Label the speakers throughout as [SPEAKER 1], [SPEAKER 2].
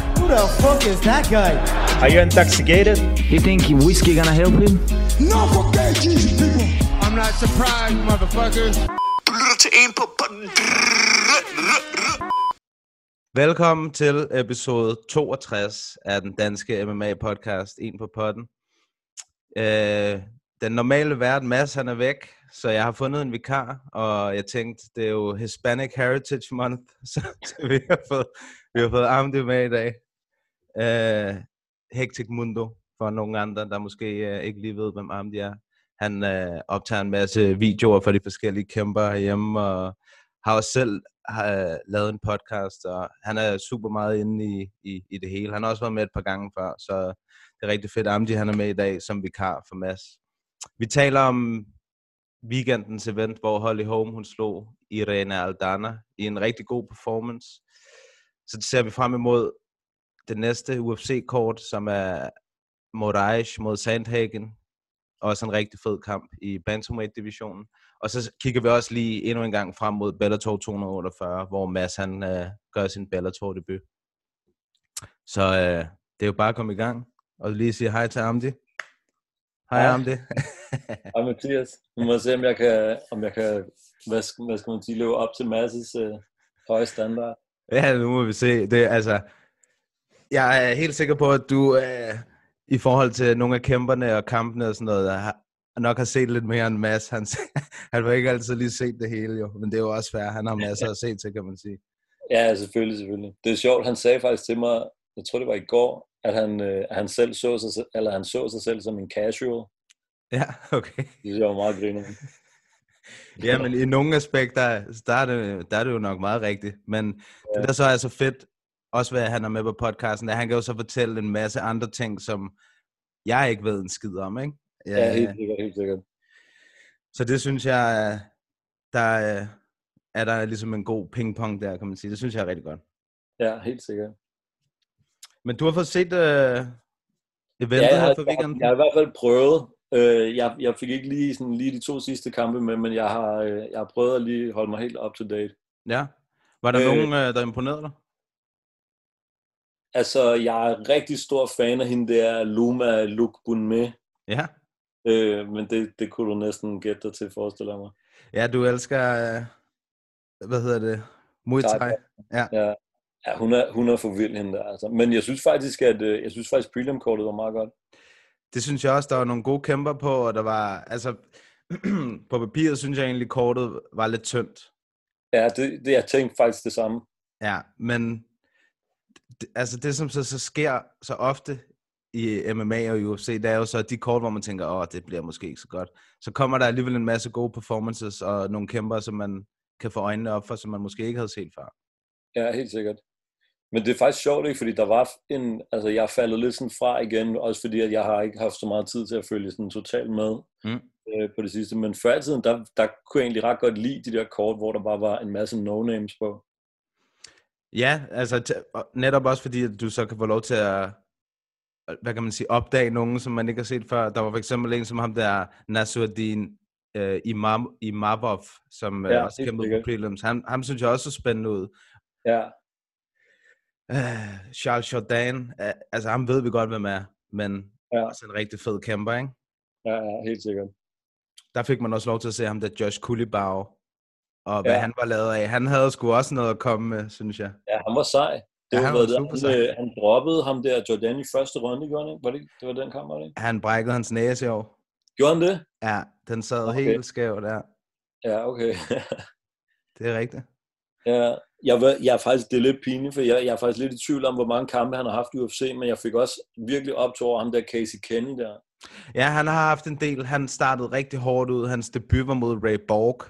[SPEAKER 1] the fuck is that guy?
[SPEAKER 2] Are you intoxicated?
[SPEAKER 3] You think whiskey gonna help him?
[SPEAKER 4] No, forget Jesus, people.
[SPEAKER 5] I'm not surprised, motherfuckers.
[SPEAKER 6] Du lytter til en på...
[SPEAKER 7] Velkommen til episode 62 af den danske MMA-podcast, En på potten. Øh, den normale vært, Mads, han er væk, så jeg har fundet en vikar, og jeg tænkte, det er jo Hispanic Heritage Month, så, så vi har fået, vi har fået Amdi med i dag. Øh, Hectic Mundo, for nogle andre, der måske øh, ikke lige ved, hvem Amdi er. Han øh, optager en masse videoer for de forskellige kæmper hjemme, og har også selv har øh, lavet en podcast, og han er super meget inde i, i, i det hele. Han har også været med et par gange før, så det er rigtig fedt, at Amdi han er med i dag som vikar for Mads. Vi taler om weekendens event, hvor Holly Holm hun slog Irene Aldana i en rigtig god performance. Så ser vi frem imod det næste UFC-kort, som er Moraes mod Sandhagen. Også en rigtig fed kamp i Bantamweight-divisionen. Og så kigger vi også lige endnu en gang frem mod Bellator 248, hvor Mads han øh, gør sin Bellator-debut. Så øh, det er jo bare at komme i gang. Og lige sige hej til Amdi. Hej
[SPEAKER 8] Hej.
[SPEAKER 7] Amdi.
[SPEAKER 8] Hej Mathias. Nu må jeg se, om jeg kan, om jeg kan hvad, skal, hvad skal man sige, leve op til masses øh, høje standard.
[SPEAKER 7] Ja, nu må vi se. Det, er altså, jeg er helt sikker på, at du øh, i forhold til nogle af kæmperne og kampene og sådan noget, har, nok har set lidt mere end Mads. Han, han har ikke altid lige set det hele, jo. men det er jo også fair. Han har masser at se til, kan man sige.
[SPEAKER 8] Ja, selvfølgelig, selvfølgelig. Det er sjovt, han sagde faktisk til mig, jeg tror det var i går, at han, øh, at han selv så sig, se- eller han så sig selv som en casual.
[SPEAKER 7] Ja, okay.
[SPEAKER 8] Det synes jeg var meget griner.
[SPEAKER 7] Ja, men i nogle aspekter, der er det, der er det jo nok meget rigtigt. Men ja. det, der så er så fedt, også hvad han er med på podcasten, er, at han kan jo så fortælle en masse andre ting, som jeg ikke ved en skid om, ikke?
[SPEAKER 8] Ja, helt sikkert, helt sikkert.
[SPEAKER 7] Så det synes jeg, øh, der øh, er der ligesom en god pingpong der, kan man sige. Det synes jeg er rigtig godt.
[SPEAKER 8] Ja, helt sikkert.
[SPEAKER 7] Men du har fået set øh, eventet
[SPEAKER 8] Ja,
[SPEAKER 7] ja,
[SPEAKER 8] jeg,
[SPEAKER 7] her
[SPEAKER 8] har,
[SPEAKER 7] for
[SPEAKER 8] jeg,
[SPEAKER 7] weekenden?
[SPEAKER 8] jeg har i hvert fald prøvet. Øh, jeg, jeg fik ikke lige, sådan, lige de to sidste kampe med, men jeg har, øh, jeg har prøvet at lige holde mig helt up to date.
[SPEAKER 7] Ja. Var der øh,
[SPEAKER 8] Øh,
[SPEAKER 7] nogen, øh, der imponerede dig?
[SPEAKER 8] Altså, jeg er rigtig stor fan af hende der, Luma Lukbunme.
[SPEAKER 7] Ja.
[SPEAKER 8] Øh, men det, det kunne du næsten gætte dig til, forestiller jeg mig.
[SPEAKER 7] Ja, du elsker, øh, hvad hedder det, Muay
[SPEAKER 8] Thai
[SPEAKER 7] Thai.
[SPEAKER 8] Ja, hun er, hun er for vild, hende der. Altså. Men jeg synes faktisk, at øh, jeg synes faktisk, prelim-kortet var meget godt.
[SPEAKER 7] Det synes jeg også, der var nogle gode kæmper på, og der var, altså, på papiret synes jeg egentlig, kortet var lidt tyndt.
[SPEAKER 8] Ja, det, det, jeg tænkte faktisk det samme.
[SPEAKER 7] Ja, men d- altså det, som så, så sker så ofte i MMA og UFC, det er jo så de kort, hvor man tænker, åh, det bliver måske ikke så godt. Så kommer der alligevel en masse gode performances og nogle kæmper, som man kan få øjnene op for, som man måske ikke havde set før.
[SPEAKER 8] Ja, helt sikkert. Men det er faktisk sjovt, ikke? Fordi der var en... Altså, jeg er faldet lidt sådan fra igen, også fordi, at jeg har ikke haft så meget tid til at følge sådan totalt med
[SPEAKER 7] Mm.
[SPEAKER 8] øh, på det sidste. Men før i tiden, der, der kunne jeg egentlig ret godt lide de der kort, hvor der bare var en masse no-names på.
[SPEAKER 7] Ja, altså t- og netop også fordi, at du så kan få lov til at, at- hvad kan man sige, opdage nogen, som man ikke har set før. Der var for eksempel en som ham der, Nasruddin øh, Imam, Imavov, som øh,
[SPEAKER 8] Ja,
[SPEAKER 7] ja, også
[SPEAKER 8] helt
[SPEAKER 7] kæmpede på
[SPEAKER 8] sikkert.
[SPEAKER 7] prelims. Han, ham synes jeg også så spændende ud.
[SPEAKER 8] Ja,
[SPEAKER 7] Øh, Charles Jordan, øh, altså ham ved vi godt, hvem er, men ja.
[SPEAKER 8] Ja.
[SPEAKER 7] også en rigtig fed kæmper, ikke?
[SPEAKER 8] ja, ja helt sikkert.
[SPEAKER 7] Der fik man også lov til at se ham der Josh Kulibau, og hvad ja.
[SPEAKER 8] Ja.
[SPEAKER 7] han var lavet af. Han havde sgu også noget at komme med, synes jeg.
[SPEAKER 8] Ja, han var sej. Det
[SPEAKER 7] Ja, han
[SPEAKER 8] ja, han,
[SPEAKER 7] var
[SPEAKER 8] var det,
[SPEAKER 7] super
[SPEAKER 8] han,
[SPEAKER 7] sej.
[SPEAKER 8] øh, han droppede ham der Jordan i første runde, gjorde han ikke? Var det, ikke- det var den kamp, var det ikke?
[SPEAKER 7] Han brækkede hans næse i år.
[SPEAKER 8] Gjorde han det?
[SPEAKER 7] Ja, den sad okay.
[SPEAKER 8] Okay.
[SPEAKER 7] helt skæv der.
[SPEAKER 8] Ja, okay.
[SPEAKER 7] Det er rigtigt.
[SPEAKER 8] ja, jeg, var, jeg er faktisk, det er lidt pinligt, for jeg, jeg er faktisk lidt i tvivl om, hvor mange kampe han har haft i UFC, men jeg fik også virkelig op til over ham der Casey Kenny der.
[SPEAKER 7] Ja, han har haft en del. Han startede rigtig hårdt ud. Hans debut var mod Ray Borg.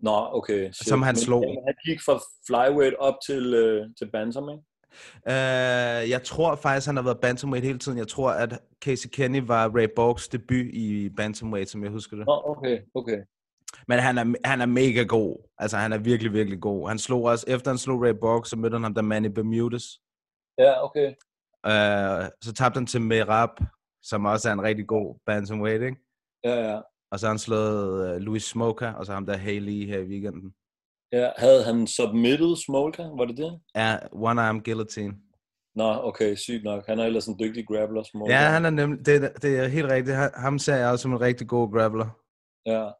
[SPEAKER 8] Nå, okay. shit.
[SPEAKER 7] Som han
[SPEAKER 8] Men
[SPEAKER 7] slog.
[SPEAKER 8] Han gik fra flyweight op til, øh, til bantam, ikke?
[SPEAKER 7] Øh, jeg tror faktisk, han har været bantamweight hele tiden. Jeg tror, at Casey Kenny var Ray Borgs debut i bantamweight, som jeg husker det.
[SPEAKER 8] Nå, okay, okay.
[SPEAKER 7] Men han er, han er mega god. Altså, han er virkelig, virkelig god. Han slog også, efter han slog Ray Borg, så mødte han ham der Manny Bermudes.
[SPEAKER 8] Ja, okay.
[SPEAKER 7] Uh, så tabte han til Merab, som også er en rigtig god bantamweight, ikke?
[SPEAKER 8] Ja, ja.
[SPEAKER 7] Og så har han slået uh, Louis Smoker, og så ham der Haley her i weekenden.
[SPEAKER 8] ja havde han submitted Smolka? Var det det?
[SPEAKER 7] Ja, One Arm Guillotine.
[SPEAKER 8] Nå, okay, sygt nok. Han er ellers en dygtig grappler. Som
[SPEAKER 7] Ja, han er nemlig, det, er- det er helt rigtigt. Han- Ham ser jeg også som en rigtig god grappler.
[SPEAKER 8] Ja.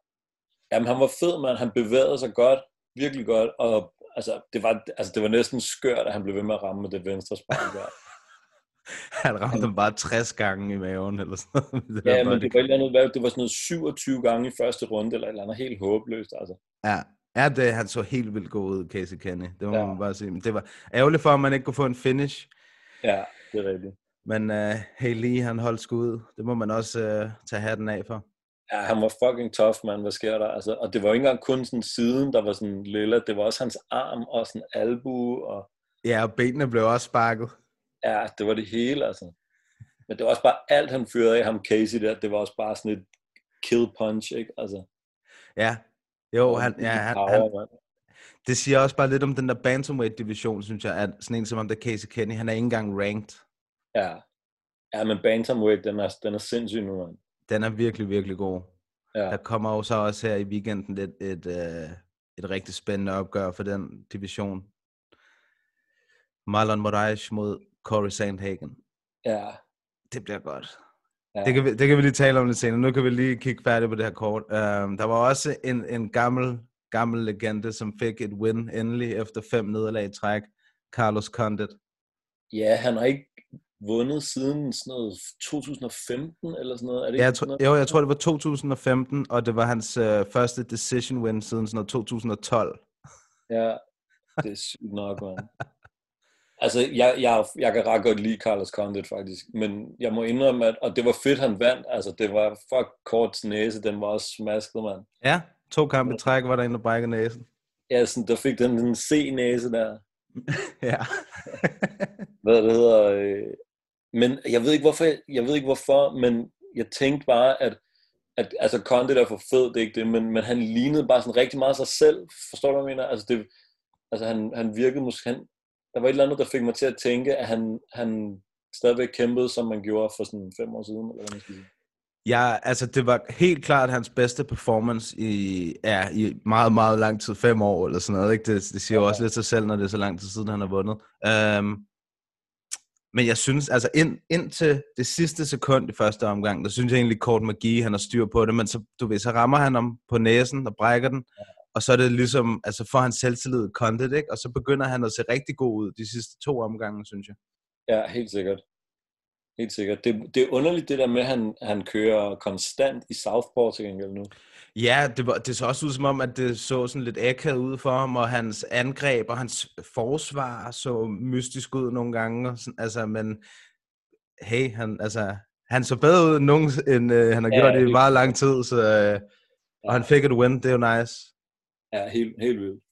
[SPEAKER 8] Jamen, han var fed, mand. Han bevægede sig godt. Virkelig godt. Og altså, det var, altså, det var næsten skørt, at han blev ved med at ramme med det venstre spark der.
[SPEAKER 7] Han ramte dem bare 60 gange i maven eller sådan noget. med det der
[SPEAKER 8] ja, men
[SPEAKER 7] body
[SPEAKER 8] det var, et eller andet, hvad, det var sådan noget 27 gange i første runde, eller et eller andet helt håbløst. Altså.
[SPEAKER 7] Ja, ja det, han så helt vildt god ud, Casey Kenny. Det må
[SPEAKER 8] Ja.
[SPEAKER 7] ja. man bare sige. Men det var ærgerligt for, at man ikke kunne få en finish.
[SPEAKER 8] Ja, det er rigtigt.
[SPEAKER 7] Men uh, hey Lee, han holdt skud. Det må man også uh, tage hatten af for.
[SPEAKER 8] Ja, han var fucking tough, mand. Hvad sker der? Altså, og det var jo ikke engang kun sådan siden, der var sådan lilla. Det var også hans arm og sådan albu. Og,
[SPEAKER 7] Ja, og benene blev også sparket.
[SPEAKER 8] ja, det var det hele, altså. Men det var også bare alt, han fyrede af ham Casey der. Det var også bare sådan et kill punch, ikke? Altså,
[SPEAKER 7] Ja, jo, han, ja, han,
[SPEAKER 8] power,
[SPEAKER 7] han,
[SPEAKER 8] han,
[SPEAKER 7] det siger også bare lidt om den der bantamweight-division, synes jeg, at sådan en som om der Casey Kenny, han er ikke engang ranked.
[SPEAKER 8] Ja. Ja, men Bantamweight, den er, den er sindssyg nu, mand.
[SPEAKER 7] Den er virkelig, virkelig god.
[SPEAKER 8] Ja.
[SPEAKER 7] Der kommer jo så også her i weekenden et, et, øh, et rigtig spændende opgør for den division. Marlon Moraes mod Corey Sandhagen.
[SPEAKER 8] Ja.
[SPEAKER 7] Det bliver godt.
[SPEAKER 8] ja.
[SPEAKER 7] Det kan, vi, det kan vi lige tale om lidt senere. Nu kan vi lige kigge færdigt på det her kort. Um, der var også en, en gammel, gammel legende, som fik et win endelig efter fem nederlag i træk. Carlos Condit.
[SPEAKER 8] ja, han har ikke vundet siden sådan noget 2015 eller sådan noget. Er det
[SPEAKER 7] Jeg
[SPEAKER 8] ikke
[SPEAKER 7] tro,
[SPEAKER 8] sådan noget?
[SPEAKER 7] jo, jeg tror, det var 2015, og det var hans øh, første decision win siden sådan noget 2012.
[SPEAKER 8] Ja, det er sygt nok, mand. Altså, jeg, jeg, jeg kan ret godt lide Carlos Condit, faktisk. Men jeg må indrømme, at og det var fedt, han vandt. Altså, det var fuck kort næse. Den var også smasket, mand.
[SPEAKER 7] Ja, to kampe i træk var der en, der brækkede næsen.
[SPEAKER 8] Ja, sådan, der fik den den C-næse der.
[SPEAKER 7] Ja.
[SPEAKER 8] hvad det hedder. Øh, men jeg ved ikke hvorfor, jeg, jeg ved ikke hvorfor, men jeg tænkte bare, at, at altså Conte der er for fed, det er ikke det, men, men han lignede bare sådan rigtig meget sig selv. Forstår du, hvad jeg mener? Altså, det, altså han, han virkede måske, han, der var et eller andet, der fik mig til at tænke, at han, han stadigvæk kæmpede, som man gjorde for sådan fem år siden. Eller hvad man skal sige.
[SPEAKER 7] ja, altså det var helt klart hans bedste performance i, ja, i meget, meget lang tid. Fem år eller sådan noget. Ikke? Det, det siger jo også lidt sig selv, når det er så lang tid siden, han har vundet. Um, men jeg synes, altså ind, indtil det sidste sekund i første omgang, der synes jeg egentlig, Kort Magi, han har styr på det, men så, du ved, så rammer han om på næsen og brækker den, og så er det ligesom, altså får han selvtillid content, ikke? og så begynder han at se rigtig god ud de sidste to omgange, synes jeg.
[SPEAKER 8] Ja, helt sikkert. Helt sikkert. Det, det er underligt det der med, at han, han kører konstant i Southpaw til gengæld nu.
[SPEAKER 7] Ja, det, var, det så også ud som om, at det så sådan lidt akavet ud for ham, og hans angreb og hans forsvar så mystisk ud nogle gange. Og sådan, altså, men hey, han, altså, han så bedre ud end, nogen, end øh, han har
[SPEAKER 8] Ja,
[SPEAKER 7] gjort det i
[SPEAKER 8] helt
[SPEAKER 7] meget lang tid, så, øh, og han fik et win, det er jo nice.
[SPEAKER 8] Ja, helt, helt vildt.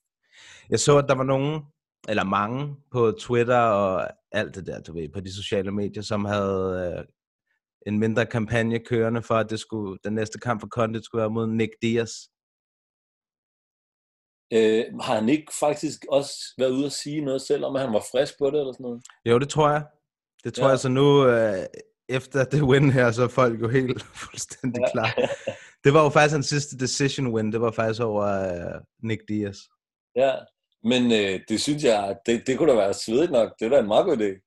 [SPEAKER 7] Jeg så, at der var nogen, eller mange, på Twitter og alt det der, du ved, på de sociale medier, som havde øh, en mindre kampagne kørende for, at det skulle, den næste kamp for Condit skulle være mod Nick Diaz.
[SPEAKER 8] Øh, har han ikke faktisk også været ude at sige noget selv om, at han var frisk på det eller sådan noget?
[SPEAKER 7] Jo, det tror jeg. Det tror
[SPEAKER 8] Ja.
[SPEAKER 7] ja. jeg, så nu øh, efter det win her, så er folk jo helt fuldstændig
[SPEAKER 8] Ja.
[SPEAKER 7] ja. klar. Det var jo faktisk hans sidste decision win, det var faktisk over øh, Nick Diaz.
[SPEAKER 8] Ja, men øh, det synes jeg, det, det kunne da være svedigt nok. Det er da en meget god idé.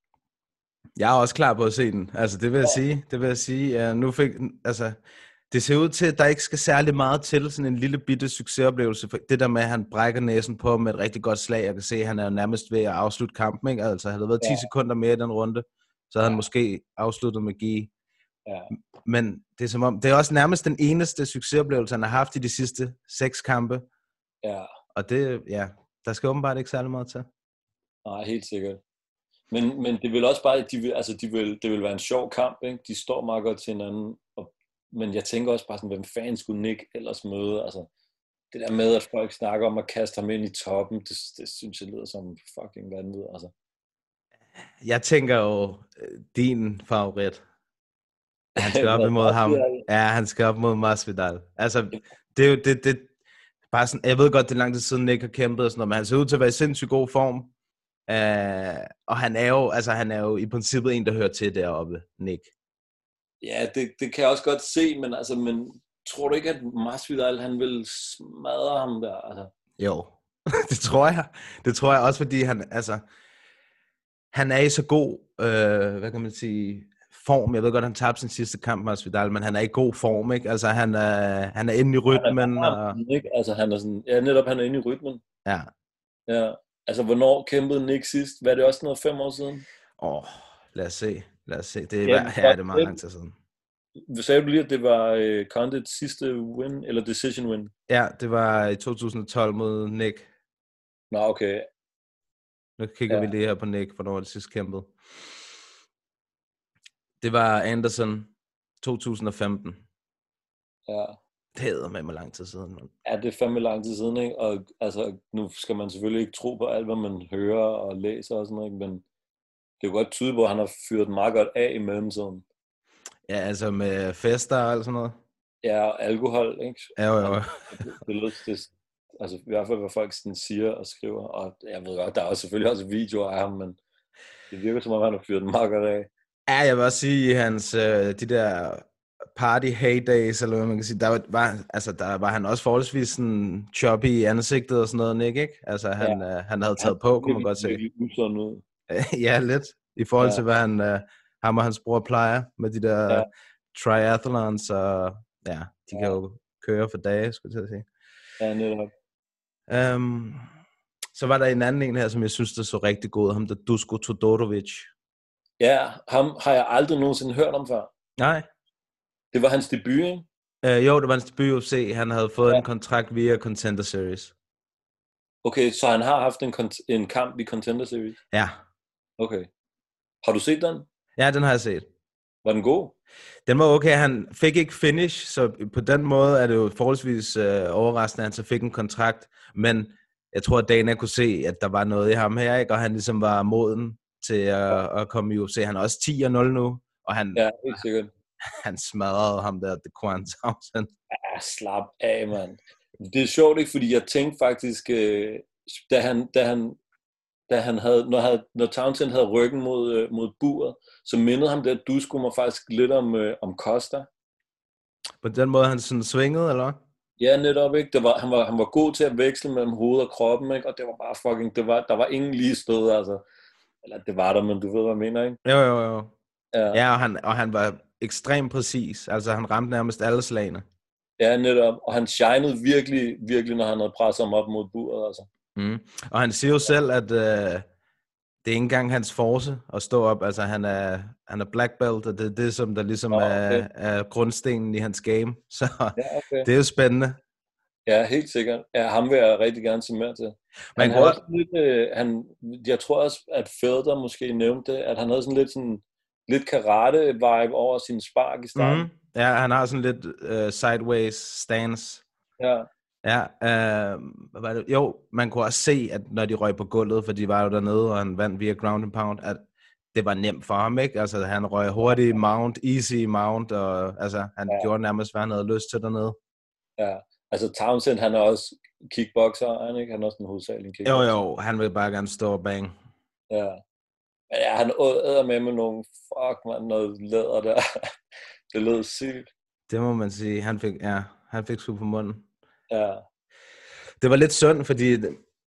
[SPEAKER 7] Jeg er også klar på at se den, altså det vil jeg sige, det vil jeg sige. Uh, nu fik, altså, det ser ud til, at der ikke skal særlig meget til, sådan en lille bitte succesoplevelse. For Det der med, at han brækker næsen på med et rigtig godt slag, jeg kan se, at han er jo nærmest ved at afslutte kampen, ikke? Altså, havde der været 10
[SPEAKER 8] Ja.
[SPEAKER 7] sekunder mere i den runde, så havde
[SPEAKER 8] Ja.
[SPEAKER 7] han måske afsluttet med at give
[SPEAKER 8] Ja,
[SPEAKER 7] Men det er som om, det er også nærmest den eneste succesoplevelse, han har haft i de sidste seks kampe.
[SPEAKER 8] ja.
[SPEAKER 7] Og det, ja, der skal åbenbart ikke særlig meget til.
[SPEAKER 8] Nej, helt sikkert. Men, men det vil også bare, de vil, altså de vil, det vil være en sjov kamp, ikke? De står meget godt til hinanden. Og, men jeg tænker også bare sådan, hvem fanden skulle Nick ellers møde? Altså, det der med, at folk snakker om at kaste ham ind i toppen, det, det synes jeg lyder som fucking vanvid. Altså.
[SPEAKER 7] Jeg tænker jo, øh, din favorit. Han skal op
[SPEAKER 8] Hvad,
[SPEAKER 7] imod ham.
[SPEAKER 8] Masvidal?
[SPEAKER 7] Ja, han skal op mod Masvidal. Altså, det er jo det, det, bare sådan, jeg ved godt, det er lang tid siden Nick har kæmpet og sådan noget, men han ser ud til at være i sindssygt god form. Uh, og han er jo, altså han er jo i princippet en, der hører til deroppe, Nick.
[SPEAKER 8] Ja, det, det kan jeg også godt se, men, altså, men tror du ikke, at Masvidal han vil smadre ham der? Altså,
[SPEAKER 7] Jo, det tror jeg. Det tror jeg også, fordi han, altså, han er i så god, øh, hvad kan man sige, form. Jeg ved godt, han tabte sin sidste kamp med Asvidal, men han er i god form, ikke? Altså, han er, han er inde i rytmen. Og,
[SPEAKER 8] Nick, altså han er sådan, ja, netop han er inde i rytmen.
[SPEAKER 7] ja.
[SPEAKER 8] Ja. Altså, hvornår kæmpede Nick sidst? Var det også sådan noget fem år siden?
[SPEAKER 7] Åh, lad os se. Lad os se. Det er,
[SPEAKER 8] Ja,
[SPEAKER 7] ja, ja, det er
[SPEAKER 8] det-
[SPEAKER 7] meget lang tid siden.
[SPEAKER 8] Sagde du lige, at det var uh, Condits sidste win, eller decision win?
[SPEAKER 7] Ja, det var i 2012 mod Nick.
[SPEAKER 8] Nå, okay.
[SPEAKER 7] Nu kigger
[SPEAKER 8] Ja.
[SPEAKER 7] ja. vi lige her på Nick, hvornår det sidst kæmpede. Det var Anderson 2015.
[SPEAKER 8] Ja.
[SPEAKER 7] Det er med mig lang tid siden. Man.
[SPEAKER 8] Ja, det er fandme lang tid siden, ikke? Og altså, nu skal man selvfølgelig ikke tro på alt, hvad man hører og læser og sådan noget, ikke? men det kan godt tyde på, at han har fyret den meget godt af i mellemtiden.
[SPEAKER 7] Ja, altså med fester og alt sådan noget.
[SPEAKER 8] Ja, og alkohol, ikke?
[SPEAKER 7] Ja, jo, jo.
[SPEAKER 8] Det lyder det, altså i hvert fald, hvad folk sådan siger og skriver, og jeg ved godt, der er også selvfølgelig også videoer af ham, men det virker som om, han har fyret den meget godt af.
[SPEAKER 7] Ja, jeg vil også sige, i hans, øh, de der party heydays, eller hvad man kan sige, der var- var, altså, der var han også forholdsvis sådan choppy i ansigtet og sådan noget, Nick, ikke? Altså, han, ja. øh, han havde taget på, kunne man godt se.
[SPEAKER 8] Det er usund ud.
[SPEAKER 7] ja, lidt. I forhold
[SPEAKER 8] Ja.
[SPEAKER 7] ja. til, hvad han, øh, ham og hans bror plejer med de der
[SPEAKER 8] Ja.
[SPEAKER 7] ja. triathlons, og ja, de ja.
[SPEAKER 8] Ja.
[SPEAKER 7] kan jo køre for dage, skulle jeg til at sige.
[SPEAKER 8] Ja, netop.
[SPEAKER 7] Um, så var der en anden en her, som jeg synes, der så rigtig god, ud, ham der Dusko Todorovic.
[SPEAKER 8] Ja, ham har jeg aldrig nogensinde hørt om før.
[SPEAKER 7] Nej,
[SPEAKER 8] Det var hans debut, ikke?
[SPEAKER 7] Øh, jo, det var hans debut i UFC. Han havde fået
[SPEAKER 8] Ja.
[SPEAKER 7] ja. en kontrakt via Contender Series.
[SPEAKER 8] Okay, så han har haft en, kont- en kamp i Contender Series.
[SPEAKER 7] Ja.
[SPEAKER 8] Okay. Har du set den?
[SPEAKER 7] ja, den har jeg set.
[SPEAKER 8] Var den god?
[SPEAKER 7] Den var okay. Han fik ikke finish, så på den måde er det jo forholdsvis øh, overraskende, at han så fik en kontrakt. Men jeg tror, at Dana kunne se, at der var noget i ham her, ikke? og han ligesom var moden til at, at komme i UFC. Han er også 10-0 nu, og han, ja.
[SPEAKER 8] Ja, helt sikkert.
[SPEAKER 7] han smadrede ham der, The Quan Thompson.
[SPEAKER 8] Ja, Ah, slap af, mand. Det er sjovt, ikke? Fordi jeg tænkte faktisk, øh, da han, da han, da han havde, når, havde, når Townsend havde ryggen mod, øh, mod buret, så mindede ham der, du skulle mig faktisk lidt om, øh, om Costa.
[SPEAKER 7] På den måde, han sådan svingede, eller hvad?
[SPEAKER 8] Ja, netop, ikke? Det var, han, var, han var god til at veksle mellem hoved og kroppen, ikke? Og det var bare fucking, det var, der var ingen lige stød, altså. Eller det var der, men du ved, hvad jeg mener, ikke?
[SPEAKER 7] Jo, jo, jo.
[SPEAKER 8] Ja, ja.
[SPEAKER 7] Ja, og han, og han var ekstremt præcis. Altså, han ramte nærmest alle slagene.
[SPEAKER 8] ja netop. Og han shinede virkelig, virkelig, når han havde presset ham op mod buret, altså.
[SPEAKER 7] Mm. Og han siger jo selv, at øh, det er ikke engang hans force at stå op. Altså, han er, han er black belt, og det er det, som der ligesom
[SPEAKER 8] Nå,
[SPEAKER 7] oh,
[SPEAKER 8] okay.
[SPEAKER 7] okay. er, er grundstenen i hans game. Så
[SPEAKER 8] Ja, okay.
[SPEAKER 7] det er jo spændende.
[SPEAKER 8] Ja, helt sikkert. Ja, ham vil jeg rigtig gerne se mere til.
[SPEAKER 7] Man
[SPEAKER 8] Han
[SPEAKER 7] kan
[SPEAKER 8] havde
[SPEAKER 7] godt,
[SPEAKER 8] også lidt, øh, han, jeg tror også, at Fedder måske nævnte det, at han havde sådan lidt, sådan, lidt karate-vibe over sin spark i starten. Mm.
[SPEAKER 7] mm, ja, han har sådan lidt øh, sideways stance.
[SPEAKER 8] Ja,
[SPEAKER 7] Ja, øh, hvad var det? jo, man kunne også se, at når de røg på gulvet, for de var jo dernede, og han vandt via ground and pound, at det var nemt for ham, ikke? Altså, han røg hurtigt i mount, easy i mount, og altså, han
[SPEAKER 8] Ja.
[SPEAKER 7] ja. gjorde nærmest, hvad han havde lyst til dernede.
[SPEAKER 8] ja. Altså Townsend, han er også kickboxer, er han, ikke? han er også en hovedsagelig en
[SPEAKER 7] Jo,
[SPEAKER 8] kickboxer.
[SPEAKER 7] jo, han vil bare gerne stå og bang.
[SPEAKER 8] Ja. Men ja, han æder med med nogle, fuck man, noget læder der. det lød sygt.
[SPEAKER 7] Det må man sige. Han fik, ja, han fik sgu på munden.
[SPEAKER 8] Ja.
[SPEAKER 7] Det var lidt synd, fordi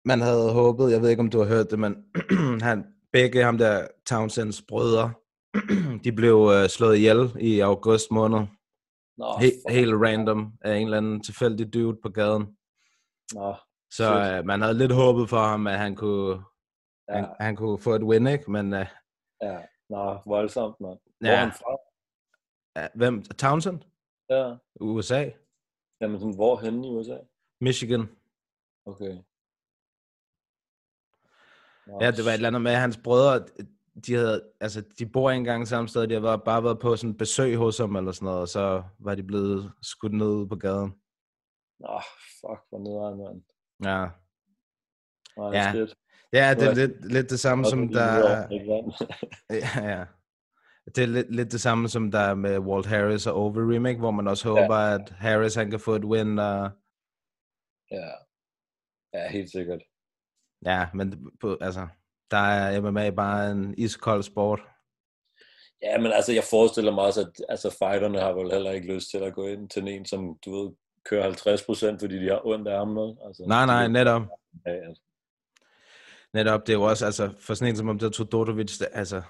[SPEAKER 7] man havde håbet, jeg ved ikke, om du har hørt det, men han, begge ham der Townsends brødre, de blev øh, slået ihjel i august måned.
[SPEAKER 8] Nå,
[SPEAKER 7] He-
[SPEAKER 8] fuck.
[SPEAKER 7] helt random af en eller anden tilfældig dude på gaden.
[SPEAKER 8] Nå,
[SPEAKER 7] Så
[SPEAKER 8] Shit.
[SPEAKER 7] øh, man havde lidt håbet for ham, at han kunne, ja.
[SPEAKER 8] ja,
[SPEAKER 7] han, han kunne få et win, ikke? Men øh,
[SPEAKER 8] ja. Nå, voldsomt, mand. Hvor er
[SPEAKER 7] ja,
[SPEAKER 8] han fra?
[SPEAKER 7] øh, hvem? Townsend?
[SPEAKER 8] Ja.
[SPEAKER 7] USA?
[SPEAKER 8] Jamen, sådan, hvor henne i USA?
[SPEAKER 7] Michigan?
[SPEAKER 8] Okay. Nå,
[SPEAKER 7] Ja, det var et eller andet med, at hans brødre, de, havde, altså, de bor ikke engang samme sted, de havde bare- bare været på sådan besøg hos ham eller sådan noget, og så var de blevet skudt ned ude på gaden.
[SPEAKER 8] Nå, fuck, hvor nederen, mand.
[SPEAKER 7] Ja,
[SPEAKER 8] Nej,
[SPEAKER 7] Ja,
[SPEAKER 8] shit.
[SPEAKER 7] ja det er
[SPEAKER 8] Ja.
[SPEAKER 7] lidt, lidt det samme,
[SPEAKER 8] Også
[SPEAKER 7] som
[SPEAKER 8] fordi
[SPEAKER 7] der...
[SPEAKER 8] det er ikke vand.
[SPEAKER 7] Ja, ja. Det er lidt, lidt det samme, som der er med Walt Harris og Overeem, ikke? hvor man også håber, ja. at Harris han kan få et win. Og...
[SPEAKER 8] ja. ja, helt sikkert.
[SPEAKER 7] Ja, men på, altså, der er MMA bare en iskold sport.
[SPEAKER 8] Ja, men altså, jeg forestiller mig også, at altså, fighterne har vel heller ikke lyst til at gå ind til en, som, du ved, kører 50 procent, fordi de har ondt af armen. Altså,
[SPEAKER 7] Nej, nej, netop.
[SPEAKER 8] Ja, altså.
[SPEAKER 7] Netop, det er jo også, altså, for sådan en som om det Todorovic, det, altså,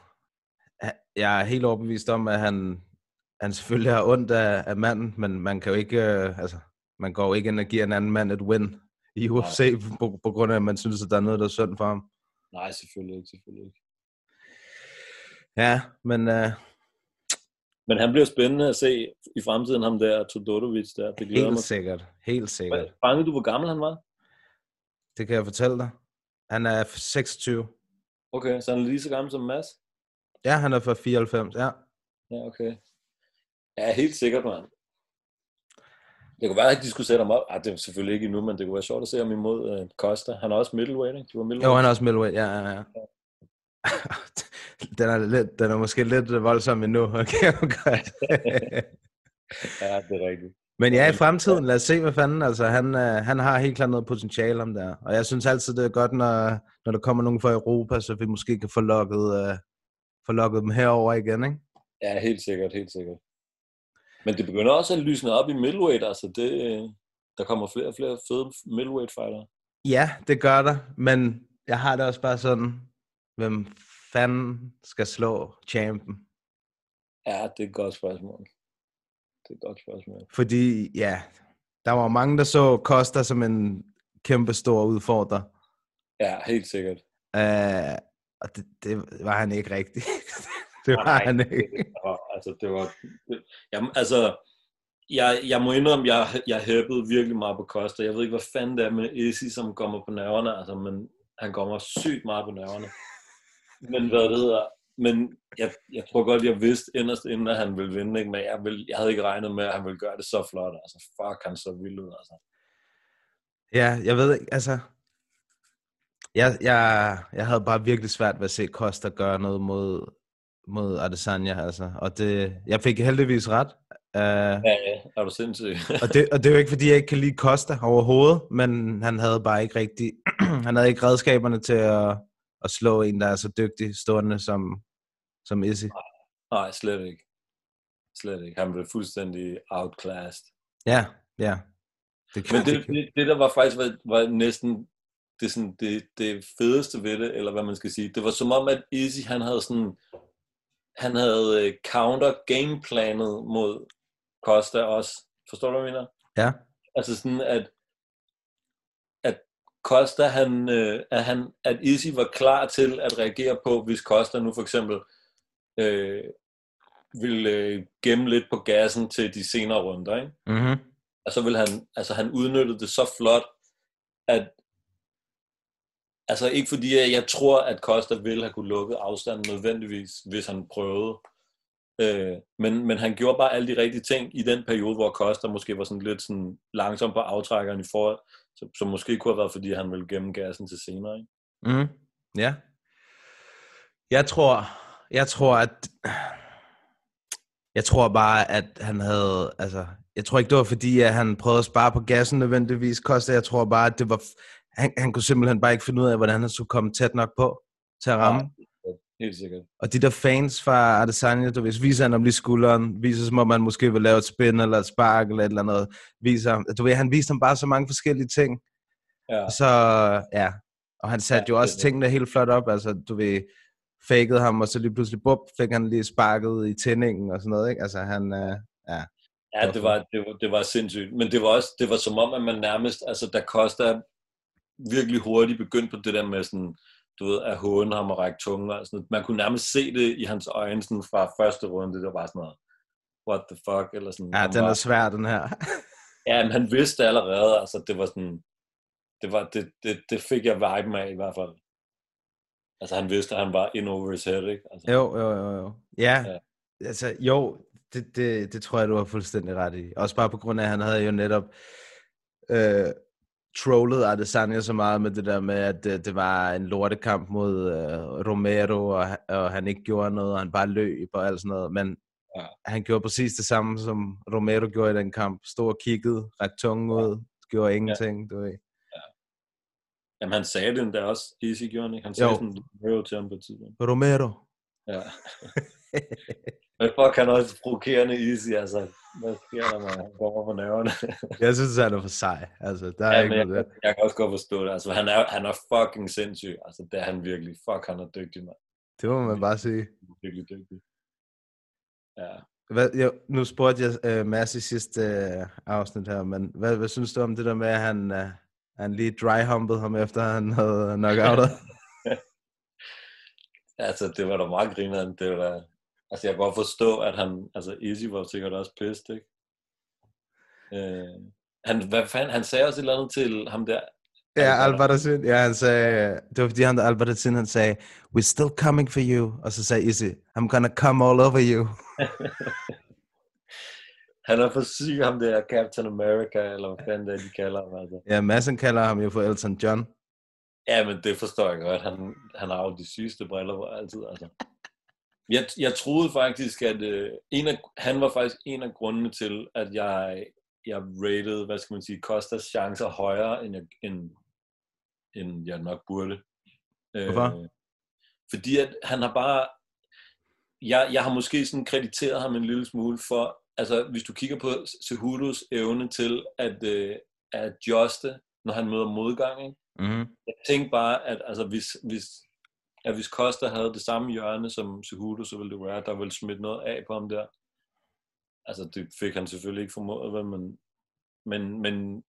[SPEAKER 7] ha- jeg er helt overbevist om, at han, han selvfølgelig har ondt af, af manden, men man kan jo ikke, øh, altså, man går jo ikke ind og giver en anden mand et win i UFC, på, på grund af, at man synes, at der er noget, der er synd for ham.
[SPEAKER 8] Nej, selvfølgelig ikke, selvfølgelig ikke.
[SPEAKER 7] Ja, men øh,
[SPEAKER 8] Men han bliver spændende at se i fremtiden, ham der Todorovic der. Det glæder
[SPEAKER 7] helt
[SPEAKER 8] mig.
[SPEAKER 7] sikkert, helt sikkert.
[SPEAKER 8] Hvad- Fangede du, hvor gammel han var?
[SPEAKER 7] Det kan jeg fortælle dig. Han er 26.
[SPEAKER 8] Okay, så han er lige så gammel som Mads?
[SPEAKER 7] Ja, han er fra 94, ja.
[SPEAKER 8] Ja, okay. Ja, helt sikkert, mand. Det kunne være, at de skulle sætte ham op. Ej, det er selvfølgelig ikke endnu, men det kunne være sjovt at se ham imod uh, Costa. Han er også middleweight, ikke? Du var
[SPEAKER 7] Jo,
[SPEAKER 8] middleweight.
[SPEAKER 7] han er også middleweight, ja, ja, ja. den, er lidt, den er måske lidt voldsom endnu, okay, okay.
[SPEAKER 8] Ja, det er rigtigt.
[SPEAKER 7] Men ja, i fremtiden, lad os se, hvad fanden, altså han, øh, han har helt klart noget potentiale om der. Og jeg synes altid, det er godt, når, når der kommer nogen fra Europa, så vi måske kan få lukket, øh, få lukket dem herover igen, ikke?
[SPEAKER 8] Ja, helt sikkert, helt sikkert. Men det begynder også at lysne op i middleweight, altså det, øh, der kommer flere og flere fede middleweight fightere.
[SPEAKER 7] Ja, det gør der, men jeg har det også bare sådan, hvem fanden skal slå champen?
[SPEAKER 8] Ja, det er et godt spørgsmål. Det er et godt spørgsmål.
[SPEAKER 7] Fordi, ja, der var mange, der så Costa som en kæmpe stor udfordrer.
[SPEAKER 8] Ja, helt sikkert.
[SPEAKER 7] Uh, og det, det var han ikke rigtig. det var han ikke.
[SPEAKER 8] Og, altså, det var... det- Jamen, altså, jeg, jeg må indrømme, jeg, jeg hæppede virkelig meget på Costa. Jeg ved ikke, hvad fanden det er med Izzy, som kommer på nerverne, altså, men han kommer sygt meget på nerverne. Men hvad det hedder, men jeg, jeg tror godt, jeg vidste inderst inden, at han ville vinde, ikke? men jeg, ville, jeg havde ikke regnet med, at han ville gøre det så flot. Altså, fuck, han så vild ud, altså.
[SPEAKER 7] Ja, jeg ved ikke, altså... Jeg, jeg, jeg havde bare virkelig svært ved at se Costa gøre noget mod, mod Adesanya, altså. Og det, jeg fik heldigvis ret. Uh,
[SPEAKER 8] Ja, ja, er du sindssyg?
[SPEAKER 7] og, det, og det er jo ikke, fordi jeg ikke kan lide Costa overhovedet, men han havde bare ikke rigtig... han havde ikke redskaberne til at, at slå en, der er så dygtig stående som, som Izzy.
[SPEAKER 8] Nej, slet ikke. Slet ikke. Han blev fuldstændig outclassed.
[SPEAKER 7] Ja, ja. Det kan,
[SPEAKER 8] Men det,
[SPEAKER 7] det kan-
[SPEAKER 8] det, det der var faktisk var, var næsten det, sådan, det, det fedeste ved det, eller hvad man skal sige, det var som om, at Izzy, han havde sådan, han havde øh, counter gameplanet mod Costa også. Forstår du, hvad jeg mener?
[SPEAKER 7] ja.
[SPEAKER 8] Altså sådan, at, at Costa, han, øh, at, han, at Izzy var klar til at reagere på, hvis Costa nu for eksempel øh, ville øh, gemme lidt på gassen til de senere runder, ikke?
[SPEAKER 7] Mm-hmm.
[SPEAKER 8] Og så vil han, altså han udnyttede det så flot, at altså ikke fordi jeg, jeg tror, at Costa ville have kunne lukke afstanden nødvendigvis, hvis han prøvede. Øh, men, men han gjorde bare alle de rigtige ting i den periode, hvor Costa måske var sådan lidt sådan langsom på aftrækkeren i forhold, som, som måske kunne have været, fordi han ville gemme gassen til senere. Ikke?
[SPEAKER 7] Mm. Ja. Jeg tror, jeg tror, at... Jeg tror bare, at han havde... Altså, jeg tror ikke, det var fordi, at han prøvede at spare på gassen nødvendigvis, Koster. Jeg tror bare, at det var... Han, han kunne simpelthen bare ikke finde ud af, hvordan han skulle komme tæt nok på til at ramme.
[SPEAKER 8] Helt sikkert.
[SPEAKER 7] Og de der fans fra Adesanya, du ved, viser han om lige skulderen, viser som om man måske vil lave et spin eller et spark eller et eller andet. Viser, ham- du ved, han viste ham bare så mange forskellige ting.
[SPEAKER 8] Ja.
[SPEAKER 7] Og så, ja. Og han satte
[SPEAKER 8] Ja,
[SPEAKER 7] jo
[SPEAKER 8] det er
[SPEAKER 7] også
[SPEAKER 8] det.
[SPEAKER 7] tingene helt flot op, altså du ved, fakede ham, og så lige pludselig, bup, fik han lige sparket i tændingen og sådan noget, ikke? Altså han, øh,
[SPEAKER 8] Ja, det var, det, var, det var sindssygt. Men det var også, det var som om, at man nærmest, altså da Costa virkelig hurtigt begyndte på det der med sådan, du ved, at håne ham og række tungen og sådan noget. Man kunne nærmest se det i hans øjne sådan fra første runde, det var bare sådan noget, what the fuck, eller sådan.
[SPEAKER 7] ja,
[SPEAKER 8] Han
[SPEAKER 7] den
[SPEAKER 8] var,
[SPEAKER 7] er svær, den her.
[SPEAKER 8] ja, men han vidste det allerede, altså det var sådan, det, var, det, det, det fik jeg viben af i hvert fald. Altså han vidste, at han var in over his head, ikke? Altså,
[SPEAKER 7] Jo, jo, jo, jo. Ja,
[SPEAKER 8] Ja.
[SPEAKER 7] altså jo, det, det, det tror jeg, du har fuldstændig ret i. Også bare på grund af, at han havde jo netop øh, trollet Adesanya så meget med det der med, at øh, det var en lortekamp mod øh, Romero, og, han- og han ikke gjorde noget, og han bare løb og alt sådan noget. Men
[SPEAKER 8] Ja.
[SPEAKER 7] ja. han gjorde præcis det samme, som Romero gjorde i den kamp. Stod og kiggede, rakte tungen ud, gjorde ingenting, du ved.
[SPEAKER 8] Jamen han sagde det endda også, Easy gjorde han, ikke? Han sagde
[SPEAKER 7] Jo.
[SPEAKER 8] jo. sådan, Romero til ham på et tidspunkt.
[SPEAKER 7] Romero.
[SPEAKER 8] Ja. Men fuck, han er også provokerende easy, altså. Hvad sker der, man? Han kommer på nerverne.
[SPEAKER 7] Jeg synes, han er for sej. Altså, der er
[SPEAKER 8] Ja,
[SPEAKER 7] ja, ikke
[SPEAKER 8] men
[SPEAKER 7] noget
[SPEAKER 8] jeg,
[SPEAKER 7] der.
[SPEAKER 8] jeg kan også godt forstå det. Altså, han er, han er fucking sindssyg. Altså, det er han virkelig. Fuck, han er dygtig, mand.
[SPEAKER 7] Det må man bare sige.
[SPEAKER 8] Virkelig dygtig. Ja.
[SPEAKER 7] Hvad, jeg, nu spurgte jeg uh, Mads i sidste uh, afsnit her, men hvad, hvad synes du om det der med, at han, uh, han lige dry-humpede ham, efter han havde knockoutet?
[SPEAKER 8] Altså, det var da meget grineren. Det var da... Altså, jeg kan godt forstå, at han... Altså, Izzy var sikkert også pissed, ikke? Øh, han, hvad fanden, han sagde også et eller andet til ham der.
[SPEAKER 7] ja,
[SPEAKER 8] Albert.
[SPEAKER 7] Albertacin. Ja, han sagde, øh, det var fordi han der Albertacin, han sagde, we're still coming for you. Og så sagde Izzy, I'm gonna come all over you.
[SPEAKER 8] Han er for syg, ham der Captain America, eller hvad fanden det er, de kalder ham, altså.
[SPEAKER 7] Ja, Madsen kalder ham jo for Elton John.
[SPEAKER 8] Ja, men det forstår jeg godt. Han, han har jo de sygeste briller på altid, altså. Jeg, jeg troede faktisk, at øh, en af, han var faktisk en af grundene til, at jeg, jeg rated, hvad skal man sige, Kostas chancer højere, end jeg, end, end jeg nok burde. Øh,
[SPEAKER 7] Hvorfor?
[SPEAKER 8] fordi at han har bare... Jeg, jeg har måske sådan krediteret ham en lille smule for, altså hvis du kigger på Sehudus evne til at, øh, at adjuste, når han møder modgang, ikke?
[SPEAKER 7] Mm-hmm.
[SPEAKER 8] jeg tænkte bare, at altså, hvis, hvis, at hvis Costa havde det samme hjørne som Cejudo, så ville det være, at der ville smidt noget af på ham der. Altså, det fik han selvfølgelig ikke formået, vel, men, men, men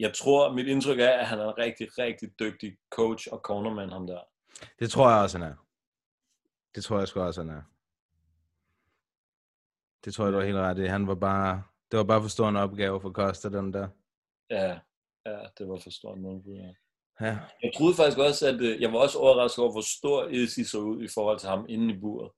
[SPEAKER 8] jeg tror, mit indtryk er, at han er en rigtig, rigtig dygtig coach og cornerman, ham der.
[SPEAKER 7] Det tror jeg også, han er. Det tror jeg sgu også, han er. Det tror jeg, du har helt ret i. Han var bare... Det var bare for stor en opgave for Costa, den der.
[SPEAKER 8] Ja, ja det var for stort noget. Ja.
[SPEAKER 7] Ja.
[SPEAKER 8] Jeg troede faktisk også, at øh, jeg var også overrasket over, hvor stor Izzy så ud i forhold til ham inde i buret.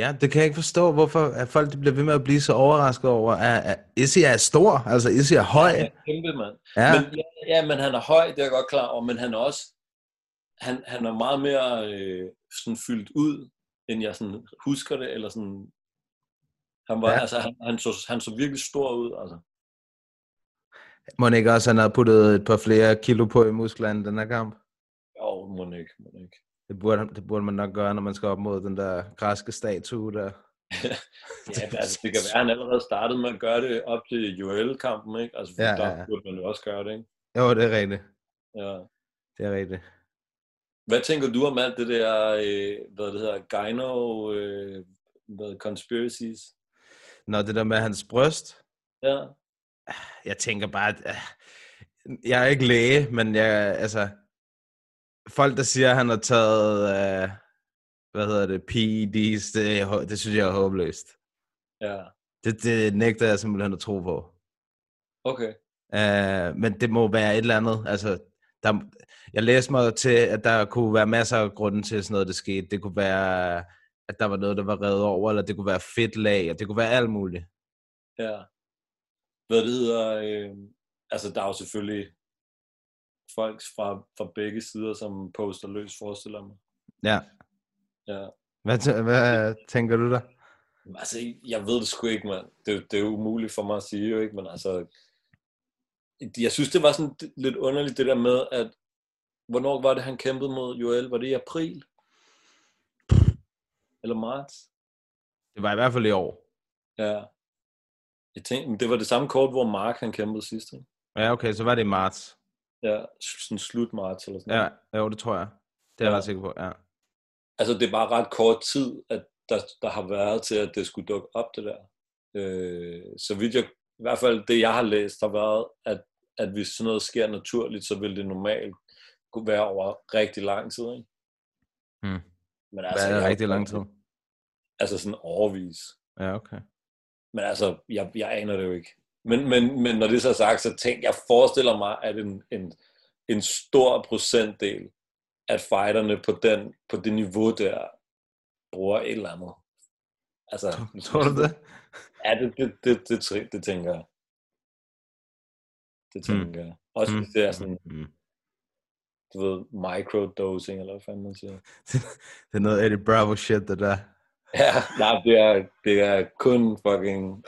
[SPEAKER 7] ja, det kan jeg ikke forstå, hvorfor at folk de bliver ved med at blive så overrasket over, at, at Izzy er stor, altså Izzy er høj.
[SPEAKER 8] Han er kæmpe, mand.
[SPEAKER 7] Ja,
[SPEAKER 8] Men, ja, ja, men han er høj, det er jeg godt klar over, men han er også, han, han er meget mere øh, sådan fyldt ud, end jeg sådan husker det, eller sådan, han var,
[SPEAKER 7] Ja.
[SPEAKER 8] ja. altså, han, han, så, han så virkelig stor ud, altså.
[SPEAKER 7] må ikke også, han har puttet et par flere kilo på i musklerne i den her kamp?
[SPEAKER 8] Jo, må den ikke, må den ikke.
[SPEAKER 7] Det burde, det burde man nok gøre, når man skal op mod den der græske statue der.
[SPEAKER 8] Ja, men, altså, det kan være, han allerede startede med at gøre det op til Joel-kampen, ikke? Altså, for
[SPEAKER 7] Ja,
[SPEAKER 8] ja,
[SPEAKER 7] ja,
[SPEAKER 8] der
[SPEAKER 7] ja.
[SPEAKER 8] burde man jo også gøre det, ikke?
[SPEAKER 7] Jo, det er rigtigt.
[SPEAKER 8] Ja.
[SPEAKER 7] Det er rigtigt.
[SPEAKER 8] Hvad tænker du om alt det der, øh, hvad det hedder, gyno, øh, hvad, conspiracies?
[SPEAKER 7] Nå, det der med hans bryst,
[SPEAKER 8] Ja,
[SPEAKER 7] jeg tænker bare, at øh, jeg er ikke læge, men jeg, altså, folk, der siger, at han har taget, øh, hvad hedder det, PEDs, det, er hå- det synes jeg er håbløst.
[SPEAKER 8] ja,
[SPEAKER 7] Det, det nægter jeg simpelthen at tro på.
[SPEAKER 8] okay.
[SPEAKER 7] Øh, men det må være et eller andet, altså, der, jeg læste mig til, at der kunne være masser af grunde til at sådan noget, det skete. Det kunne være, at der var noget, der var revet over, eller det kunne være fedtlag, og det kunne være alt muligt.
[SPEAKER 8] Ja. Hvad det hedder, øh, altså der er jo selvfølgelig folk fra, fra begge sider, som poster løs, forestiller jeg mig.
[SPEAKER 7] Ja.
[SPEAKER 8] Ja.
[SPEAKER 7] Hvad, tæ- hvad tænker du der?
[SPEAKER 8] Men Altså, jeg ved det sgu ikke, mand. Det, er jo- det er jo umuligt for mig at sige, jo ikke, men altså, jeg synes, det var sådan lidt underligt, det der med, at hvornår var det, han kæmpede mod Joel? Var det i april? Eller marts?
[SPEAKER 7] Det var i hvert fald i år.
[SPEAKER 8] Ja. Jeg tænkte, men det var det samme kort, hvor Mark han kæmpede sidst. ikke?
[SPEAKER 7] Ja, okay, så var det i marts.
[SPEAKER 8] Ja, sådan slut marts eller sådan noget.
[SPEAKER 7] Ja, jo, det tror jeg. Det er jeg
[SPEAKER 8] Ja.
[SPEAKER 7] ret sikker på, ja.
[SPEAKER 8] altså det er bare ret kort tid, at der, der har været til, at det skulle dukke op, det der. Øh, så vidt jeg, i hvert fald det, jeg har læst, har været, at, at hvis sådan noget sker naturligt, så vil det normalt kunne være over rigtig lang tid, ikke?
[SPEAKER 7] Hmm.
[SPEAKER 8] Men
[SPEAKER 7] Altså, det
[SPEAKER 8] jeg-
[SPEAKER 7] er rigtig lang tid.
[SPEAKER 8] Altså sådan overvis.
[SPEAKER 7] Ja, okay.
[SPEAKER 8] Men altså, jeg, jeg aner det jo ikke. Men, men, men når det så er sagt, så tænk, jeg forestiller mig, at en, en, en stor procentdel at fighterne på, den, på det niveau der, bruger et eller andet. Altså,
[SPEAKER 7] Tror du det?
[SPEAKER 8] Ja, det, det, det, det, tæ- det tænker jeg. Det
[SPEAKER 7] Hmm.
[SPEAKER 8] tænker jeg. Også
[SPEAKER 7] Hmm.
[SPEAKER 8] hvis det er sådan,
[SPEAKER 7] Mm.
[SPEAKER 8] du ved, microdosing, eller hvad fanden man siger.
[SPEAKER 7] det er noget Eddie Bravo shit, det der.
[SPEAKER 8] Ja, nej, det er, det er kun fucking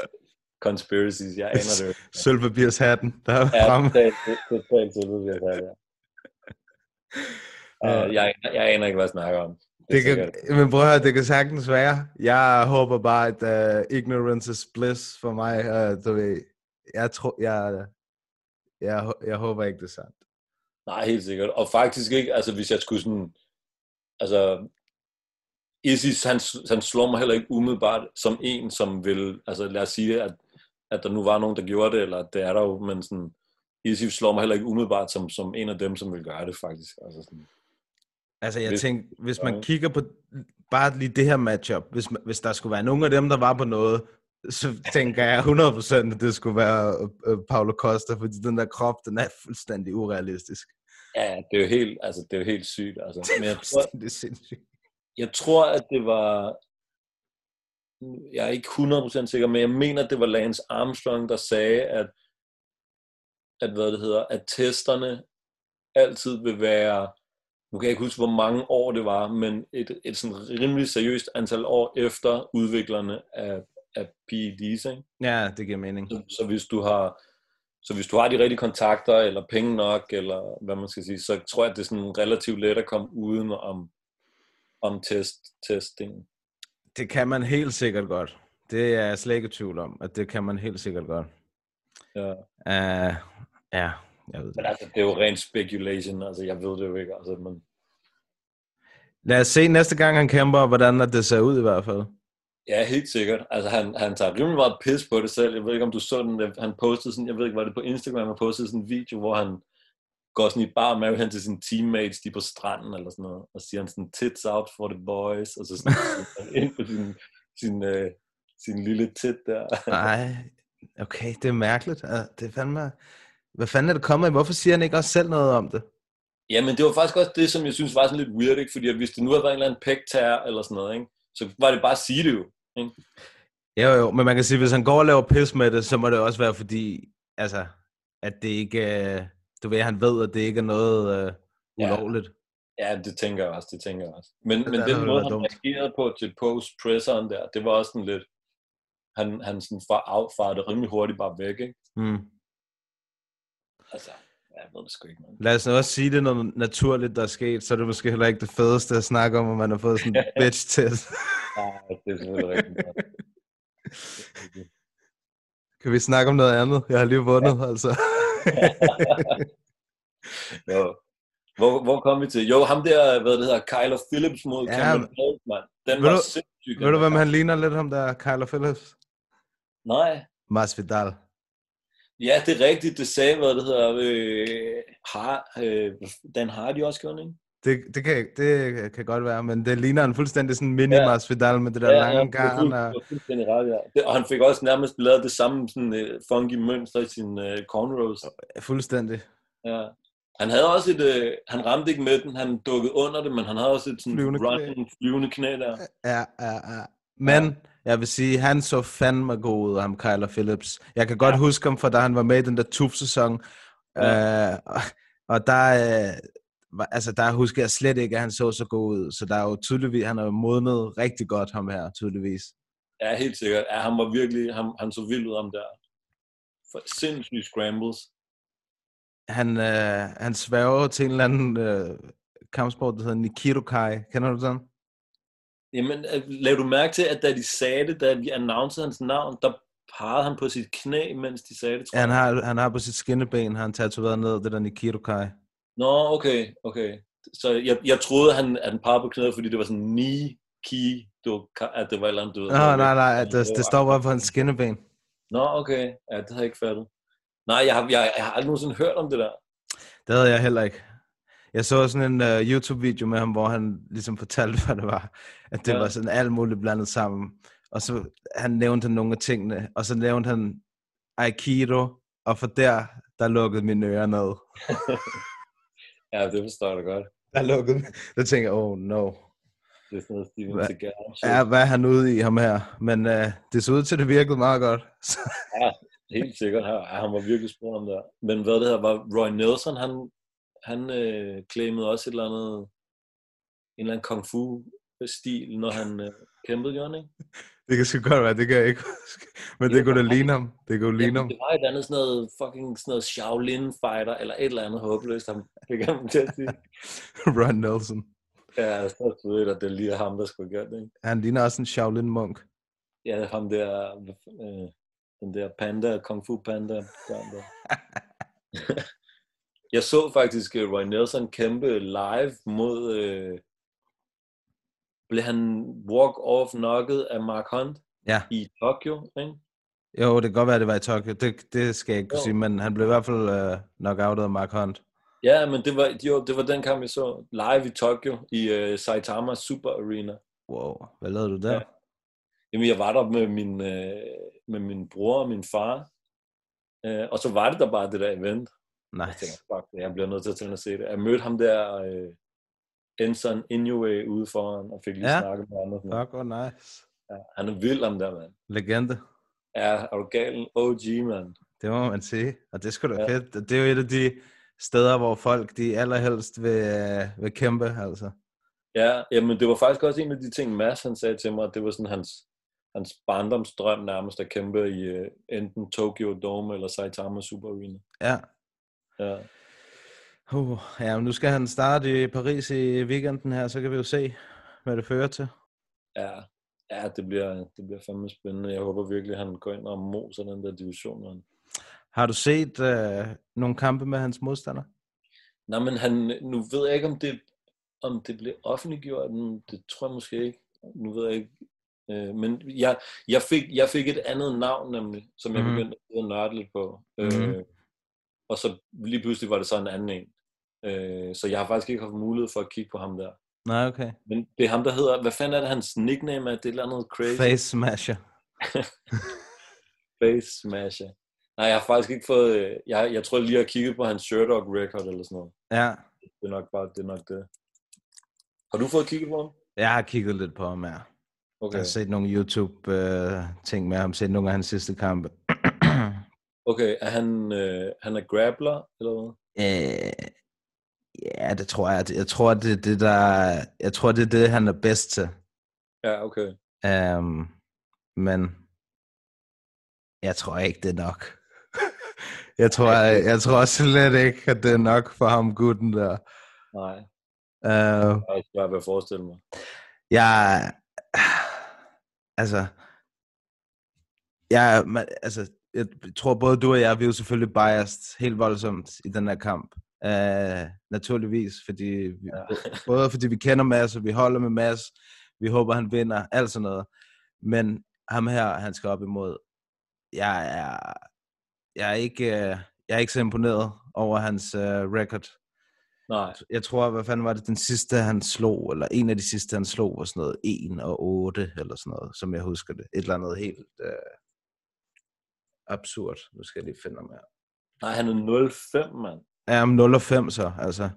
[SPEAKER 8] conspiracies, jeg aner det jo ikke.
[SPEAKER 7] Sølvpapirshatten, der er
[SPEAKER 8] Ja,
[SPEAKER 7] fremme.
[SPEAKER 8] totalt totalt tillid, vi har sagt, ja.
[SPEAKER 7] Ja.
[SPEAKER 8] Øh, jeg, jeg aner ikke, hvad jeg snakker om.
[SPEAKER 7] Det
[SPEAKER 8] er
[SPEAKER 7] kan, men prøv at høre, det kan sagtens være. Jeg håber bare, at uh, ignorance is bliss for mig. Uh, du ved, jeg, tror, jeg, jeg, hå- jeg håber ikke, det er sandt.
[SPEAKER 8] Nej, helt sikkert. Og faktisk ikke, altså hvis jeg skulle sådan, altså, Isis, han, han slår mig heller ikke umiddelbart som en, som vil, altså lad os sige, at, at der nu var nogen, der gjorde det, eller det er der jo, men sådan, Isis slår mig heller ikke umiddelbart som, som en af dem, som vil gøre det, faktisk. Altså sådan,
[SPEAKER 7] Altså, jeg
[SPEAKER 8] Hvis-
[SPEAKER 7] tænkte, hvis man
[SPEAKER 8] Ja.
[SPEAKER 7] kigger på bare lige det her matchup, hvis, man- hvis der skulle være nogen af dem, der var på noget, så tænker jeg 100% at det skulle være øh, Paolo Costa, fordi den der krop, den er fuldstændig urealistisk.
[SPEAKER 8] ja, ja, det er jo helt, altså, det er jo helt sygt, altså. Men jeg tror,
[SPEAKER 7] Fuldstændig sindssygt.
[SPEAKER 8] jeg tror, at det var... Jeg er ikke 100% sikker, men jeg mener, at det var Lance Armstrong, der sagde, at, at hvad det hedder, at testerne altid vil være... Nu kan jeg ikke huske, hvor mange år det var, men et, et sådan rimelig seriøst antal år efter udviklerne af, af PEDs. Ikke?
[SPEAKER 7] Ja, det giver mening.
[SPEAKER 8] Så, så hvis du har så hvis du har de rigtige kontakter, eller penge nok, eller hvad man skal sige, så tror jeg, at det er sådan relativt let at komme uden om, om test, testingen.
[SPEAKER 7] Det kan man helt sikkert godt. Det er jeg slet ikke i tvivl om, at det kan man helt sikkert godt.
[SPEAKER 8] Ja.
[SPEAKER 7] Uh, ja, jeg ved det.
[SPEAKER 8] Men altså, det er jo ren speculation, altså jeg ved det jo ikke, altså, men
[SPEAKER 7] Lad os se næste gang, han kæmper, hvordan at det ser ud i hvert fald.
[SPEAKER 8] ja, helt sikkert. Altså han, han tager rimelig meget pis på det selv, jeg ved ikke om du så den, der- han postede sådan, jeg ved ikke, var det på Instagram, han postede sådan en video, hvor han går sådan i bar med hen til sine teammates, de er på stranden eller sådan noget, og siger han sådan, tits out for the boys, og så sådan, han ind på sin, sin, øh, sin lille tit der.
[SPEAKER 7] Nej, okay, det er mærkeligt. Ja, Det er fandme... Hvad fanden er det kommet af? Hvorfor siger han ikke også selv noget om det?
[SPEAKER 8] Ja, men det var faktisk også det, som jeg synes var sådan lidt weird, ikke? fordi at hvis det nu havde været en eller anden pæktager eller sådan noget, ikke? så var det bare at sige det jo.
[SPEAKER 7] Jo, jo, men man kan sige, hvis han går og laver pis med det, så må det også være fordi, altså, at det ikke... øh, Du ved, han ved, at det ikke er noget øh,
[SPEAKER 8] Ja.
[SPEAKER 7] ulovligt.
[SPEAKER 8] Ja, det tænker jeg også, det tænker jeg også. Men,
[SPEAKER 7] det
[SPEAKER 8] men den
[SPEAKER 7] ville
[SPEAKER 8] måde,
[SPEAKER 7] være
[SPEAKER 8] han
[SPEAKER 7] dumt.
[SPEAKER 8] reagerede på til post-presseren der, det var også sådan lidt, han, han sådan far, affarede det rimelig hurtigt bare væk, ikke?
[SPEAKER 7] Mm.
[SPEAKER 8] Altså, ja, jeg ved det sgu ikke, man.
[SPEAKER 7] Lad os nu også sige, det er noget naturligt, der er sket, så er det måske heller ikke det fedeste at snakke om, at man har fået sådan en bitch-test.
[SPEAKER 8] Ja, det er selvfølgelig rigtigt. nok.
[SPEAKER 7] kan vi snakke om noget andet? Jeg har lige vundet, ja. altså.
[SPEAKER 8] Jo. Hvor, hvor kom vi til? Jo, ham der, hvad det hedder, Kyler Phillips mod
[SPEAKER 7] Ja,
[SPEAKER 8] ja, Cameron
[SPEAKER 7] men-
[SPEAKER 8] Blake, mand. Den
[SPEAKER 7] Ved
[SPEAKER 8] var
[SPEAKER 7] du-
[SPEAKER 8] sindssyg. den
[SPEAKER 7] Ved du,
[SPEAKER 8] der
[SPEAKER 7] hvem han ligner lidt ham der, Kyler Phillips?
[SPEAKER 8] kamp. Nej.
[SPEAKER 7] Masvidal.
[SPEAKER 8] Ja, det er rigtigt. Det sagde, hvad det hedder, øh, har, øh, Dan Hardy også gjorde, den, ikke?
[SPEAKER 7] Det, det, kan, det kan godt være, men det ligner en fuldstændig sådan mini
[SPEAKER 8] Ja.
[SPEAKER 7] ja. Masvidal med det der ja, lange
[SPEAKER 8] det var
[SPEAKER 7] garn.
[SPEAKER 8] fuld- det
[SPEAKER 7] Og...
[SPEAKER 8] var fuldstændig ret, ja. Det- Og han fik også nærmest lavet det samme sådan, uh, funky mønster i sin uh, cornrows.
[SPEAKER 7] Fuldstændig.
[SPEAKER 8] Ja. Han havde også et, uh, han ramte ikke med den, han dukkede under det, men han havde også et sådan
[SPEAKER 7] Flyvende
[SPEAKER 8] flyvende
[SPEAKER 7] knæ.
[SPEAKER 8] running, flyvende knæ der.
[SPEAKER 7] Ja, ja, ja. Men jeg vil sige, han så fandme god ud, ham Kyler Phillips. Jeg kan godt ja. huske ham fra, da han var med i den der tuf-sæson. Ja. Øh, og, og der, øh, var- altså, der husker jeg slet ikke, at han så så god ud. Så der er jo tydeligvis, han er jo modnet rigtig godt, ham her, tydeligvis.
[SPEAKER 8] Ja, helt sikkert. Ja, han var virkelig, han, han så vild ud om der. For sindssyge scrambles.
[SPEAKER 7] Han, øh, han sværger til en eller anden øh, kampsport, der hedder Nikito Kai. Kender du den?
[SPEAKER 8] Jamen, øh, lagde du mærke til, at da de sagde det, da vi annoncerede hans navn, der pegede han på sit knæ, mens de sagde det, tror
[SPEAKER 7] Ja, han
[SPEAKER 8] jeg.
[SPEAKER 7] har, han har på sit skinneben, har han tatoveret ned, det der Nikito Kai.
[SPEAKER 8] Nå, okay, okay. Så jeg, jeg troede, han, at han pegede på knæet, fordi det var sådan ni ki, du, at det var et eller andet, du ved.
[SPEAKER 7] Nå, nej, nej, det, det står bare på hans skinneben.
[SPEAKER 8] Nå, okay. Ja, det havde jeg ikke fattet. Nej, jeg har, jeg, jeg har aldrig nogensinde hørt om det der.
[SPEAKER 7] Det havde jeg heller ikke. Jeg så sådan en uh, YouTube-video med ham, hvor han ligesom fortalte, hvad det var. At det ja.
[SPEAKER 8] Ja.
[SPEAKER 7] var sådan alt muligt blandet sammen. Og så han nævnte han nogle af tingene, og så nævnte han Aikido, og for der, der lukkede mine ører ned.
[SPEAKER 8] Ja, det forstår jeg da godt.
[SPEAKER 7] Der lukkede Der tænkte jeg, oh no.
[SPEAKER 8] Det er sådan noget Steven
[SPEAKER 7] Hva-
[SPEAKER 8] Seagal.
[SPEAKER 7] Ja,
[SPEAKER 8] Ja.
[SPEAKER 7] hvad er han ude i ham her? Men uh, det så ud til, at det virkede meget godt. Så,
[SPEAKER 8] Helt sikkert. Ja, han var virkelig spurgt om det der. Men hvad det her var, Roy Nelson, han, han øh, claimede også et eller andet, en eller anden kung fu stil, når han øh, kæmpede, gjorde han, ikke?
[SPEAKER 7] det kan sgu godt være, det kan jeg ikke huske. Men det
[SPEAKER 8] Jo,
[SPEAKER 7] kunne da
[SPEAKER 8] nej.
[SPEAKER 7] ligne ham. Det kunne ligne
[SPEAKER 8] Jamen,
[SPEAKER 7] ham.
[SPEAKER 8] det var et eller andet sådan noget, fucking sådan noget Shaolin fighter, eller et eller andet håbløst, han fik ham til at sige.
[SPEAKER 7] Ron Nelson.
[SPEAKER 8] Ja, det er så ved, at det er lige ham, der skulle gøre det. Ikke?
[SPEAKER 7] Han ligner også en Shaolin-munk.
[SPEAKER 8] Ja, ham der, øh, den der panda, kung fu panda. panda. jeg så faktisk øh, Roy Nelson kæmpe live mod, øh, blev han walk-off knocket af Mark Hunt
[SPEAKER 7] Ja.
[SPEAKER 8] i Tokyo, ikke?
[SPEAKER 7] Jo, det kan godt være, det var i Tokyo. Det, det skal jeg ikke kunne
[SPEAKER 8] Jo.
[SPEAKER 7] sige, men han blev i hvert fald øh, knockoutet af Mark Hunt.
[SPEAKER 8] Ja, men det var, jo, det var den kamp, jeg så live i Tokyo, i øh, Saitama Super Arena.
[SPEAKER 7] Wow, hvad lavede du der?
[SPEAKER 8] Ja. Jamen, jeg var der med min, øh, med min bror og min far, øh, og så var det der bare det der event. Jeg
[SPEAKER 7] Nice.
[SPEAKER 8] tænkte, fuck, det, jeg bliver nødt til at tage ind og se det. Jeg mødte ham der, øh, Enson Inoue, ude foran, og fik lige
[SPEAKER 7] Ja.
[SPEAKER 8] ja. snakket med ham. og sådan noget.
[SPEAKER 7] Fuck, hvor nice.
[SPEAKER 8] Ja, han er vild, ham der, mand.
[SPEAKER 7] Legende.
[SPEAKER 8] Ja, er du gal? OG, mand.
[SPEAKER 7] Det må man sige. Og det skulle da
[SPEAKER 8] Ja.
[SPEAKER 7] ja. fedt. Det er jo et af de steder, hvor folk de allerhelst vil, øh, vil kæmpe, altså.
[SPEAKER 8] Ja, jamen, det var faktisk også en af de ting, Mads han sagde til mig, at det var sådan hans, hans barndomsdrøm nærmest at kæmpe i øh, enten Tokyo Dome eller Saitama Super Arena.
[SPEAKER 7] Ja.
[SPEAKER 8] Ja.
[SPEAKER 7] Uh, ja, men nu skal han starte i Paris i weekenden her, så kan vi jo se, hvad det fører til.
[SPEAKER 8] Ja, ja det, bliver, det bliver fandme spændende. Jeg håber virkelig, at han går ind og moser den der division. mand.
[SPEAKER 7] Har du set øh, nogle kampe med hans modstander?
[SPEAKER 8] Nej, men han, nu ved jeg ikke, om det, om det blev offentliggjort. men Det tror jeg måske ikke. Nu ved jeg ikke. Øh, men jeg, jeg, fik, jeg fik et andet navn nemlig, som jeg
[SPEAKER 7] Mhm.
[SPEAKER 8] begyndte at sidde og nørde lidt på. Øh,
[SPEAKER 7] Mhm.
[SPEAKER 8] Og så lige pludselig var det så en anden en. Øh, så jeg har faktisk ikke haft mulighed for at kigge på ham der.
[SPEAKER 7] Nej, okay.
[SPEAKER 8] Men det er ham, der hedder... Hvad fanden er det, hans nickname er? Det er et eller andet crazy.
[SPEAKER 7] Face smasher.
[SPEAKER 8] Face Smasher. Nej, jeg har faktisk ikke fået... øh, Jeg, jeg tror lige, jeg har kigget på hans Sherdog record eller sådan noget.
[SPEAKER 7] Ja,
[SPEAKER 8] Det er nok bare det. Er nok det. Har du fået kigget på ham?
[SPEAKER 7] jeg har kigget lidt på ham her. Jeg
[SPEAKER 8] Okay.
[SPEAKER 7] har set nogle YouTube-ting med ham, set nogle af hans sidste kampe.
[SPEAKER 8] okay. Er han, øh, han er grappler, eller hvad?
[SPEAKER 7] Øh, ja, det tror jeg. Jeg tror, det er det, der, jeg tror, det, er det han er bedst til.
[SPEAKER 8] Ja, okay.
[SPEAKER 7] Um, men jeg tror ikke, det er nok. jeg, tror, jeg, jeg tror slet ikke, at det er nok for ham, gutten der.
[SPEAKER 8] Nej,
[SPEAKER 7] Uh,
[SPEAKER 8] jeg er svært ved at forestille mig.
[SPEAKER 7] jeg... Altså... Jeg, man, altså, jeg tror både du og jeg, vi er jo selvfølgelig biased helt voldsomt i den her kamp. Uh, naturligvis, fordi vi,
[SPEAKER 8] Ja.
[SPEAKER 7] både fordi vi kender Mads, og vi holder med Mads, vi håber, han vinder, alt sådan noget. Men ham her, han skal op imod, jeg er, jeg er, ikke, øh, jeg er ikke så imponeret over hans uh, record.
[SPEAKER 8] Nej,
[SPEAKER 7] Jeg tror, hvad fanden var det, den sidste, han slog, eller en af de sidste, han slog, var sådan noget 1 og 8, eller sådan noget, som jeg husker det. Et eller andet helt øh, absurd. Nu skal jeg lige finde ham her.
[SPEAKER 8] Nej han er 05, mand.
[SPEAKER 7] Ja, om 0 og 5 så, altså.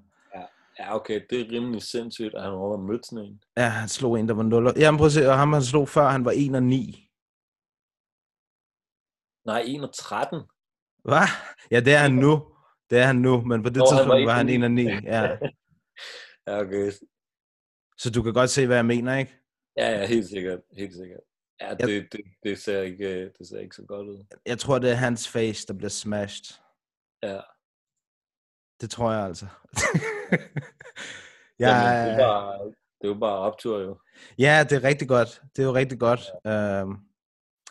[SPEAKER 8] Ja, okay. Det er rimelig sindssygt, at han overhovedet har mødt sådan en.
[SPEAKER 7] Ja, han slog en, der var 0 og... Jamen prøv at se, og ham han slog før, han var 1 og 9.
[SPEAKER 8] Nej, 1 og 13.
[SPEAKER 7] Hvad? Ja, det er han nu. Det er han nu, men på det
[SPEAKER 8] Nå, han var
[SPEAKER 7] tidspunkt var
[SPEAKER 8] en-
[SPEAKER 7] han 1 og 9. Ja.
[SPEAKER 8] Ja, okay.
[SPEAKER 7] Så du kan godt se, hvad jeg mener, ikke?
[SPEAKER 8] Ja, ja, helt sikkert. Helt sikkert. Ja, det, det, det, ser ikke, øh, det ser ikke så godt ud.
[SPEAKER 7] Jeg tror, det er hans face, der bliver smashed.
[SPEAKER 8] Ja.
[SPEAKER 7] Det tror jeg altså.
[SPEAKER 8] Ja, Jamen,
[SPEAKER 7] jeg,
[SPEAKER 8] det, er jo bare, det er jo bare optur jo.
[SPEAKER 7] ja, det er rigtig godt. Det er jo rigtig godt. Øhm,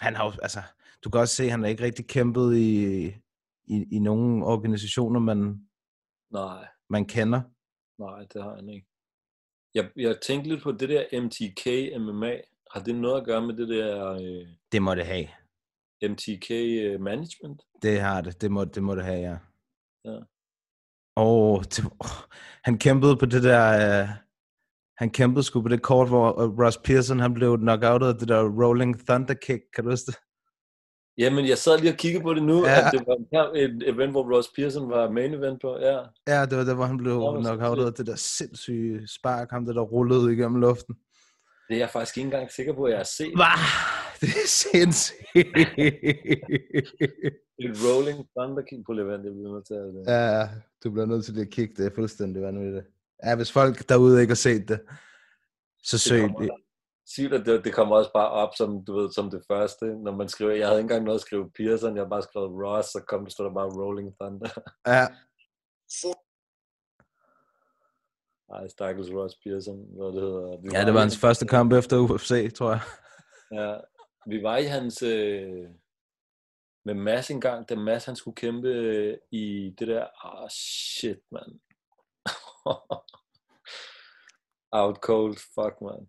[SPEAKER 7] han har jo, altså, du kan også se, at han har ikke rigtig kæmpet i, i, i nogle organisationer, man,
[SPEAKER 8] Nej,
[SPEAKER 7] man kender.
[SPEAKER 8] nej, det har han ikke. Jeg, jeg tænkte lidt på det der MTK MMA. Har det noget at gøre med det der øh,
[SPEAKER 7] Det må det have.
[SPEAKER 8] MTK øh, management?
[SPEAKER 7] Det har det. Det må det, må det have, ja.
[SPEAKER 8] Ja.
[SPEAKER 7] Og det, oh, han kæmpede på det der... Øh, han kæmpede sgu på det kort, hvor øh, Ross Pearson han blev knockoutet af det der Rolling Thunder Kick. Kan du huske det?
[SPEAKER 8] Jamen, jeg sad lige og kiggede på det nu,
[SPEAKER 7] Ja.
[SPEAKER 8] ja. at det var en kamp- et event, hvor Ross Pearson var main event på. Ja,
[SPEAKER 7] Ja, det var der, hvor han blev
[SPEAKER 8] Nå, hvor
[SPEAKER 7] knockoutet af det
[SPEAKER 8] sindssygt.
[SPEAKER 7] der sindssyge spark, ham der, der rullede igennem luften.
[SPEAKER 8] det er jeg faktisk ikke engang sikker på, at jeg har set.
[SPEAKER 7] Hvad? Det er sindssygt.
[SPEAKER 8] Et Rolling Thunder King på event, jeg bliver nødt til at... øh, Ja.
[SPEAKER 7] Ja, du bliver nødt til lige at kigge det. er fuldstændig vanvittigt. Ja, hvis folk derude ikke har set det, så søg
[SPEAKER 8] kommer
[SPEAKER 7] det.
[SPEAKER 8] Sygt, at det, det kommer også bare op som, du ved, som det første, når man skriver... Jeg havde ikke engang noget at skrive Pearson, jeg havde bare skrevet Ross, så kom, stod der bare Rolling Thunder.
[SPEAKER 7] Ja.
[SPEAKER 8] Ej, stakkels Ross Pearson, hvad det hedder. Vi
[SPEAKER 7] Ja, det var
[SPEAKER 8] i-
[SPEAKER 7] hans første kamp efter UFC, tror jeg.
[SPEAKER 8] Ja, vi var i hans... Øh, med Mads engang, da Mads han skulle kæmpe øh, i det der... Ah, oh, shit, mand. Out cold, fuck, mand.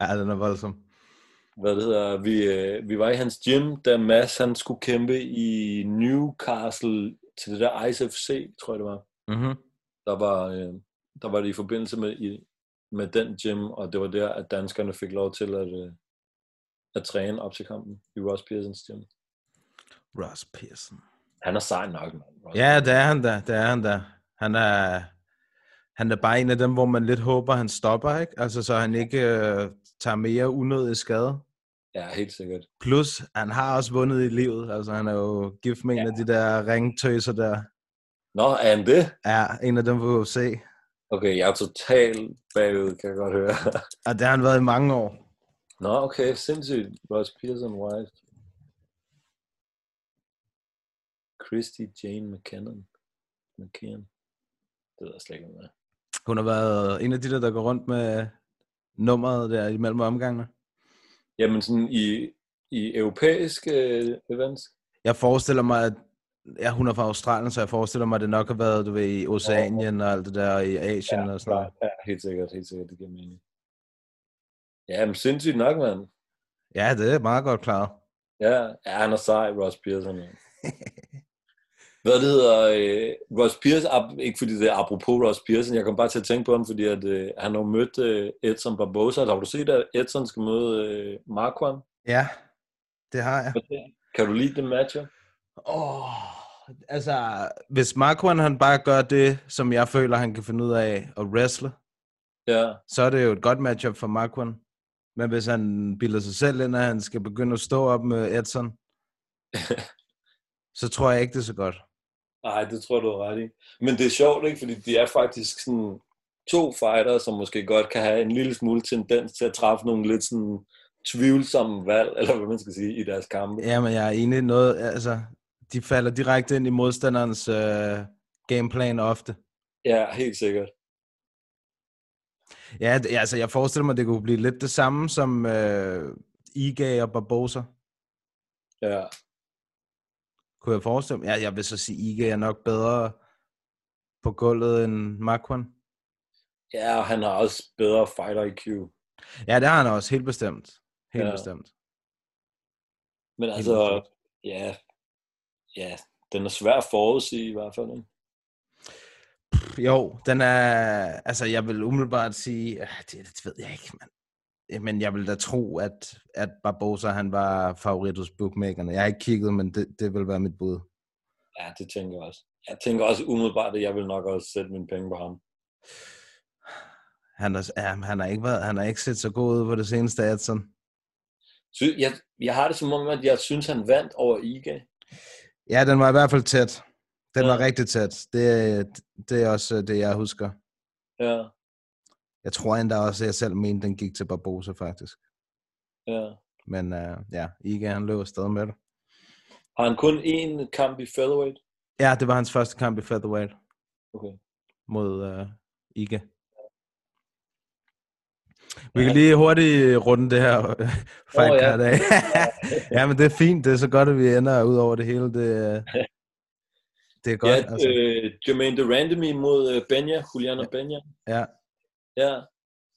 [SPEAKER 7] Ja, den er voldsom.
[SPEAKER 8] hvad det hedder, vi, øh, vi var i hans gym, da Mads han skulle kæmpe i Newcastle til det der ICFC, tror jeg det var.
[SPEAKER 7] Mm-hmm.
[SPEAKER 8] Der var, øh, der var det i forbindelse med, i, med den gym, og det var der, at danskerne fik lov til at, øh, at træne op til kampen i Ross Pearsons gym.
[SPEAKER 7] Ross Pearson.
[SPEAKER 8] Han er sej nok, mand. Ross.
[SPEAKER 7] Ja, det er han da. Det er han da. Han er, han er bare en af dem, hvor man lidt håber, han stopper, ikke? Altså, så han ikke øh, tager mere unødig skade.
[SPEAKER 8] ja, helt sikkert.
[SPEAKER 7] Plus, han har også vundet i livet. Altså, han er jo gift med ja. en af de der ringtøser der.
[SPEAKER 8] Nå, er han det?
[SPEAKER 7] Ja, en af dem på UFC.
[SPEAKER 8] Okay, jeg er totalt bagud, kan jeg godt høre.
[SPEAKER 7] Og det har han været i mange år.
[SPEAKER 8] Nå, okay, sindssygt. Ross Pearson White. Christy Jane McKinnon. McKinnon. Det ved jeg slet ikke, hvad det er.
[SPEAKER 7] Hun har været en af de der, der går rundt med nummeret der imellem omgangene.
[SPEAKER 8] Jamen sådan i, i europæisk øh, events.
[SPEAKER 7] Jeg forestiller mig, at ja, hun er fra Australien, så jeg forestiller mig, at det nok har været du ved, i Oceanien og alt det der, og i Asien ja, og sådan noget.
[SPEAKER 8] ja, helt sikkert, helt sikkert, det giver mening. Ja, men sindssygt nok, mand.
[SPEAKER 7] Ja, det er meget godt klaret.
[SPEAKER 8] Ja, ja han er sej, Ross Pearson, mand. Hvad det hedder, øh, Ross Pearson, ap- ikke fordi det er apropos Ross Pearson, jeg kom bare til at tænke på ham, fordi at, øh, han har jo mødt øh, Edson Barbosa. Har du set, at Edson skal møde øh, Marquand?
[SPEAKER 7] Ja, det har jeg.
[SPEAKER 8] Kan du lide det matchup?
[SPEAKER 7] Oh, altså, hvis Marquand han bare gør det, som jeg føler, han kan finde ud af at wrestle,
[SPEAKER 8] Ja,
[SPEAKER 7] så er det jo et godt matchup for Marquand. Men hvis han bilder sig selv ind, at han skal begynde at stå op med Edson, så tror jeg ikke, det er så godt.
[SPEAKER 8] nej, det tror jeg, du er ret i. Men det er sjovt, ikke? Fordi de er faktisk sådan to fighter, som måske godt kan have en lille smule tendens til at træffe nogle lidt sådan tvivlsomme valg, eller hvad man skal sige, i deres kampe.
[SPEAKER 7] Ja, men jeg er enig i noget, altså, de falder direkte ind i modstanderens øh, gameplan ofte.
[SPEAKER 8] Ja, helt sikkert.
[SPEAKER 7] Ja, det, altså, jeg forestiller mig, det kunne blive lidt det samme som øh, Ige og Barbosa,
[SPEAKER 8] Ja.
[SPEAKER 7] kunne jeg forestille mig. Ja, jeg vil så sige, Ige er nok bedre på gulvet end Marquand.
[SPEAKER 8] Ja, og han har også bedre fighter IQ.
[SPEAKER 7] Ja, det har han også, helt bestemt. Helt
[SPEAKER 8] Ja.
[SPEAKER 7] ja. bestemt.
[SPEAKER 8] Men
[SPEAKER 7] Helt
[SPEAKER 8] altså,
[SPEAKER 7] bestemt.
[SPEAKER 8] ja, ja, den er svær at forudsige i hvert fald. Ikke?
[SPEAKER 7] Jo, den er... Altså, jeg vil umiddelbart sige... ah, Det, det ved jeg ikke, mand. Eh, Men jeg vil da tro, at, at Barbosa, han var favorit hos bookmakerne. Jeg har ikke kigget, men det, det vil være mit bud.
[SPEAKER 8] Ja, det tænker jeg også. Jeg tænker også umiddelbart, at jeg vil nok også sætte mine penge på ham.
[SPEAKER 7] Han har, ja, han har, ikke, været, han har ikke set så god ud på det seneste, Adson.
[SPEAKER 8] Så jeg, jeg har det som om, at jeg synes, han vandt over Iga.
[SPEAKER 7] Ja, den var i hvert fald tæt. Den
[SPEAKER 8] Ja.
[SPEAKER 7] var rigtig tæt. Det, det er også øh, det, jeg husker.
[SPEAKER 8] Ja,
[SPEAKER 7] Jeg tror endda også, at jeg selv mente, den gik til Barbosa, faktisk.
[SPEAKER 8] ja.
[SPEAKER 7] Men uh, ja, Iga, han løb afsted med det.
[SPEAKER 8] Har han kun én kamp i featherweight?
[SPEAKER 7] Ja, det var hans første kamp i featherweight
[SPEAKER 8] Okay.
[SPEAKER 7] mod øh, Iga. Vi
[SPEAKER 8] Ja.
[SPEAKER 7] kan lige hurtigt runde det her øh, fight
[SPEAKER 8] Åh,
[SPEAKER 7] oh,
[SPEAKER 8] ja.
[SPEAKER 7] ja. af. ja, men det er fint. Det er så godt, at vi ender ud over det hele. Det, øh, det er godt.
[SPEAKER 8] ja,
[SPEAKER 7] Ja, altså.
[SPEAKER 8] øh, Jermaine Durandamy mod øh, Benja, Juliana ja. Benja.
[SPEAKER 7] ja.
[SPEAKER 8] Ja.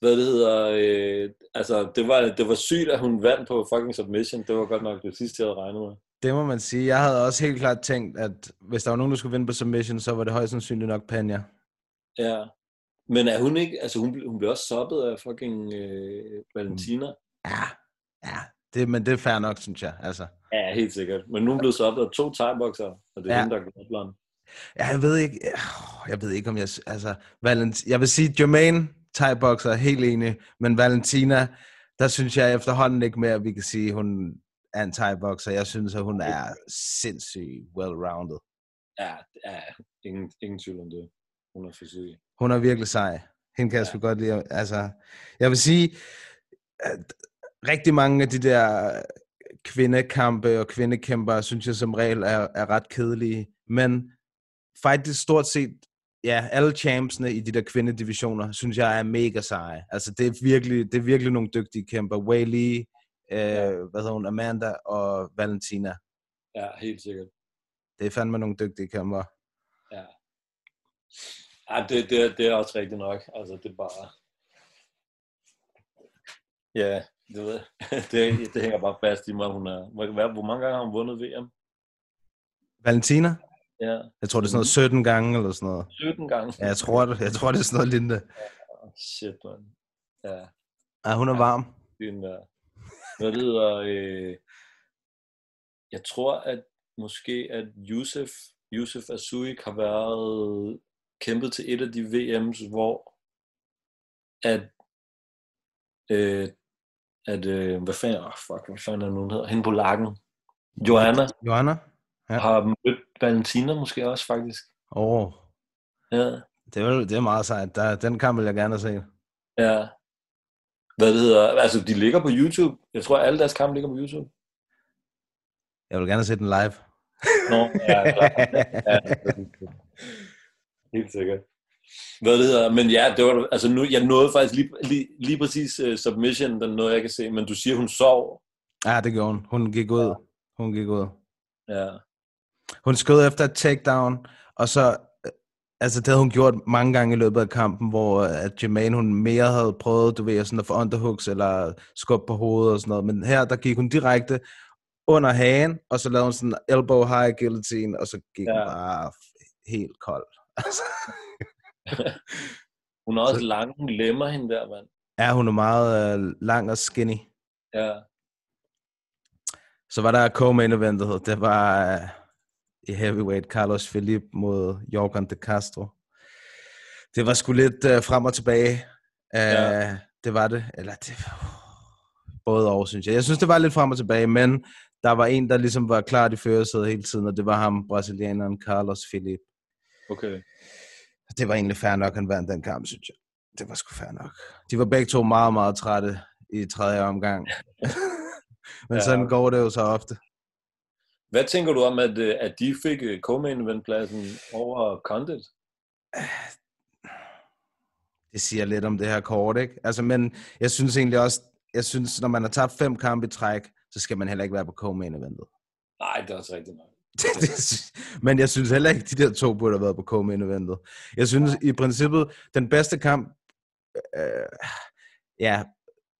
[SPEAKER 8] Hvad det hedder, øh, altså det var, det var sygt, at hun vandt på fucking submission. Det var godt nok det sidste, jeg havde regnet med.
[SPEAKER 7] Det må man sige. Jeg havde også helt klart tænkt, at hvis der var nogen, der skulle vinde på submission, så var det højst sandsynligt nok Panja.
[SPEAKER 8] Ja. Men er hun ikke, altså hun, blev- hun blev også soppet af fucking øh,
[SPEAKER 7] Mm.
[SPEAKER 8] Valentina.
[SPEAKER 7] Ja, ja. Det, men det er fair nok, synes jeg. Altså.
[SPEAKER 8] Ja, helt sikkert. Men nu blev soppet af to thai-bokser, og det er ja.
[SPEAKER 7] Ja.
[SPEAKER 8] hende, der er glad
[SPEAKER 7] Ja, jeg ved ikke, øh, jeg ved ikke om jeg, altså, Valent, jeg vil sige, Jermaine, thai er helt enig, men Valentina, der synes jeg efterhånden ikke mere, at vi kan sige, hun er en thai -boxer. Jeg synes, at hun er sindssygt well-rounded.
[SPEAKER 8] Ja, ja ingen, ingen tvivl om det. Hun er for syg.
[SPEAKER 7] Hun er virkelig sej. Hende kan jeg sgu godt lide. Altså, jeg vil sige, at rigtig mange af de der kvindekampe og kvindekæmper, synes jeg som regel er, er ret kedelige, men faktisk stort set ja, alle champsene i de der kvindedivisioner, synes jeg er mega seje. Altså, det er virkelig, det er virkelig nogle dygtige kæmper. Wei Lee, øh, ja. hvad hedder hun, Amanda og Valentina.
[SPEAKER 8] Ja, helt sikkert.
[SPEAKER 7] Det er fandme nogle dygtige kæmper.
[SPEAKER 8] Ja. Ja, det, det, det er også rigtigt nok. Altså, det er bare... Ja, det ved jeg. det, det hænger bare fast i mig. Hun er... hvor- hvad- Hvor mange gange har hun vundet VM?
[SPEAKER 7] Valentina?
[SPEAKER 8] Ja,
[SPEAKER 7] Jeg tror, det er sådan noget 17 gange eller sådan noget.
[SPEAKER 8] 17 gange.
[SPEAKER 7] Ja, jeg tror det, jeg tror, det er sådan noget lignende.
[SPEAKER 8] Shit, man. Ja,
[SPEAKER 7] Ja, hun er varm.
[SPEAKER 8] det er en... Uh... Hvad det hedder... Øh... Jeg tror, at måske at Yusuf, Yusuf Asuik har været kæmpet til et af de VM's, hvor at øh, at, øh, hvad fanden, oh, fuck, hvad fanden er det nu, hun hedder? Hende på lakken. Joanna
[SPEAKER 7] Johanna? Ja.
[SPEAKER 8] ja. har mødt Valentina måske også, faktisk.
[SPEAKER 7] Åh, oh,
[SPEAKER 8] Ja,
[SPEAKER 7] det, er, det er meget sejt. Der, den kamp vil jeg gerne se.
[SPEAKER 8] ja. Hvad det hedder, altså de ligger på YouTube. Jeg tror, alle deres kampe ligger på YouTube.
[SPEAKER 7] Jeg vil gerne se den live.
[SPEAKER 8] Nå, ja, altså, klar. ja, Helt sikkert. Hvad det hedder, men ja, det var, da- altså nu, jeg nåede faktisk lige, lige, lige præcis uh, submission, den nåede jeg kan se, men du siger, hun sov.
[SPEAKER 7] Ja, det gjorde hun. Hun gik ud. Hun gik ud.
[SPEAKER 8] Ja,
[SPEAKER 7] Hun skød efter et takedown, og så... øh, Altså, det havde hun gjort mange gange i løbet af kampen, hvor øh, at Jermaine, hun mere havde prøvet, du ved, sådan at få underhooks eller skub på hovedet og sådan noget. Men her, der gik hun direkte under hagen, og så lavede hun sådan elbow high guillotine, og så gik ja.
[SPEAKER 8] Ja.
[SPEAKER 7] hun bare f- helt kold. Altså,
[SPEAKER 8] hun er også lang, hun lemmer hende der, mand.
[SPEAKER 7] ja, hun er meget øh, lang og skinny.
[SPEAKER 8] Ja,
[SPEAKER 7] Så var der co-main eventet, det var øh, i heavyweight Carlos Felipe mod Jorgen de Castro. Det var sgu lidt øh, frem og tilbage. Øh,
[SPEAKER 8] Ja.
[SPEAKER 7] Det var det. Eller det både og, synes jeg. Jeg synes, det var lidt frem og tilbage, men der var en, der ligesom var klart i førersædet hele tiden, og det var ham, brasilianeren Carlos Felipe.
[SPEAKER 8] okay.
[SPEAKER 7] Det var egentlig fair nok, han vandt den kamp, synes jeg. Det var sgu fair nok. De var begge to meget, meget trætte i tredje omgang. men
[SPEAKER 8] Ja.
[SPEAKER 7] ja. sådan går det jo så ofte.
[SPEAKER 8] Hvad tænker du om, at, øh, at de fik øh, co-main event-pladsen over Condit?
[SPEAKER 7] det siger lidt om det her kort, ikke? Altså, men jeg synes egentlig også, jeg synes, når man har tabt fem kampe i træk, så skal man heller ikke være på co-main eventet.
[SPEAKER 8] Nej, det er også rigtigt nok.
[SPEAKER 7] Det- det sy- men jeg synes heller ikke, de der to burde have været på co-main eventet. Jeg synes i princippet, den bedste kamp, øh, ja,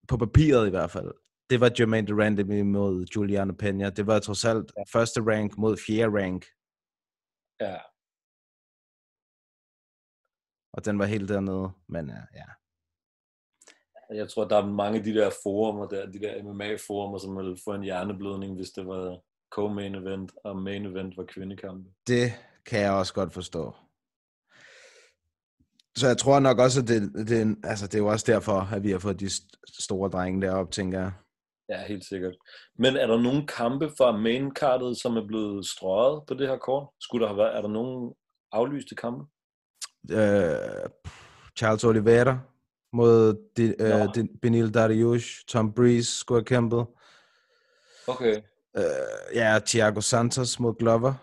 [SPEAKER 7] på papiret i hvert fald, det var Jermaine Durant mod Juliana Peña. Det var trods alt første rank mod fjerde rank,
[SPEAKER 8] Ja,
[SPEAKER 7] og den var helt dernede. Men øh, ja,
[SPEAKER 8] jeg tror, der er mange af de der forumer der, de der MMA-forumer, som ville få en hjerneblødning, hvis det var co-main event, og main event var kvindekampe.
[SPEAKER 7] Det kan jeg også godt forstå. Så jeg tror nok også, at det, det, er en- altså det er jo også derfor, at vi har fået de st- store drenge deroppe, tænker jeg.
[SPEAKER 8] Ja, helt sikkert. Men er der nogle kampe fra main cardet, som er blevet strøget på det her kort? Skulle der have været, er der nogen aflyste kampe?
[SPEAKER 7] Øh, Charles Oliveira mod de,
[SPEAKER 8] Nå.
[SPEAKER 7] øh, de, Benil Dariush, Tom Breeze skulle have kæmpet.
[SPEAKER 8] Okay.
[SPEAKER 7] Øh, ja, Thiago Santos mod Glover.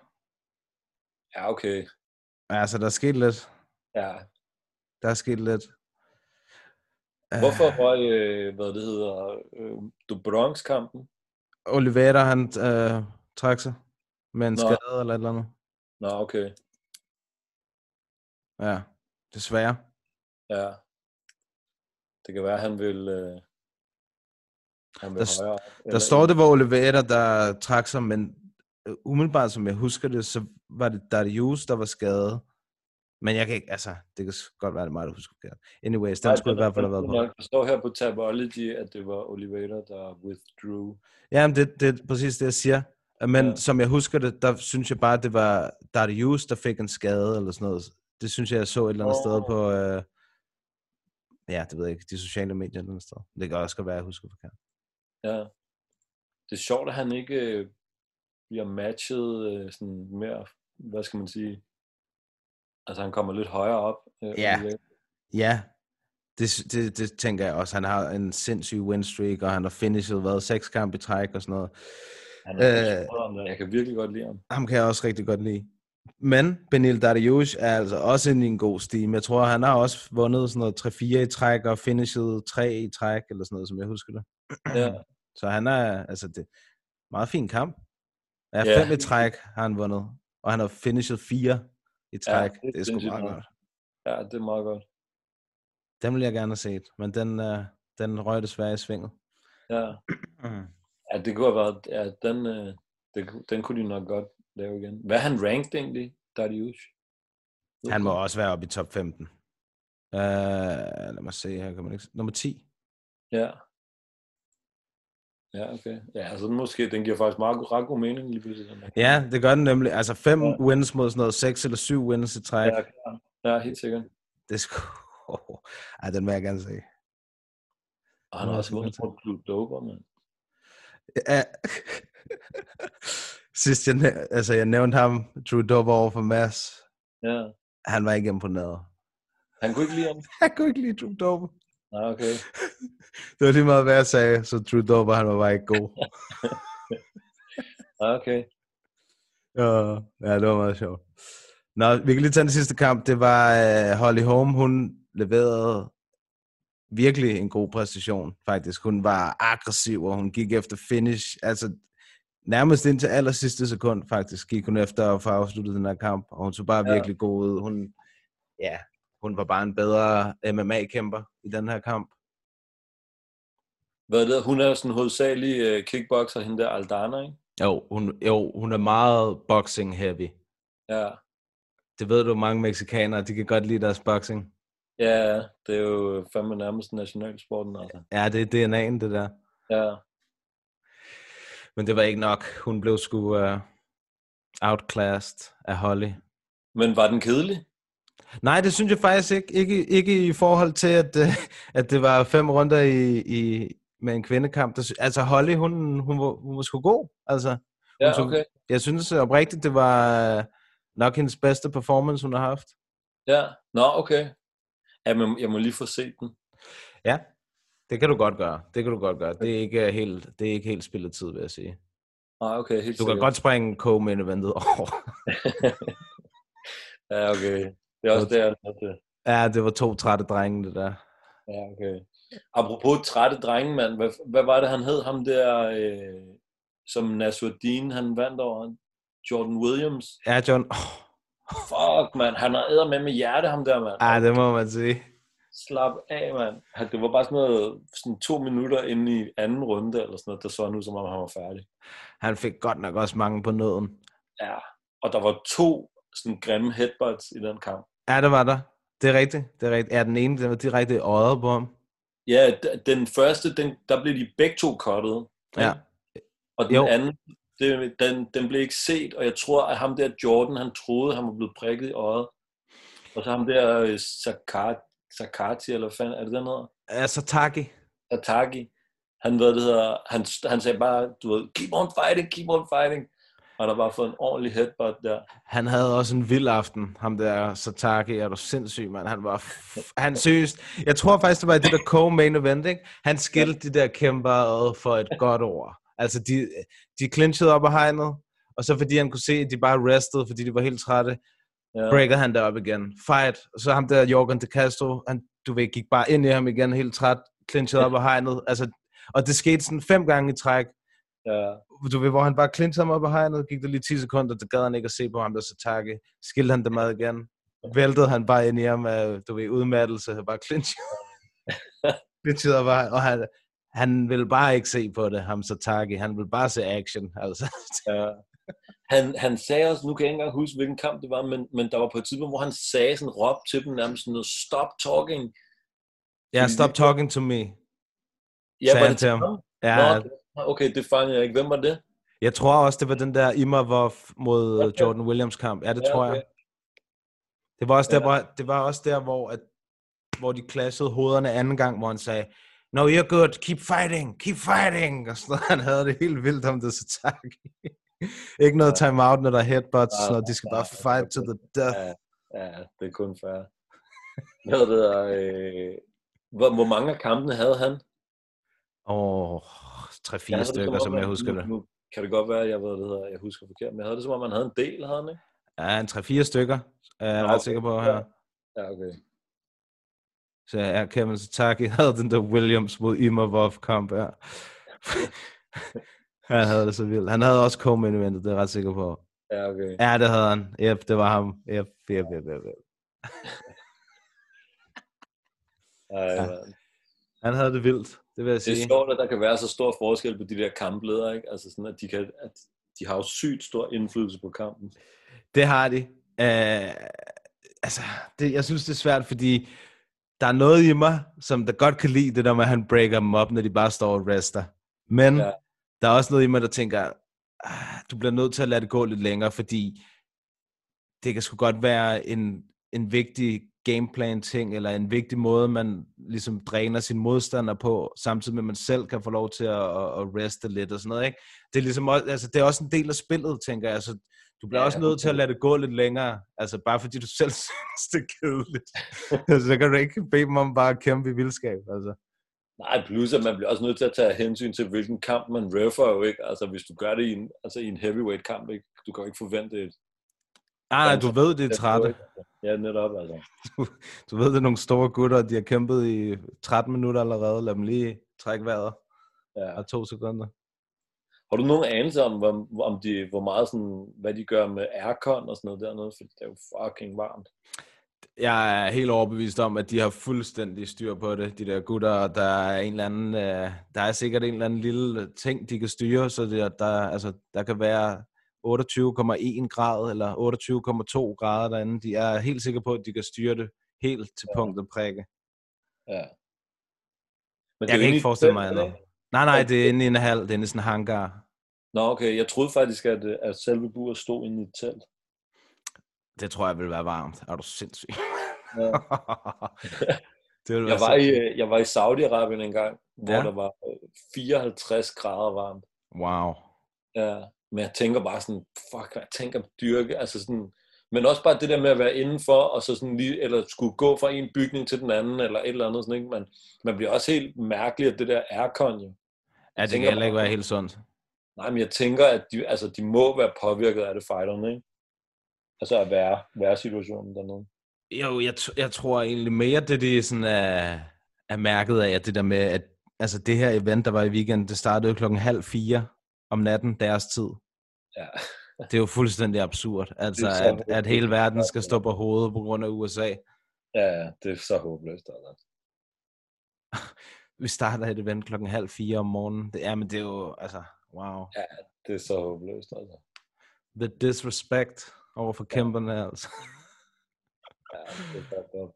[SPEAKER 8] Ja, okay.
[SPEAKER 7] Altså, der er sket lidt.
[SPEAKER 8] Ja.
[SPEAKER 7] Der er sket lidt. Øh,
[SPEAKER 8] Hvorfor røg, øh, hvad det hedder, øh, Dubronx-kampen?
[SPEAKER 7] Oliveira, han øh, trak sig med en
[SPEAKER 8] Nå.
[SPEAKER 7] skade eller et eller andet.
[SPEAKER 8] Nå, okay.
[SPEAKER 7] Ja, desværre.
[SPEAKER 8] Ja. Det kan være, han vil... Øh, han vil
[SPEAKER 7] Der s-
[SPEAKER 8] højere.
[SPEAKER 7] Der står, det var Oliveira, der trak sig, men øh, umiddelbart, som jeg husker det, så var det Darius, der var skadet. Men jeg kan ikke, altså, det kan s- godt være, det er mig, der husker forkert. Anyways, den skulle i hvert fald have været på.
[SPEAKER 8] Der står her på Tabology, at det var Oliveira, der withdrew.
[SPEAKER 7] Ja, men det, det er præcis det, jeg siger. Men
[SPEAKER 8] Ja.
[SPEAKER 7] ja. som jeg husker det, der synes jeg bare, det var Darius, der fik en skade eller sådan noget. Det synes jeg, jeg så et eller andet oh. sted
[SPEAKER 8] Åh.
[SPEAKER 7] på... Øh, ja, det ved jeg ikke, de sociale medier et eller andet sted. Det kan også godt være, jeg husker forkert.
[SPEAKER 8] Ja. Det er sjovt, at han ikke øh, bliver matchet øh, sådan mere, hvad skal man sige, altså han kommer lidt højere op. Øh,
[SPEAKER 7] Ja.
[SPEAKER 8] Oliveira.
[SPEAKER 7] Ja, det, sy- det, det tænker jeg også. Han har en sindssyg win streak, og han har finishet været seks kampe i træk og sådan noget.
[SPEAKER 8] Han er
[SPEAKER 7] Øh.
[SPEAKER 8] øh, jeg kan virkelig godt lide ham.
[SPEAKER 7] Ham kan jeg også rigtig godt lide. Men Benil Dariush er altså også inde i en god steam. Jeg tror, han har også vundet sådan noget 3-4 i træk og finished 3 i træk, eller sådan noget, som jeg husker det.
[SPEAKER 8] Ja.
[SPEAKER 7] Så han er, altså, det meget fin kamp. Ja,
[SPEAKER 8] Ja.
[SPEAKER 7] fem i træk har han vundet, og han har finished 4 i træk. Ja,
[SPEAKER 8] det er
[SPEAKER 7] det, det er sgu
[SPEAKER 8] sindssygt
[SPEAKER 7] meget
[SPEAKER 8] nok.
[SPEAKER 7] godt.
[SPEAKER 8] ja, det er meget godt.
[SPEAKER 7] Den ville jeg gerne have set, men den, øh, den røg desværre i svinget.
[SPEAKER 8] Ja, ja det kunne have været, ja, den, øh, det, kunne- den kunne de nok godt lave igen. Hvad er han ranked egentlig, Darius?
[SPEAKER 7] Han må også være oppe i top 15. Uh, lad mig se, her kan man ikke... se- Nummer 10.
[SPEAKER 8] Ja. Ja, okay. Ja, altså den måske, den giver faktisk meget, ret god mening lige pludselig. den der.
[SPEAKER 7] Ja, det gør den nemlig. Altså fem
[SPEAKER 8] Ja.
[SPEAKER 7] ja. wins mod sådan noget, seks eller syv wins i træk.
[SPEAKER 8] Ja,
[SPEAKER 7] Ja.
[SPEAKER 8] klar. ja, helt sikkert.
[SPEAKER 7] Det er sgu... Ej, den vil jeg gerne se.
[SPEAKER 8] Og han
[SPEAKER 7] Nå,
[SPEAKER 8] har også
[SPEAKER 7] det er
[SPEAKER 8] vundet
[SPEAKER 7] godt.
[SPEAKER 8] på Club Dober, mand.
[SPEAKER 7] Ja. Sidst jeg, næ- altså, jeg nævnte ham, Drew Dover over for Mads.
[SPEAKER 8] Ja.
[SPEAKER 7] Han var ikke imponeret.
[SPEAKER 8] Han kunne ikke lide ham.
[SPEAKER 7] Jeg kunne ikke lide Drew Dover.
[SPEAKER 8] Nej, okay.
[SPEAKER 7] Det var lige meget, hvad jeg sagde, så Drew Dover, han var bare ikke god.
[SPEAKER 8] Nej, okay.
[SPEAKER 7] Ja, ja, det var meget sjovt. Nå, vi kan lige tage den sidste kamp. Det var uh, Holly Holm. Hun leverede virkelig en god præstation, faktisk. Hun var aggressiv, og hun gik efter finish. Altså, nærmest indtil aller sidste sekund, faktisk, gik hun efter at få afsluttet den her kamp. Og hun så bare
[SPEAKER 8] Ja.
[SPEAKER 7] ja. virkelig god ud. Hun, ja, hun var bare en bedre MMA-kæmper i den her kamp.
[SPEAKER 8] Hvad er det? Hun er sådan hovedsagelig øh, kickboxer, hende der Aldana, ikke?
[SPEAKER 7] Jo, hun, jo, hun er meget boxing-heavy.
[SPEAKER 8] Ja.
[SPEAKER 7] Det ved du, mange mexikanere, de kan godt lide deres boxing.
[SPEAKER 8] Ja, ja. det er jo øh, fandme nærmest nationalsporten, altså.
[SPEAKER 7] Ja, det er DNA'en, det der.
[SPEAKER 8] Ja.
[SPEAKER 7] Men det var ikke nok. Hun blev sgu uh, outclassed af Holly.
[SPEAKER 8] Men var den kedelig?
[SPEAKER 7] Nej, det synes jeg faktisk ikke. Ikke, ikke i forhold til, at, øh, at det var fem runder i, i, med en kvindekamp. Der sy- Altså Holly, hun, hun, var, hun var sgu god. Altså,
[SPEAKER 8] Ja,
[SPEAKER 7] Hun tog-
[SPEAKER 8] okay.
[SPEAKER 7] jeg synes oprigtigt, det var øh, nok hendes bedste performance, hun har haft.
[SPEAKER 8] Ja. Nå, okay. Ja, men jeg må lige få set den.
[SPEAKER 7] Ja, det kan du godt gøre. Det kan du godt gøre. Det er ikke øh, helt, det er ikke helt spillet tid, vil jeg sige.
[SPEAKER 8] Nej, okay, helt
[SPEAKER 7] Du kan
[SPEAKER 8] sikkert.
[SPEAKER 7] godt springe co-main eventet over.
[SPEAKER 8] Ja, okay. Det er også der, øh, det.
[SPEAKER 7] Ja, det var to trætte drenge, det der.
[SPEAKER 8] Ja, okay. Apropos trætte drenge, mand. Hvad, hvad var det, han hed? Ham der, øh, som Nasruddin, han vandt over? Jordan Williams?
[SPEAKER 7] Ja, John. Oh,
[SPEAKER 8] Fuck, mand. Han har med med hjerte, ham der, mand.
[SPEAKER 7] ah, det må man sige.
[SPEAKER 8] Slap af, mand. Han- Det var bare sådan noget, sådan to minutter inde i anden runde, eller sådan noget, der så han ud, som om han var færdig.
[SPEAKER 7] Han fik godt nok også mange på nøden.
[SPEAKER 8] Ja. Og der var to sådan grimme headbutts i den kamp.
[SPEAKER 7] Ja, det var der. Det er rigtigt. Det er rigtigt. Ja, den ene, den var direkte i øjet på ham.
[SPEAKER 8] Ja, d- den første, den, der blev de begge to kottet.
[SPEAKER 7] Ja.
[SPEAKER 8] Og den jo.
[SPEAKER 7] Jo.
[SPEAKER 8] anden, det, den, den blev ikke set, og jeg tror, at ham der Jordan, han troede, han var blevet prikket i øjet. Og så ham der øh, Sakati, Sakati eller hvad fanden er det den hedder?
[SPEAKER 7] Altså, Taki.
[SPEAKER 8] Sataki. Han, hvad det hedder, han, han sagde bare, du ved, keep on fighting, keep on fighting. Og der var fået en ordentlig headbutt der.
[SPEAKER 7] Han havde også en vild aften, ham der Sataki. Er du sindssyg, mand? Han var... F- han seriøst... Jeg tror faktisk, det var i det der co-main event, ikke? Han skilte de der kæmper ad for et godt ord. Altså, de, de clinchede op af hegnet, og så fordi han kunne se, at de bare restede, fordi de var helt trætte,
[SPEAKER 8] Ja.
[SPEAKER 7] breaker han derop igen. Fight. Og så ham der, Jorgen de Castro, han, du ved, gik bare ind i ham igen, helt træt, clinchede op af hegnet. Altså, og det skete sådan fem gange i træk,
[SPEAKER 8] Ja.
[SPEAKER 7] du ved, hvor han bare clinchede ham op af hegnet, gik der lige 10 sekunder, der gad han ikke at se på ham, der så takke, skilte han dem ad igen, væltede han bare ind i ham af, du ved, udmattelse, og bare clinchede. clinchede op af hegnet, og han, han ville bare ikke se på det, ham så takke, han ville bare se action, altså.
[SPEAKER 8] Ja. Han, han sagde også, nu kan jeg ikke engang huske, hvilken kamp det var, men, men der var på et tidspunkt, hvor han sagde sådan, råb til dem nærmest sådan noget, stop talking.
[SPEAKER 7] Ja, yeah, stop talking to me.
[SPEAKER 8] Ja,
[SPEAKER 7] Sagde
[SPEAKER 8] var
[SPEAKER 7] han
[SPEAKER 8] det
[SPEAKER 7] til ham.
[SPEAKER 8] Trump?
[SPEAKER 7] Ja,
[SPEAKER 8] Nå, okay, det fangede jeg ikke. Hvem var det?
[SPEAKER 7] jeg tror også, det var den der Imavov mod
[SPEAKER 8] Okay.
[SPEAKER 7] Jordan Williams kamp. Ja, det
[SPEAKER 8] Ja,
[SPEAKER 7] tror
[SPEAKER 8] okay.
[SPEAKER 7] jeg. Det var også der,
[SPEAKER 8] Ja.
[SPEAKER 7] hvor, det var også der hvor, at, hvor de klassede hovederne anden gang, hvor han sagde, No, you're good. Keep fighting. Keep fighting. Og sådan noget. Han havde det helt vildt om det, så tak. Ikke noget timeout, når der er headbutts.
[SPEAKER 8] Nej,
[SPEAKER 7] Sådan noget. De skal
[SPEAKER 8] nej,
[SPEAKER 7] bare fight to the death.
[SPEAKER 8] Ja, ja det er kun fair. Hvad hedder det der, øh, hvor, hvor mange af kampene havde han?
[SPEAKER 7] Åh, oh,
[SPEAKER 8] Jeg
[SPEAKER 7] 3-4
[SPEAKER 8] havde det
[SPEAKER 7] stykker,
[SPEAKER 8] om,
[SPEAKER 7] som jeg
[SPEAKER 8] at-
[SPEAKER 7] husker det.
[SPEAKER 8] Nu, nu kan det godt være, jeg, ved, det hedder, jeg husker forkert, men jeg havde det som om, man havde en del, havde han ikke?
[SPEAKER 7] Ja, en 3-4 stykker, er jeg
[SPEAKER 8] Nå,
[SPEAKER 7] ret
[SPEAKER 8] okay.
[SPEAKER 7] sikker på her.
[SPEAKER 8] Ja, okay.
[SPEAKER 7] Så ja, Kevin Sataki havde den der Williams mod Imovov kamp her. han havde det så vildt. Han havde også co-main eventet, det er jeg ret sikker på.
[SPEAKER 8] Ja, okay.
[SPEAKER 7] Ja, det havde han. Yep, det var ham. Yep, yep, yep, yep, yep.
[SPEAKER 8] Ej,
[SPEAKER 7] Ja.
[SPEAKER 8] mand.
[SPEAKER 7] Han havde det vildt, det vil jeg
[SPEAKER 8] Det er
[SPEAKER 7] sige.
[SPEAKER 8] sjovt, at der kan være så stor forskel på de der kampledere, ikke? Altså sådan, at de, kan, at de har jo sygt stor indflydelse på kampen.
[SPEAKER 7] Det har de. Øh, altså, det, jeg synes, det er svært, fordi der er noget i mig, som der godt kan lide det der med, at han breaker dem op, når de bare står og rester. Men ja.
[SPEAKER 8] Ja.
[SPEAKER 7] der er også noget i mig, der tænker, ah, du bliver nødt til at lade det gå lidt længere, fordi det kan sgu godt være en, en vigtig gameplan-ting, eller en vigtig måde, man ligesom dræner sin modstander på, samtidig med, at man selv kan få lov til at, at, at reste lidt og sådan noget, ikke? Det er, ligesom også, altså, det er også en del af spillet, tænker jeg, så du bliver ja,
[SPEAKER 8] Ja,
[SPEAKER 7] også nødt til at lade det gå lidt længere, altså bare fordi du selv synes, det er kedeligt. så kan du ikke bede dem om bare at kæmpe i vildskab, altså.
[SPEAKER 8] Nej, plus at man bliver også nødt til at tage hensyn til, hvilken kamp man refer jo, ikke? Altså hvis du gør det i en, altså, i en heavyweight kamp, ikke? Du kan jo ikke forvente et...
[SPEAKER 7] Ah, nej, du ved, det er 13.
[SPEAKER 8] Ja, netop, altså.
[SPEAKER 7] Du ved, det er nogle store gutter, og de har kæmpet i 13 minutter allerede. Lad dem lige trække vejret
[SPEAKER 8] Ja.
[SPEAKER 7] af to sekunder.
[SPEAKER 8] Har du nogen anelse om, hvor, om de, hvor meget sådan, hvad de gør med aircon og sådan noget dernede? For det er jo fucking varmt.
[SPEAKER 7] Jeg er helt overbevist om, at de har fuldstændig styr på det, de der gutter. og Der er, en eller anden, øh, der er sikkert en eller anden lille ting, de kan styre, så det, er- der, altså, der kan være 28,1 grad eller 28,2 grader derinde. De er helt sikre på, at de kan styre det helt til punkt og prikke.
[SPEAKER 8] Ja. Men
[SPEAKER 7] Jeg
[SPEAKER 8] det er
[SPEAKER 7] kan
[SPEAKER 8] jo inde
[SPEAKER 7] ikke
[SPEAKER 8] i
[SPEAKER 7] forestille mig
[SPEAKER 8] feltet,
[SPEAKER 7] andet.
[SPEAKER 8] ikke?
[SPEAKER 7] Nej, nej, det er inde i en halv. Det er inde i sådan en hangar.
[SPEAKER 8] Nå, okay. Jeg troede faktisk, at, øh, at selve buret stod inde i et telt.
[SPEAKER 7] Det tror jeg vil være varmt. Er du sindssyg?
[SPEAKER 8] Ja.
[SPEAKER 7] det vil
[SPEAKER 8] Jeg var i, øh, jeg var i Saudi-Arabien en gang, hvor
[SPEAKER 7] Ja.
[SPEAKER 8] ja. der var øh, 54 grader varmt.
[SPEAKER 7] Wow.
[SPEAKER 8] Ja. Men jeg tænker bare sådan, fuck, hvad jeg tænker om dyrke, altså sådan, men også bare det der med at være indenfor, og så sådan lige, eller skulle gå fra en bygning til den anden, eller et eller andet, sådan, ikke? Man, man bliver også helt mærkelig af det der aircon, jo.
[SPEAKER 7] Ja, det kan
[SPEAKER 8] tænker
[SPEAKER 7] heller ikke
[SPEAKER 8] bare-
[SPEAKER 7] være helt sundt.
[SPEAKER 8] Nej, men jeg tænker, at de, altså, de må være påvirket af det, fighterne, ikke? Altså at være, være situationen dernede.
[SPEAKER 7] Jo, jeg, t- jeg tror egentlig mere, det de sådan er, er mærket af, at det der med, at altså det her event, der var i weekenden, det startede klokken halv fire om natten deres tid.
[SPEAKER 8] Ja.
[SPEAKER 7] Det er jo fuldstændig absurd, altså
[SPEAKER 8] Det er så
[SPEAKER 7] at, at hele verden skal stå på hovedet på grund af USA.
[SPEAKER 8] Ja, ja, det er så håbløst, altså.
[SPEAKER 7] Vi starter et event klokken halv fire om morgenen. Det, ja, men det er jo, altså, wow.
[SPEAKER 8] Det er så håbløst, altså.
[SPEAKER 7] The disrespect over for kæmperne, altså.
[SPEAKER 8] Ja, det er fucked up.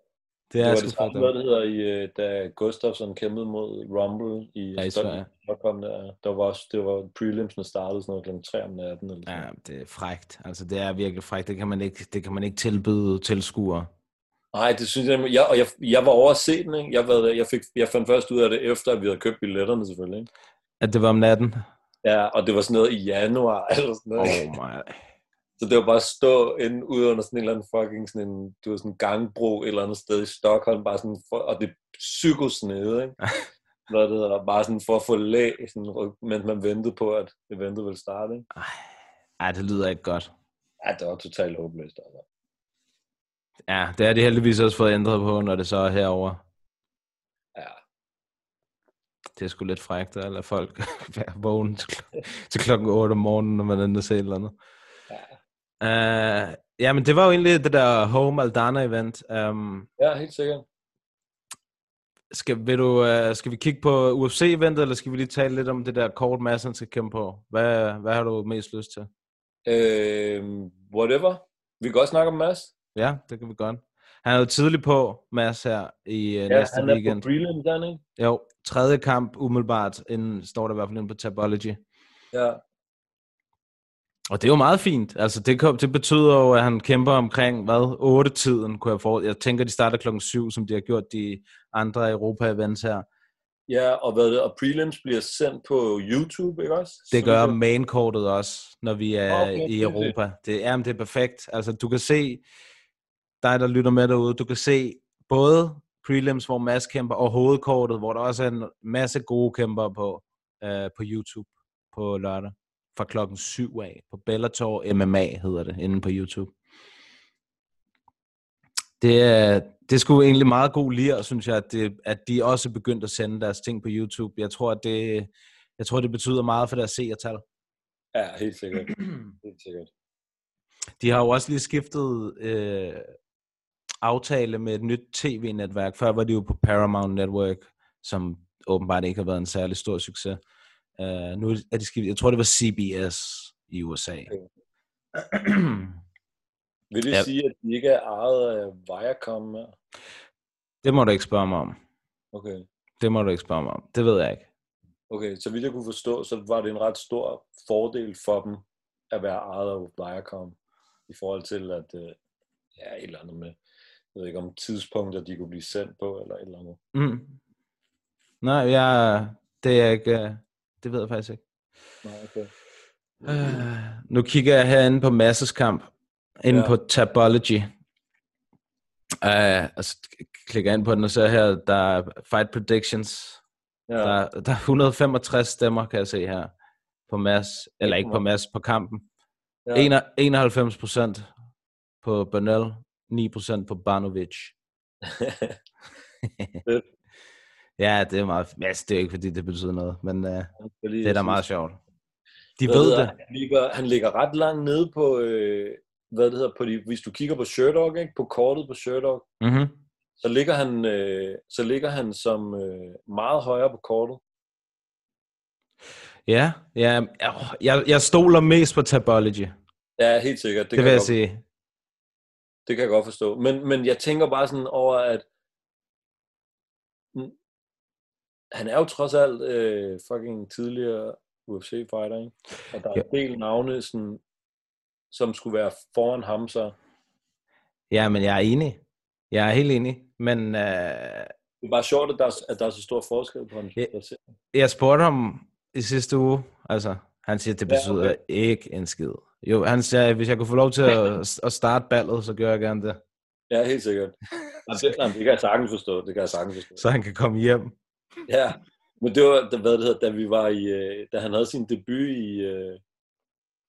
[SPEAKER 7] Det
[SPEAKER 8] Det
[SPEAKER 7] er
[SPEAKER 8] var
[SPEAKER 7] sgu
[SPEAKER 8] det samme
[SPEAKER 7] fucked
[SPEAKER 8] noget,
[SPEAKER 7] up.
[SPEAKER 8] det hedder, i, øh, da Gustafsson kæmpede mod Rumble i,
[SPEAKER 7] Ja, i Sverige.
[SPEAKER 8] Stockholm. Der, der var også, det var prelimsene startede sådan noget kl. 3 om natten. Eller sådan.
[SPEAKER 7] Ja,
[SPEAKER 8] noget.
[SPEAKER 7] det er frægt. Altså, det er virkelig frægt. Det kan man ikke, det kan man ikke tilbyde tilskuere.
[SPEAKER 8] Nej, det synes jeg, jeg, og jeg, jeg var over at se den, ikke? Jeg, var, jeg, fik, jeg fandt først ud af det, efter at vi havde købt billetterne selvfølgelig. Ikke?
[SPEAKER 7] At det var om natten?
[SPEAKER 8] Ja, og det var sådan noget i januar, eller sådan noget.
[SPEAKER 7] Oh
[SPEAKER 8] ikke?
[SPEAKER 7] my.
[SPEAKER 8] Så det var bare at stå inde ude under sådan en eller anden fucking sådan en, du ved, sådan en gangbro et eller andet sted i Stockholm, bare sådan for, og det er psykosnede, ikke? Hvad det hedder, bare sådan for at få læ, sådan, ryk- mens man ventede på, at eventet ville starte, ikke?
[SPEAKER 7] Ej, det lyder ikke godt.
[SPEAKER 8] Ja, det var totalt håbløst, altså.
[SPEAKER 7] Ja, det har de heldigvis også fået ændret på, når det så er herover.
[SPEAKER 8] Ja.
[SPEAKER 7] Det er sgu lidt frægt at lade folk være vågne til, kl- til klokken 8 om morgenen, når man er inde og se et eller andet. Ja. Uh, ja, men det var jo egentlig det der Home Aldana-event. Um,
[SPEAKER 8] Ja, helt sikkert.
[SPEAKER 7] skal, vil du, uh, skal vi kigge på UFC-eventet, eller skal vi lige tale lidt om det der kort, Madsen skal kæmpe på? Hvad, hvad har du mest lyst til?
[SPEAKER 8] Øh, whatever. Vi kan godt snakke om Mads.
[SPEAKER 7] Ja, det kan vi godt. Han er jo tidlig på, Mads, her i ja,
[SPEAKER 8] Ja,
[SPEAKER 7] næste
[SPEAKER 8] han er
[SPEAKER 7] weekend.
[SPEAKER 8] på prelims, han, ikke?
[SPEAKER 7] Jo, tredje kamp umiddelbart, inden, står der i hvert fald inde på Tabology.
[SPEAKER 8] Ja.
[SPEAKER 7] Og det er jo meget fint. Altså, det, kom, det betyder jo, at han kæmper omkring, hvad, 8-tiden, kunne jeg for... Jeg tænker, de starter klokken 7, som de har gjort de andre Europa-events her.
[SPEAKER 8] Ja, og, hvad, det- og prelims bliver sendt på YouTube, ikke også? Så
[SPEAKER 7] Det gør
[SPEAKER 8] kan-
[SPEAKER 7] mainkortet også, når vi er okay,
[SPEAKER 8] Okay,
[SPEAKER 7] i
[SPEAKER 8] det er det.
[SPEAKER 7] Europa. Det er, det er perfekt. Altså, du kan se, dig der lytter med derude, du kan se både prelims, hvor Mads kæmper, og hovedkortet, hvor der også er en masse gode kæmpere på, øh, på YouTube på lørdag fra klokken 7 af på Bellator MMA hedder det, inde på YouTube. Det er, det skulle egentlig meget god lir, synes jeg, at, det, at de også er begyndt at sende deres ting på YouTube. Jeg tror, at det, jeg tror, det betyder meget for deres seertal.
[SPEAKER 8] Ja, helt sikkert. helt sikkert.
[SPEAKER 7] De har jo også lige skiftet øh, aftale med et nyt tv-netværk. Før var de jo på Paramount Network, som åbenbart ikke har været en særlig stor succes. Øh, nu er de skiftet, jeg tror, det var CBS i USA.
[SPEAKER 8] Vil det
[SPEAKER 7] Ja.
[SPEAKER 8] ja. sige, at de ikke er ejet af Viacom? mere?
[SPEAKER 7] Det må du ikke spørge mig om.
[SPEAKER 8] Okay.
[SPEAKER 7] Det må du ikke spørge mig om. Det ved jeg ikke.
[SPEAKER 8] okay, så vidt jeg kunne forstå, så var det en ret stor fordel for dem at være ejet af Viacom i forhold til, at øh, ja, et eller andet med, jeg ved ikke om tidspunkter, de kunne blive sendt på, eller et eller andet.
[SPEAKER 7] Mm. Nej, jeg, det er jeg ikke... øh, Det ved jeg faktisk ikke.
[SPEAKER 8] Nej, okay.
[SPEAKER 7] Øh, nu kigger jeg herinde på Masses kamp. Inde ja.
[SPEAKER 8] Ja.
[SPEAKER 7] på Tabology. Uh, og så klikker jeg ind på den og ser her, der er Fight Predictions.
[SPEAKER 8] Ja,
[SPEAKER 7] Der, er- der er 165 stemmer, kan jeg se her. På Mads, eller ikke på Mads, på kampen.
[SPEAKER 8] ja.
[SPEAKER 7] Ja. 91 procent på Bernal, 9 procent på Barnovic.
[SPEAKER 8] Fedt.
[SPEAKER 7] ja, det er meget... Altså, det er jo ikke, fordi det betyder noget, men uh, det er da meget sjovt. De
[SPEAKER 8] Hvad
[SPEAKER 7] ved
[SPEAKER 8] hedder
[SPEAKER 7] det.
[SPEAKER 8] han? Han ligger, han ligger ret langt nede på, øh, hvad det hedder, på de, hvis du kigger på Sherdog, ikke? på kortet på Sherdog,
[SPEAKER 7] Mm-hmm.
[SPEAKER 8] så ligger han, øh, så ligger han som øh, meget højere på kortet.
[SPEAKER 7] Ja, ja åh, jeg, jeg stoler mest på Tabology. Det,
[SPEAKER 8] Ja, helt sikkert. Det,
[SPEAKER 7] det
[SPEAKER 8] kan
[SPEAKER 7] vil
[SPEAKER 8] jeg
[SPEAKER 7] jeg
[SPEAKER 8] godt,
[SPEAKER 7] sige.
[SPEAKER 8] Det kan jeg godt forstå. Men, men jeg tænker bare sådan over, at Mm. han er jo trods alt øh, fucking tidligere UFC-fighter, ikke? Og der er en del navne, sådan, som skulle være foran ham, så
[SPEAKER 7] Ja, men jeg er enig. Jeg er helt enig. Men øh,
[SPEAKER 8] det er bare sjovt, at der, er- at der er så stor forskel på ham.
[SPEAKER 7] Ja.
[SPEAKER 8] Yeah.
[SPEAKER 7] jeg spurgte ham i sidste uge, altså, han siger, at det
[SPEAKER 8] Ja,
[SPEAKER 7] betyder ja,
[SPEAKER 8] okay.
[SPEAKER 7] okay. ikke en skid. Jo, han sagde, at hvis jeg kunne få lov til at, at starte ballet, så gør jeg gerne det,
[SPEAKER 8] Ja, helt sikkert. Jamen, det, nej, det kan jeg sagtens forstå. Det kan jeg sagtens forstå.
[SPEAKER 7] så han kan komme hjem.
[SPEAKER 8] Ja, men det var, da- hvad det hedder, da vi var i, øh, da han havde sin debut i, øh,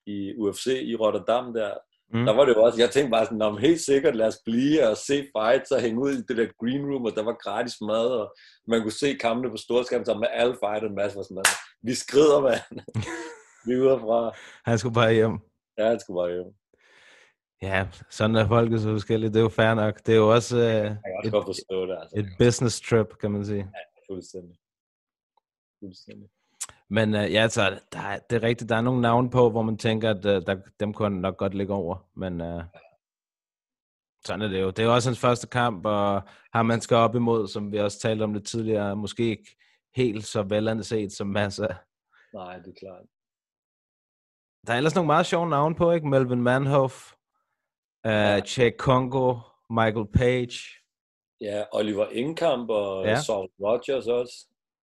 [SPEAKER 8] i UFC i Rotterdam der,
[SPEAKER 7] Mm.
[SPEAKER 8] der var det jo også, jeg tænkte bare sådan, "Nå, men helt sikkert, lad os blive og se fights og hænge ud i det der green room, og der var gratis mad, og man kunne se kampene på storskærm sammen med alle fighter, en masse var sådan, "Altså, vi skrider, mand. vi er ude herfra.
[SPEAKER 7] Han skulle bare hjem.
[SPEAKER 8] Ja, det skulle bare jo.
[SPEAKER 7] Ja, sådan er folket så forskellige. Det er jo fair nok. Det er jo også øh,
[SPEAKER 8] Jeg kan også
[SPEAKER 7] et,
[SPEAKER 8] godt forstå det, altså.
[SPEAKER 7] et business trip, kan man sige.
[SPEAKER 8] Fuldstændig. Fuldstændig.
[SPEAKER 7] Men øh, ja, så der, er- det er rigtigt, der er nogle navne på, hvor man tænker, at øh, der, dem kunne han nok godt ligge over. Men øh, sådan er det jo. Det er jo også hans første kamp, og ham man skal op imod, som vi også talte om lidt tidligere, er måske ikke helt så velanset som masser.
[SPEAKER 8] Nej, det er klart.
[SPEAKER 7] Der er ellers nogle meget sjove navne på, ikke? Melvin Manhoff, øh, ja. Che Kongo, Michael Page,
[SPEAKER 8] Ja, Oliver Engkamp og
[SPEAKER 7] Ja.
[SPEAKER 8] ja. Saul Rogers også.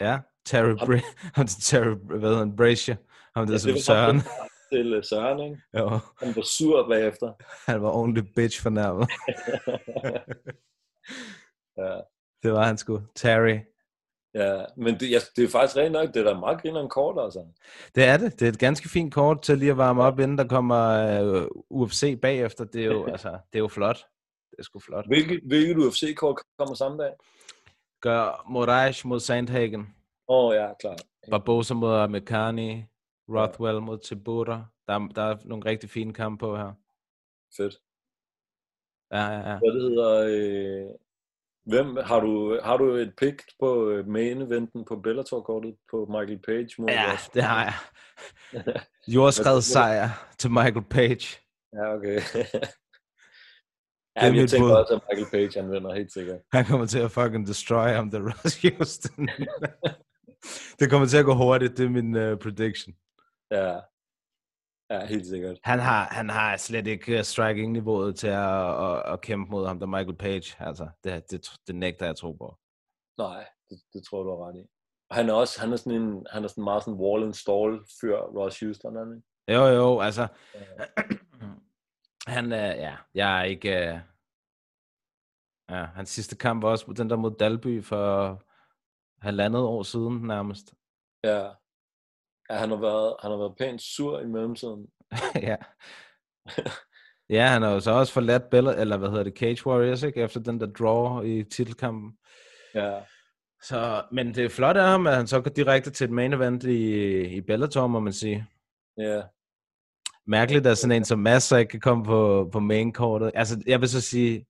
[SPEAKER 7] ja, Terry, Bra- ham der Terry hvad hedder han, Brazier, ham der ja,
[SPEAKER 8] Ja,
[SPEAKER 7] som
[SPEAKER 8] var
[SPEAKER 7] Søren.
[SPEAKER 8] ham, der Til øh, Søren, ikke?
[SPEAKER 7] Jo,
[SPEAKER 8] Han var sur bagefter.
[SPEAKER 7] han var ordentlig bitch fornærmet.
[SPEAKER 8] ja,
[SPEAKER 7] Det var han sgu. Terry.
[SPEAKER 8] ja. Men det, jeg, det er faktisk rent nok, det er da meget grineren kort, altså.
[SPEAKER 7] Det er det. Det er et ganske fint kort til lige at varme op, inden der kommer øh, UFC bagefter. Det er jo, altså, det er jo flot. Det er sgu flot.
[SPEAKER 8] Hvilket, hvilket UFC-kort kommer samme dag?
[SPEAKER 7] Gør Moraes mod Sandhagen.
[SPEAKER 8] Åh, oh, ja, klart.
[SPEAKER 7] Barbosa mod Amerikani. Rothwell mod Tibura. Der, er- der er nogle rigtig fine kampe på her.
[SPEAKER 8] Fedt.
[SPEAKER 7] Ja, ja, ja.
[SPEAKER 8] Hvad det hedder... Øh, hvem, har, du, har du et pick på øh, main eventen på Bellator-kortet på Michael Page? Mod
[SPEAKER 7] Ja,
[SPEAKER 8] Ross?
[SPEAKER 7] det har jeg. Jordskred sejr til Michael Page.
[SPEAKER 8] Ja, okay. ja,
[SPEAKER 7] Det er
[SPEAKER 8] men jeg
[SPEAKER 7] mit
[SPEAKER 8] tænker
[SPEAKER 7] bud.
[SPEAKER 8] også, at Michael Page han vinder, helt sikkert.
[SPEAKER 7] Han kommer til at fucking destroy ham, der Ross Houston. det kommer til at gå hurtigt, det er min uh, prediction.
[SPEAKER 8] Ja, ja helt sikkert.
[SPEAKER 7] Han har, han har slet ikke øh, striking-niveauet til at, at, at kæmpe mod ham, der Michael Page. Altså, det, det, det nægter jeg tro på.
[SPEAKER 8] Nej, det, det tror jeg, du har ret i. Han er også han er sådan en han er sådan meget sådan wall and stall fyr, Ross Houston, er han ikke?
[SPEAKER 7] Jo, jo, altså... han er... Ja, jeg er ikke... øh, Ja, hans sidste kamp var også mod den der mod Dalby for halvandet år siden nærmest.
[SPEAKER 8] Ja. ja han, har været, han har været pænt sur i mellemtiden.
[SPEAKER 7] ja. Ja, han har jo så også forladt Bella, eller hvad hedder det, Cage Warriors, ikke? Efter den der draw i titelkampen.
[SPEAKER 8] Ja.
[SPEAKER 7] Så, men det er flot af ham, at han så går direkte til et main event i, i Bellator, må man sige.
[SPEAKER 8] ja.
[SPEAKER 7] Mærkeligt, at sådan en som Mads så ikke kan komme på, på mainkortet. Altså, jeg vil så sige,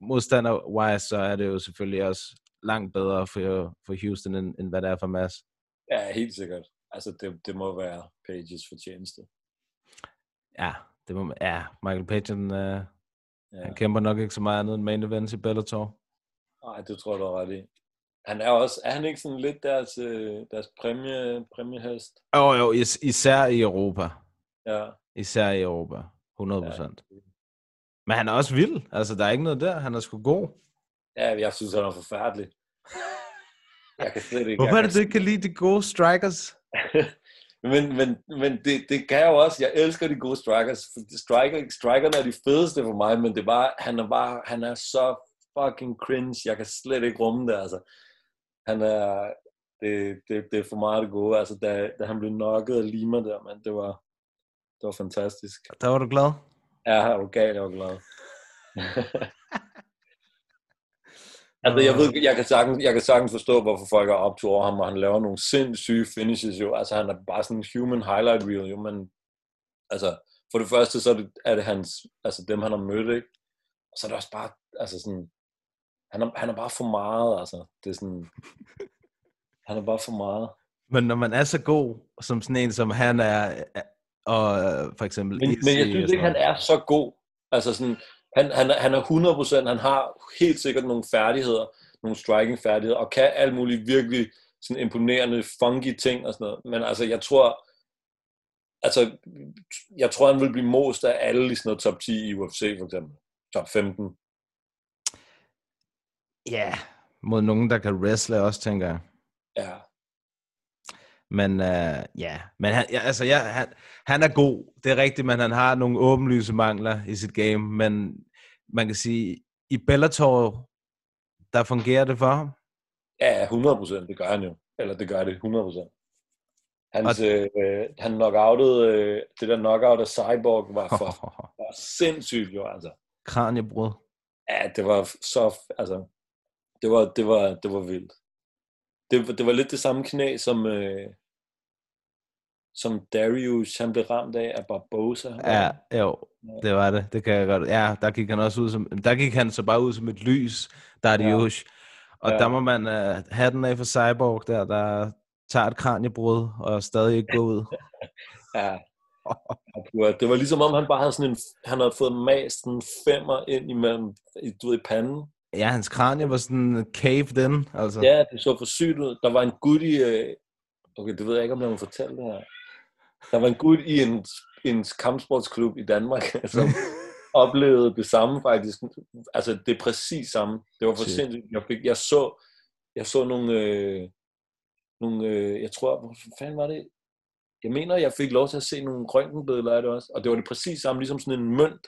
[SPEAKER 7] modstander-wise, så er det jo selvfølgelig også langt bedre for, for Houston, end, end hvad det er for Mads.
[SPEAKER 8] ja, helt sikkert. Altså, det, det må være Pages fortjeneste.
[SPEAKER 7] Ja, det må man, ja, Michael Page, han, øh,
[SPEAKER 8] Ja.
[SPEAKER 7] han kæmper nok ikke så meget andet end main events i Bellator.
[SPEAKER 8] Nej, det tror jeg, du har ret i. Han er, også, er han ikke sådan lidt deres, øh, deres præmie, præmiehest?
[SPEAKER 7] Jo, jo, is- især i Europa.
[SPEAKER 8] Ja.
[SPEAKER 7] Især i Europa. 100%. Men han er også vild. Altså, der er ikke noget der. Han er sgu god.
[SPEAKER 8] ja, jeg synes, han er forfærdelig. Jeg kan slet ikke...
[SPEAKER 7] Hvorfor er
[SPEAKER 8] jeg
[SPEAKER 7] det, du ikke kan lide de gode strikers?
[SPEAKER 8] Men, men, men det, det kan jeg jo også. Jeg elsker de gode strikers. Striker, strikerne er de fedeste for mig, men det er bare, han er bare, han er så fucking cringe. Jeg kan slet ikke rumme det, altså. Han er, det, det, det er for meget det gode. Altså, da, da han blev knocket af Lima der, man, det var, det var fantastisk.
[SPEAKER 7] Der var du glad.
[SPEAKER 8] Ja, er du gal, jeg var glad. altså, jeg ved, jeg kan, sagtens, jeg kan sagtens forstå, hvorfor folk er optur over ham, og han laver nogle sindssyge finishes jo. Altså, han er bare sådan en human highlight reel jo, men altså, for det første, så er det, er det hans, altså dem, han har mødt, ikke? Og så er det også bare, altså sådan, han er, han er bare for meget, altså. Det er sådan, han er bare for meget.
[SPEAKER 7] Men når man er så god, som sådan en, som han er, og øh, for eksempel...
[SPEAKER 8] Men,
[SPEAKER 7] Izzy
[SPEAKER 8] men jeg
[SPEAKER 7] og
[SPEAKER 8] synes
[SPEAKER 7] sådan
[SPEAKER 8] ikke, han
[SPEAKER 7] noget.
[SPEAKER 8] er så god. Altså sådan, han, han, er- han er 100%, han har helt sikkert nogle færdigheder, nogle striking færdigheder, og kan alt muligt virkelig sådan imponerende, funky ting og sådan noget. Men altså, jeg tror, altså, jeg tror, han vil blive most af alle i sådan noget top 10 i UFC, for eksempel. Top 15.
[SPEAKER 7] Ja, mod nogen, der kan wrestle også, tænker jeg.
[SPEAKER 8] Ja.
[SPEAKER 7] Men øh, ja, men han, ja, altså, ja, han, han er god, det er rigtigt, men han har nogle åbenlyse mangler i sit game, men man kan sige, i Bellator, der fungerer det for ham.
[SPEAKER 8] Ja, 100%, det gør han jo. Eller det gør det 100%. Hans, øh, han knockoutede, øh, det der knockout af Cyborg var for var sindssygt jo, altså.
[SPEAKER 7] Kranjebrud.
[SPEAKER 8] Ja, det var så, altså, det var, det var, det var vildt. Det, var- det var lidt det samme knæ, som, øh, som Darius, han blev ramt af, af Barbosa.
[SPEAKER 7] Ja, jo, det var det. Det kan jeg godt. Ja, der gik han også ud som, der gik han så bare ud som et lys, der er det
[SPEAKER 8] Ja.
[SPEAKER 7] ja. Og
[SPEAKER 8] Ja.
[SPEAKER 7] ja. der må man uh, have den af for Cyborg, der, der tager et kranjebrud og stadig ikke går ud.
[SPEAKER 8] ja. Og det var- Det var ligesom om, han bare havde sådan en, han havde fået mast en femmer ind imellem, i, du ved, i panden.
[SPEAKER 7] Ja, hans kranje var sådan caved in, altså.
[SPEAKER 8] Ja, det så for sygt ud. Der var en gut i... Øh... Okay, det ved jeg ikke, om jeg må fortælle det her. Der var en gut i en, en kampsportsklub i Danmark, som oplevede det samme faktisk. Altså, det er præcis samme. Det var for
[SPEAKER 7] Shit.
[SPEAKER 8] sindssygt. Jeg, fik, jeg, så, jeg så nogle... Øh, nogle øh, jeg tror... Hvor fanden var det? Jeg mener, jeg fik lov til at se nogle røntgenbilleder af det også. Og det var det præcis samme, ligesom sådan en mønt,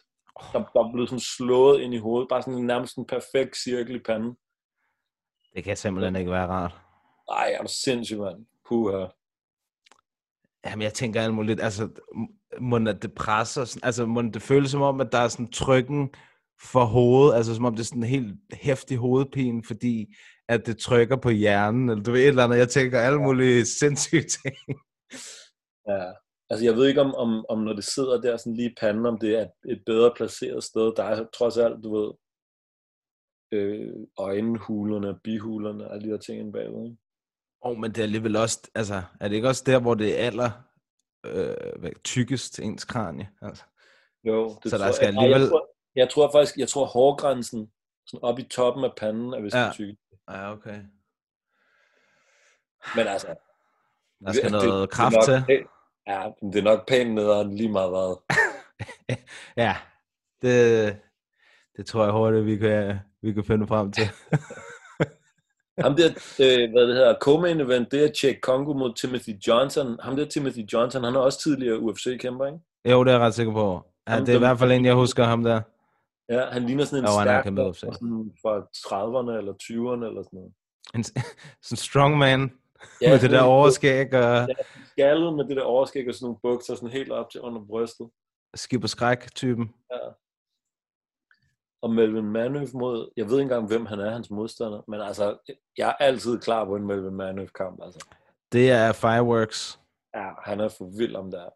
[SPEAKER 8] der, der blev sådan slået ind i hovedet. Bare sådan en nærmest en perfekt cirkel i panden.
[SPEAKER 7] Det kan simpelthen ikke være rart.
[SPEAKER 8] Ej, er du sindssyg, mand. Puha.
[SPEAKER 7] Jamen, jeg tænker alt muligt. Altså, m- må det presser, sådan- altså, må det føles som om, at der er sådan trykken for hovedet, altså som om det er sådan en helt hæftig hovedpine, fordi at det trykker på hjernen, eller du ved et eller andet, jeg tænker alle mulige sindssyge ting.
[SPEAKER 8] Ja. Altså, jeg ved ikke, om, om, om når det sidder der sådan lige i panden, om det er et bedre placeret sted. Der er trods alt, du ved, øh, øjenhulerne, bihulerne og alle de der ting inde bagved. Ikke?
[SPEAKER 7] Åh, oh, men det er alligevel også, altså, er det ikke også der, hvor det er aller øh, hvad- tykkest ens kranie? Altså,
[SPEAKER 8] Jo, det
[SPEAKER 7] Så der
[SPEAKER 8] tror
[SPEAKER 7] skal
[SPEAKER 8] jeg,
[SPEAKER 7] alligevel-
[SPEAKER 8] jeg, tror, jeg tror faktisk, jeg tror hårgrænsen sådan op i toppen af panden er vist
[SPEAKER 7] Ja.
[SPEAKER 8] ja. tyk.
[SPEAKER 7] ja, okay.
[SPEAKER 8] Men altså,
[SPEAKER 7] Der skal
[SPEAKER 8] det- det-
[SPEAKER 7] noget
[SPEAKER 8] det er
[SPEAKER 7] kraft
[SPEAKER 8] nok
[SPEAKER 7] til.
[SPEAKER 8] pænt- Ja, men det er nok pænt nederen lige meget hvad.
[SPEAKER 7] Ja, det, det tror jeg hurtigt, vi kan, vi kan finde frem til.
[SPEAKER 8] Ham der, øh, hvad det hedder, co-main event, det er Jack Kongo mod Timothy Johnson. Ham der Timothy Johnson, han er også tidligere UFC-kæmper, ikke?
[SPEAKER 7] Jo, det er jeg ret sikker på. Ja,
[SPEAKER 8] Ham,
[SPEAKER 7] det er i
[SPEAKER 8] dem-
[SPEAKER 7] hvert fald en, jeg husker ham der.
[SPEAKER 8] Ja, han ligner sådan en
[SPEAKER 7] Jo, han har
[SPEAKER 8] stærk
[SPEAKER 7] kæmpet UFC.
[SPEAKER 8] fra sådan fra 30'erne eller 20'erne eller sådan noget.
[SPEAKER 7] En, sådan en strongman
[SPEAKER 8] Ja,
[SPEAKER 7] ja, med det
[SPEAKER 8] sådan
[SPEAKER 7] der
[SPEAKER 8] en-
[SPEAKER 7] overskæg og
[SPEAKER 8] Skaldet med det der overskæg og sådan nogle bukser sådan helt op til under brystet.
[SPEAKER 7] skib og skræk-typen.
[SPEAKER 8] og Melvin Manøv mod, jeg ved ikke engang, hvem han er, hans modstander, men altså, jeg er altid klar på en Melvin Manøv-kamp, altså.
[SPEAKER 7] Det er Fireworks.
[SPEAKER 8] Ja, han er for vild om det er.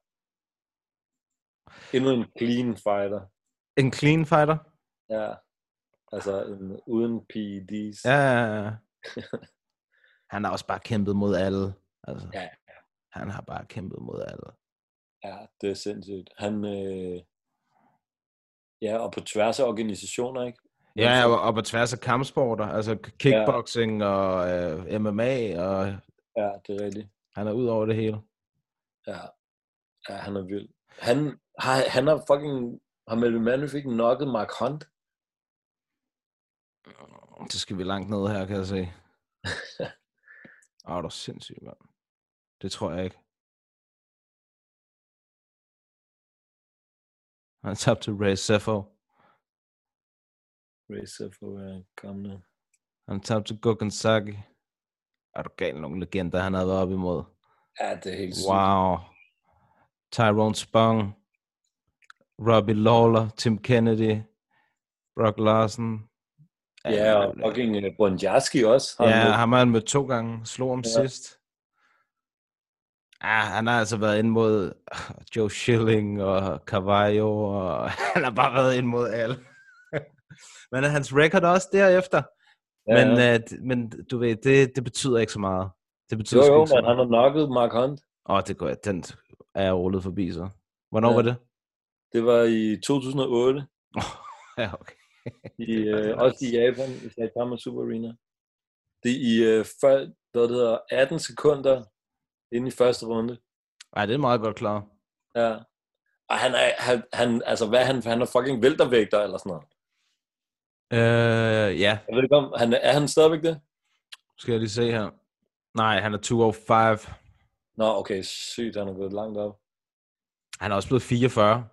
[SPEAKER 8] Endnu en clean fighter.
[SPEAKER 7] En clean fighter?
[SPEAKER 8] Ja. Altså, en, uden E PEDs.
[SPEAKER 7] Ja, ja, ja. Han har også bare kæmpet mod alle. Altså,
[SPEAKER 8] Ja,
[SPEAKER 7] han har bare kæmpet mod alle.
[SPEAKER 8] ja, det er sindssygt. Han, øh... ja, og på tværs af organisationer, ikke?
[SPEAKER 7] Ja,
[SPEAKER 8] altså-
[SPEAKER 7] og, og på tværs af kampsporter, altså kickboxing ja. og øh, MMA, og
[SPEAKER 8] Ja, det er rigtigt.
[SPEAKER 7] han er ud over det hele.
[SPEAKER 8] Ja, ja han er vild. Han har, han har fucking, har Melvin Manøv ikke knocket Mark Hunt?
[SPEAKER 7] Så skal vi langt ned her, kan jeg se. Åh, du er sindssyg, mand. Det tror jeg ikke. Han tabte til Ray Sefo.
[SPEAKER 8] Racer for øh, at komme nu.
[SPEAKER 7] Han tabte til Gokhan Saki. Er du gal nogle legender, han havde været op imod?
[SPEAKER 8] Ja, det er helt sygt.
[SPEAKER 7] Wow. Tyrone Spong, Robbie Lawler, Tim Kennedy, Brock Larson.
[SPEAKER 8] Ja, og fucking uh, Bonjarski også. Har
[SPEAKER 7] ja,
[SPEAKER 8] han,
[SPEAKER 7] ham har han mødt to gange, slog om ja.
[SPEAKER 8] Ja.
[SPEAKER 7] sidst. Ah, han har altså været ind mod ah, Joe Schilling og Carvalho, og han har bare været ind mod alle. men hans record er også derefter.
[SPEAKER 8] ja,
[SPEAKER 7] Ja, men,
[SPEAKER 8] ja.
[SPEAKER 7] ja. Uh, men du ved, det, det betyder ikke så meget. Det
[SPEAKER 8] jo,
[SPEAKER 7] betyder sgu
[SPEAKER 8] jo,
[SPEAKER 7] ikke så
[SPEAKER 8] men
[SPEAKER 7] meget.
[SPEAKER 8] han har knocket Mark Hunt.
[SPEAKER 7] Åh, det går jeg. Den er jeg rullet forbi, så. Hvornår ja. var
[SPEAKER 8] Ja.
[SPEAKER 7] det?
[SPEAKER 8] Det var i 2008,
[SPEAKER 7] Ja, okay.
[SPEAKER 8] i,
[SPEAKER 7] Det var
[SPEAKER 8] øh,
[SPEAKER 7] det
[SPEAKER 8] også
[SPEAKER 7] altså.
[SPEAKER 8] i Japan, i Saitama Super Arena. Det er i øh, før, hvad det hedder, 18 sekunder inden i første runde.
[SPEAKER 7] Ej, det er meget godt klar.
[SPEAKER 8] Ja. Og han er, han, han altså hvad er han, han er fucking væltervægter eller sådan noget.
[SPEAKER 7] Øh, ja,
[SPEAKER 8] Jeg ved ikke om, han, er han stadigvæk det?
[SPEAKER 7] skal jeg lige se her. Nej, han er 205.
[SPEAKER 8] Nå, okay, sygt, han er gået langt op.
[SPEAKER 7] Han er også blevet 44.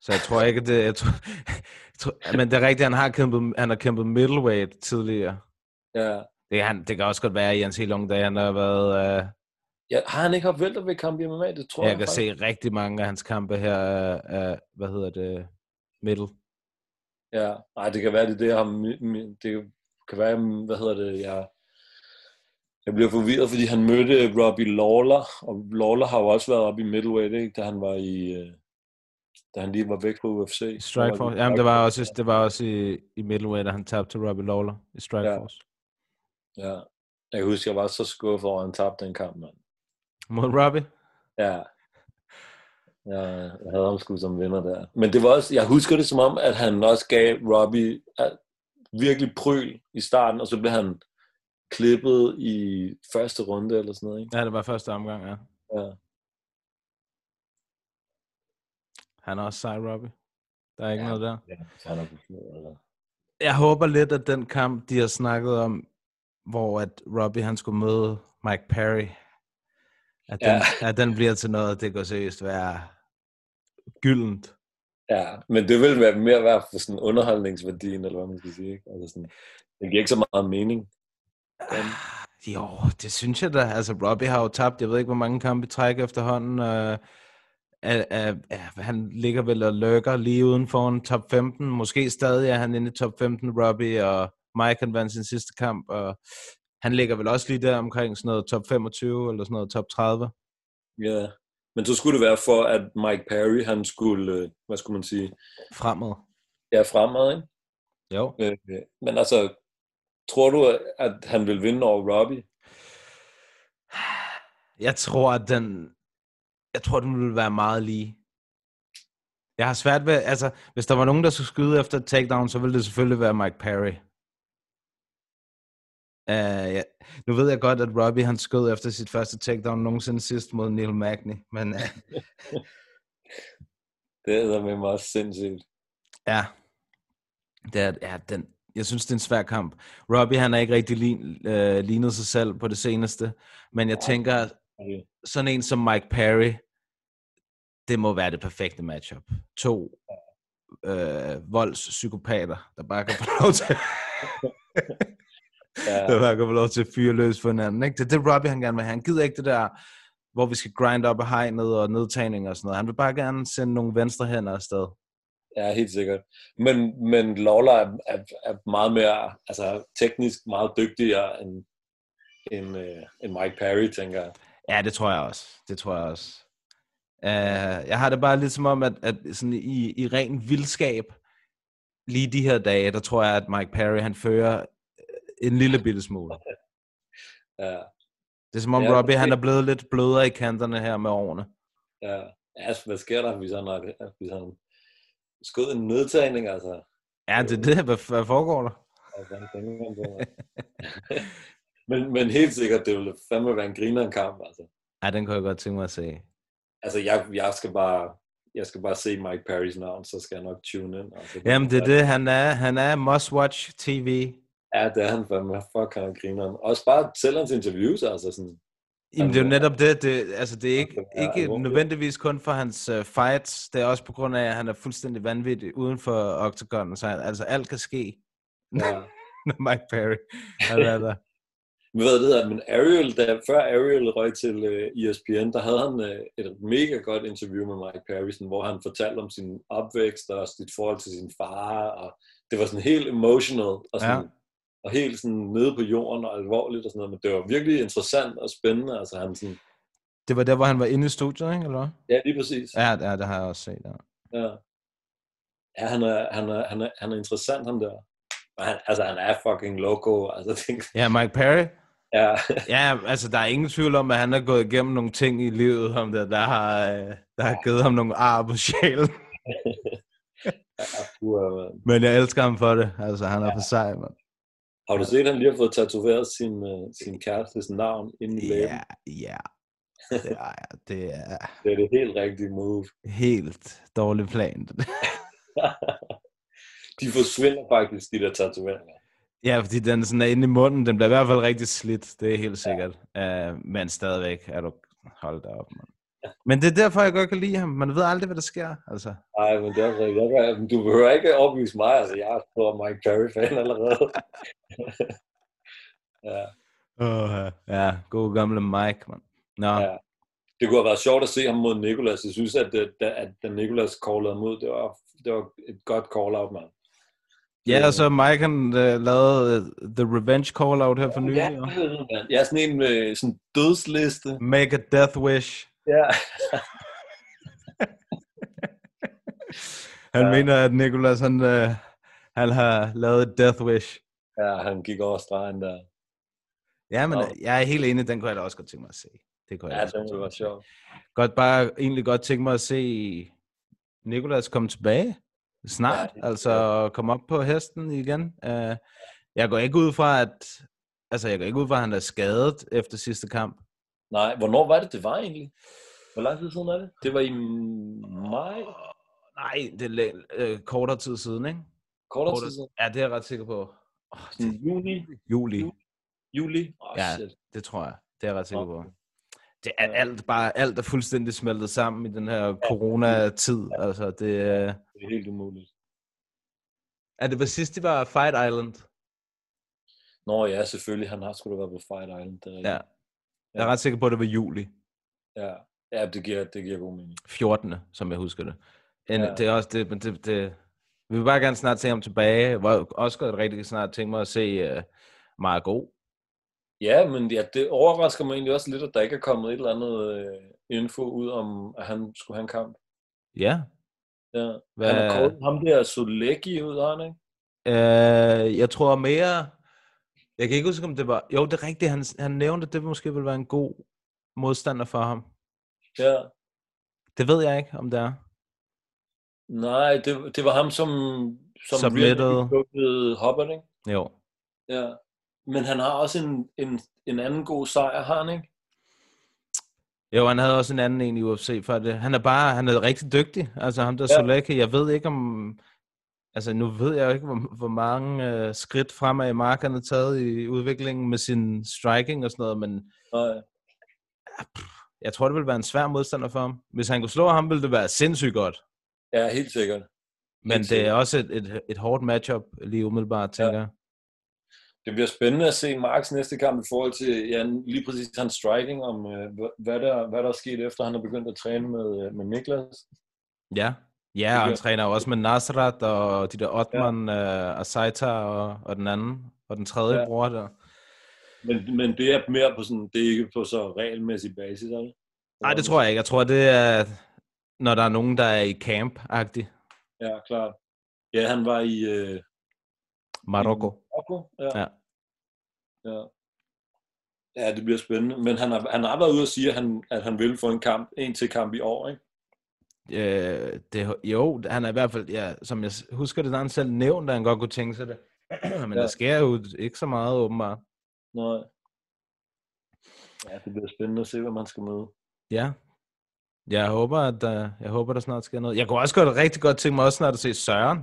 [SPEAKER 7] Så jeg tror ikke, det... Jeg tror, jeg tror, men det er rigtigt, han har kæmpet, han har kæmpet middleweight tidligere.
[SPEAKER 8] Ja.
[SPEAKER 7] Det, han, det kan også godt være, at i hans helt unge dage, han har været... Øh,
[SPEAKER 8] ja har han ikke haft væltervægt kamp i MMA? Det tror
[SPEAKER 7] jeg
[SPEAKER 8] jeg
[SPEAKER 7] kan se rigtig mange af hans kampe her af, af hvad hedder det, middle.
[SPEAKER 8] Ja, nej, det kan være, det er det, jeg har, mi- mi- det kan være, jeg- hvad hedder det, jeg, jeg bliver forvirret, fordi han mødte Robbie Lawler, og Lawler har jo også været oppe i middleweight, ikke, da han var i, øh, da han lige var væk fra UFC.
[SPEAKER 7] Strikeforce. Jamen, det var også, det var også i, i middleweight, at han tabte til Robbie Lawler i Strikeforce.
[SPEAKER 8] Ja, jeg kan huske, jeg var så skuffet over, at han tabte den kamp, mand.
[SPEAKER 7] Ja. Mod Robbie?
[SPEAKER 8] Ja. Ja, jeg havde ham sgu som vinder der. Men det var også, jeg husker det som om, at han også gav Robbie øh, virkelig pryl i starten, og så blev han klippet i første runde eller sådan noget, ikke?
[SPEAKER 7] Ja, det var første omgang, ja.
[SPEAKER 8] Ja.
[SPEAKER 7] Han er også sej, Robbie. Der er ikke ja.
[SPEAKER 8] Ja.
[SPEAKER 7] noget der.
[SPEAKER 8] Ja, han er besluttet, eller?
[SPEAKER 7] Jeg håber lidt, at den kamp, de har snakket om, hvor at Robbie han skulle møde Mike Perry, at den, ja.
[SPEAKER 8] Ja.
[SPEAKER 7] at den bliver til noget, det går seriøst være gyldent.
[SPEAKER 8] Ja, men det ville være mere værd for sådan underholdningsværdien, eller hvad man skal sige, ikke? Altså sådan, det giver ikke så meget mening.
[SPEAKER 7] Ah, Jo, det synes jeg da. Altså, Robbie har jo tabt, jeg ved ikke, hvor mange kampe i træk efterhånden. Øh, er, er, er, han ligger vel og lurker lige uden for en top 15. Måske stadig er han inde i top 15, Robbie, og Mike han vandt sin sidste kamp, og han ligger vel også lige der omkring sådan noget top 25 eller sådan noget top 30.
[SPEAKER 8] Ja, men så skulle det være for, at Mike Perry, han skulle, øh, hvad skulle man sige,
[SPEAKER 7] Fremad.
[SPEAKER 8] ja, fremad, ikke?
[SPEAKER 7] Jo.
[SPEAKER 8] Øh, øh, Men altså, tror du, at han vil vinde over Robbie?
[SPEAKER 7] Jeg tror, at den... Jeg tror, den ville være meget lige. Jeg har svært ved... Altså, hvis der var nogen, der skulle skyde efter et takedown, så ville det selvfølgelig være Mike Perry. Uh, ja. Nu ved jeg godt, at Robbie han skød efter sit første takedown nogensinde sidst mod Neil Magny, men uh,
[SPEAKER 8] Det er med mig også sindssygt.
[SPEAKER 7] ja, det er, ja den, jeg synes, det er en svær kamp. Robbie han er ikke rigtig lin, øh, lignet sig selv på det seneste, men jeg tænker,
[SPEAKER 8] Okay.
[SPEAKER 7] sådan en som Mike Perry, det må være det perfekte matchup. To øh, voldspsykopater, der bare kan få lov til,
[SPEAKER 8] Ja,
[SPEAKER 7] der bare kan få lov til at fyre løs for hinanden. Ikke? Det er det, Robbie han gerne vil have. Han gider ikke det der, hvor vi skal grind op af hegnet og nedtagning og sådan noget. Han vil bare gerne sende nogle venstre hænder afsted.
[SPEAKER 8] Ja, helt sikkert. Men, men Lawler er, er, er meget mere, altså teknisk meget dygtigere end, end, øh, end Mike Perry, tænker jeg.
[SPEAKER 7] Ja, det tror jeg også. Det tror jeg også. Uh, jeg har det bare lidt som om, at, at sådan i, i ren vildskab, lige de her dage, der tror jeg, at Mike Perry, han fører øh, en lille bitte smule.
[SPEAKER 8] Ja,
[SPEAKER 7] Det er som om
[SPEAKER 8] Ja,
[SPEAKER 7] ja, Robbie, han
[SPEAKER 8] det-
[SPEAKER 7] er blevet lidt blødere i kanterne her med årene.
[SPEAKER 8] ja. Altså, hvad sker der, hvis han, har- hvis han skød en nedtagning, altså?
[SPEAKER 7] Ja, det er det. Hvad, hvad foregår der?
[SPEAKER 8] Altså, han tænker om det, mand. men, men helt sikkert, det ville fandme være en grineren kamp, altså.
[SPEAKER 7] Ja, den kunne jeg godt tænke mig at se.
[SPEAKER 8] Altså, jeg, jeg skal bare jeg skal bare se Mike Perrys navn, så skal jeg nok tune ind. Altså,
[SPEAKER 7] Jamen, det er det. Han er, han er must-watch TV.
[SPEAKER 8] Ja, det er han fandme. Fuck, han er grineren. Også bare selv hans interviews, altså sådan.
[SPEAKER 7] Jamen, øh, det er jo
[SPEAKER 8] Altså,
[SPEAKER 7] netop det. det altså, det er ikke,
[SPEAKER 8] det er
[SPEAKER 7] ikke
[SPEAKER 8] alvorligt.
[SPEAKER 7] nødvendigvis kun for hans øh, fights. Det er også på grund af, at han er fuldstændig vanvittig uden for octagonen. Så han, altså, alt kan ske,
[SPEAKER 8] Ja.
[SPEAKER 7] når Mike Perry har været der.
[SPEAKER 8] Men hvad det hedder, men Ariel, da, før Ariel røg til uh, ESPN, der havde han uh, et mega godt interview med Mike Perry, sådan, hvor han fortalte om sin opvækst og sit forhold til sin far, og det var sådan helt emotional, og, sådan, ja. og helt sådan nede på jorden og alvorligt og sådan noget, men det var virkelig interessant og spændende, altså han sådan,
[SPEAKER 7] Det var der, hvor han var inde i studiet, ikke? Eller hvad?
[SPEAKER 8] ja, lige præcis. Ja.
[SPEAKER 7] Ja, ja, det har jeg også set. Ja.
[SPEAKER 8] Ja, han er, han er, han er, han er interessant, han der. Og han, altså, han er fucking loco, altså, tænk,
[SPEAKER 7] ja, Mike Perry.
[SPEAKER 8] ja,
[SPEAKER 7] Ja, altså, der er ingen tvivl om, at han har gået igennem nogle ting i livet, om der, der, har, øh, der har givet ham nogle ar på sjælen.
[SPEAKER 8] ja, pur, man.
[SPEAKER 7] Men jeg elsker ham for det. Altså, han er ja. for sej, mand.
[SPEAKER 8] Har du set, at han lige har fået tatoveret sin, øh, sin kærestes navn ind i læben?
[SPEAKER 7] Ja, ja. Det er, det er
[SPEAKER 8] Det er det helt rigtige move.
[SPEAKER 7] helt dårlig plan. det der.
[SPEAKER 8] De forsvinder faktisk, de der tatoveringer.
[SPEAKER 7] ja, fordi den sådan er inde i munden. Den bliver i hvert fald rigtig slidt. Det er helt sikkert. Ja. Uh, men stadigvæk er du... Hold da op, mand. Men det er derfor, jeg godt kan lide ham. Man ved aldrig, hvad der sker. Altså,
[SPEAKER 8] Nej, men det er rigtigt. Jeg kan, du behøver ikke opvise mig. Altså, jeg er stor Mike Perry-fan allerede. ja.
[SPEAKER 7] uh, ja, god gamle Mike, mand. Nå, ja.
[SPEAKER 8] Ja. Det kunne have været sjovt at se ham mod Nikolas. Jeg synes, at, det, da- at da Nikolas callede ham ud, det var, det var et godt call-out, mand.
[SPEAKER 7] ja og så Mike, han uh, lavede øh, The Revenge Call-Out her for nylig.
[SPEAKER 8] Ja,
[SPEAKER 7] Ja.
[SPEAKER 8] mand. Jeg er sådan en med sådan en dødsliste.
[SPEAKER 7] Make a death wish.
[SPEAKER 8] Ja.
[SPEAKER 7] Han ja.
[SPEAKER 8] Ja.
[SPEAKER 7] mener, at Nicolas, han, øh, han har lavet et death wish.
[SPEAKER 8] ja, han gik over stregen der.
[SPEAKER 7] Ja, men
[SPEAKER 8] Nå.
[SPEAKER 7] øh, jeg er helt enig, den kunne jeg da også godt tænke mig at se. Det kunne jeg
[SPEAKER 8] Ja,
[SPEAKER 7] da også
[SPEAKER 8] det
[SPEAKER 7] godt tænke
[SPEAKER 8] ville
[SPEAKER 7] mig
[SPEAKER 8] være
[SPEAKER 7] at se.
[SPEAKER 8] sjovt.
[SPEAKER 7] Godt bare, egentlig godt tænke mig at se Nicolas komme tilbage snart,
[SPEAKER 8] Ja,
[SPEAKER 7] ja,
[SPEAKER 8] det-
[SPEAKER 7] altså og komme op på hesten igen. Uh, jeg går ikke ud fra, at altså, jeg går ikke ud fra, at han er skadet efter sidste kamp.
[SPEAKER 8] Nej, hvornår var det, det var egentlig? Hvor lang tid siden er det? Det var i maj?
[SPEAKER 7] Nej, det er læ- øh, kortere tid siden, ikke?
[SPEAKER 8] Kortere tid
[SPEAKER 7] Kortere-
[SPEAKER 8] siden?
[SPEAKER 7] Ja, det er jeg ret sikker på. Oh, det
[SPEAKER 8] Sådan Juni?
[SPEAKER 7] juli.
[SPEAKER 8] Juli? Åh, oh,
[SPEAKER 7] Ja.
[SPEAKER 8] shit.
[SPEAKER 7] Det tror jeg. Det er jeg ret sikker på.
[SPEAKER 8] Okay.
[SPEAKER 7] Det er
[SPEAKER 8] Ja.
[SPEAKER 7] alt bare alt er fuldstændig smeltet sammen i den her coronatid. Altså det øh,
[SPEAKER 8] Det er helt umuligt.
[SPEAKER 7] er det var sidst det var Fight Island.
[SPEAKER 8] Nå ja, selvfølgelig. Han har sgu da været på Fight Island. Det er rigtigt.
[SPEAKER 7] Ja. Jeg er ret sikker på at det var juli
[SPEAKER 8] ja. Ja, det giver, det giver god mening.
[SPEAKER 7] 14. som jeg husker det. En,
[SPEAKER 8] Ja.
[SPEAKER 7] det er også det, men det, det vi vil bare gerne snart se ham tilbage. Hvor også godt rigtig snart tænke mig at se uh, Margot.
[SPEAKER 8] Ja, men ja, det overrasker mig egentlig også lidt, at der ikke er kommet et eller andet øh, info ud om, at han skulle have en kamp.
[SPEAKER 7] Ja.
[SPEAKER 8] Ja.
[SPEAKER 7] Hvad,
[SPEAKER 8] Han har kaldt ham der Solecki ud, har han ikke?
[SPEAKER 7] øh, jeg tror mere jeg kan ikke huske om det var jo det er rigtigt han han nævnte at det måske ville være en god modstander for ham.
[SPEAKER 8] Ja.
[SPEAKER 7] Det ved jeg ikke om det er.
[SPEAKER 8] Nej, det, det var ham, som, som
[SPEAKER 7] Submitted.
[SPEAKER 8] really Hobbit, ikke?
[SPEAKER 7] Jo.
[SPEAKER 8] Ja. Men han har også en, en, en anden god sejr, har han ikke?
[SPEAKER 7] Jo, han havde også en anden en i UFC før det. Han er bare, han er rigtig dygtig. Altså ham der ja.
[SPEAKER 8] Ja.
[SPEAKER 7] Solecki, jeg ved ikke om, altså nu ved jeg jo ikke, hvor, hvor mange øh, skridt fremad Mark han har taget i udviklingen med sin striking og sådan noget, men
[SPEAKER 8] Nej.
[SPEAKER 7] jeg tror, det ville være en svær modstander for ham. Hvis han kunne slå ham, ville det være sindssygt godt.
[SPEAKER 8] Ja, helt sikkert.
[SPEAKER 7] Men det er
[SPEAKER 8] sikkert.
[SPEAKER 7] også et, et, et hårdt matchup lige umiddelbart, tænker jeg.
[SPEAKER 8] Det bliver spændende at se Marks næste kamp i forhold til ja, lige præcis hans striking, om øh, hva- hvad, der, hvad der er sket efter, han er begyndt at træne med, øh, med Niklas.
[SPEAKER 7] Ja. Ja, og han
[SPEAKER 8] gør-
[SPEAKER 7] træner jo også med Nasrat og de der Otman ja. øh, og Saita og, og den anden og den tredje ja.
[SPEAKER 8] Ja.
[SPEAKER 7] bror der.
[SPEAKER 8] Men, men det er mere på sådan, det er ikke på så regelmæssig basis, eller?
[SPEAKER 7] Nej, det tror jeg ikke. Jeg tror, det er, når der er nogen, der er i camp-agtig.
[SPEAKER 8] Ja, klart. Ja, han var i øh,
[SPEAKER 7] Marokko.
[SPEAKER 8] Marokko. Ja.
[SPEAKER 7] Ja.
[SPEAKER 8] Ja. ja. Ja, det bliver spændende. Men han har, han har været ude og sige, at han, at han vil få en kamp, en til kamp i år, ikke?
[SPEAKER 7] Øh, det, jo, han er i hvert fald, ja, som jeg s- husker det, der har han selv nævnt, at han godt kunne tænke sig det. Men ja.
[SPEAKER 8] Ja.
[SPEAKER 7] der sker jo ikke så meget, åbenbart.
[SPEAKER 8] Nej. Ja, det bliver spændende at se, hvad man skal møde.
[SPEAKER 7] Ja. Jeg håber, at der, jeg håber, der snart sker noget. Jeg kunne også godt, rigtig godt tænke mig også snart at se Søren.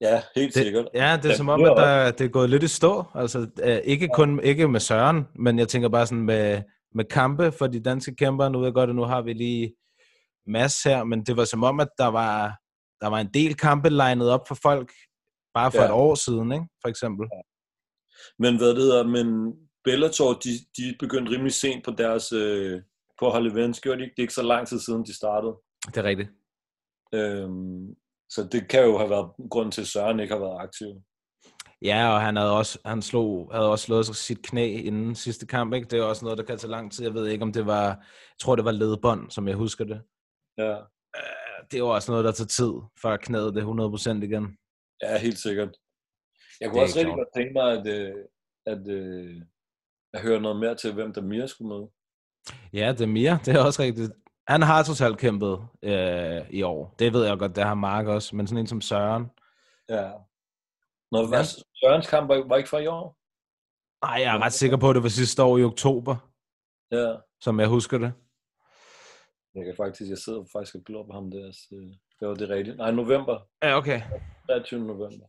[SPEAKER 8] Ja, helt det, sikkert.
[SPEAKER 7] Det, ja, det er
[SPEAKER 8] Ja,
[SPEAKER 7] som om,
[SPEAKER 8] det
[SPEAKER 7] at
[SPEAKER 8] er
[SPEAKER 7] der, det er gået lidt i stå. Altså, øh, ikke kun ikke med Søren, men jeg tænker bare sådan med, med kampe for de danske kæmper. Nu ved jeg godt, at nu har vi lige Mads her, men det var som om, at der var, der var en del kampe legnet op for folk bare for ja.
[SPEAKER 8] Ja.
[SPEAKER 7] et år siden, ikke? for eksempel.
[SPEAKER 8] Men hvad det hedder, men Bellator, de, de begyndte rimelig sent på deres, øh, på at holde events, gjorde de ikke? Det er ikke så lang tid siden, de startede.
[SPEAKER 7] Det er rigtigt.
[SPEAKER 8] Øhm, så det kan jo have været grunden til, at Søren ikke har været aktiv.
[SPEAKER 7] Ja, og han havde også, han slog, havde også slået sit knæ inden sidste kamp. Ikke? Det er også noget, der kan tage lang tid. Jeg ved ikke, om det var... Jeg tror, det var ledbånd, som jeg husker det.
[SPEAKER 8] Ja,
[SPEAKER 7] Øh, Det er jo også noget, der tager tid, før knæet det er 100% igen.
[SPEAKER 8] ja helt sikkert. Jeg
[SPEAKER 7] Det
[SPEAKER 8] kunne
[SPEAKER 7] er
[SPEAKER 8] også
[SPEAKER 7] ikke sjovt.
[SPEAKER 8] rigtig godt tænke mig, at, øh, at, øh, at høre noget mere til, hvem der mere skulle med.
[SPEAKER 7] Ja, det er Mia. Det er også rigtigt. Han har totalt kæmpet øh, i år. Det ved jeg godt, det har Mark også. Men sådan en som Søren.
[SPEAKER 8] Ja. Nå, hvad,
[SPEAKER 7] Ja.
[SPEAKER 8] Sørens kamp var, var ikke fra i år?
[SPEAKER 7] Ej, jeg er ret sikker på, at det var sidste år i oktober,
[SPEAKER 8] Ja.
[SPEAKER 7] som jeg husker det.
[SPEAKER 8] Jeg kan faktisk, jeg sidder faktisk og glor på ham der. Så øh, det var det rigtige. Nej, november.
[SPEAKER 7] Ja, okay.
[SPEAKER 8] 23. november.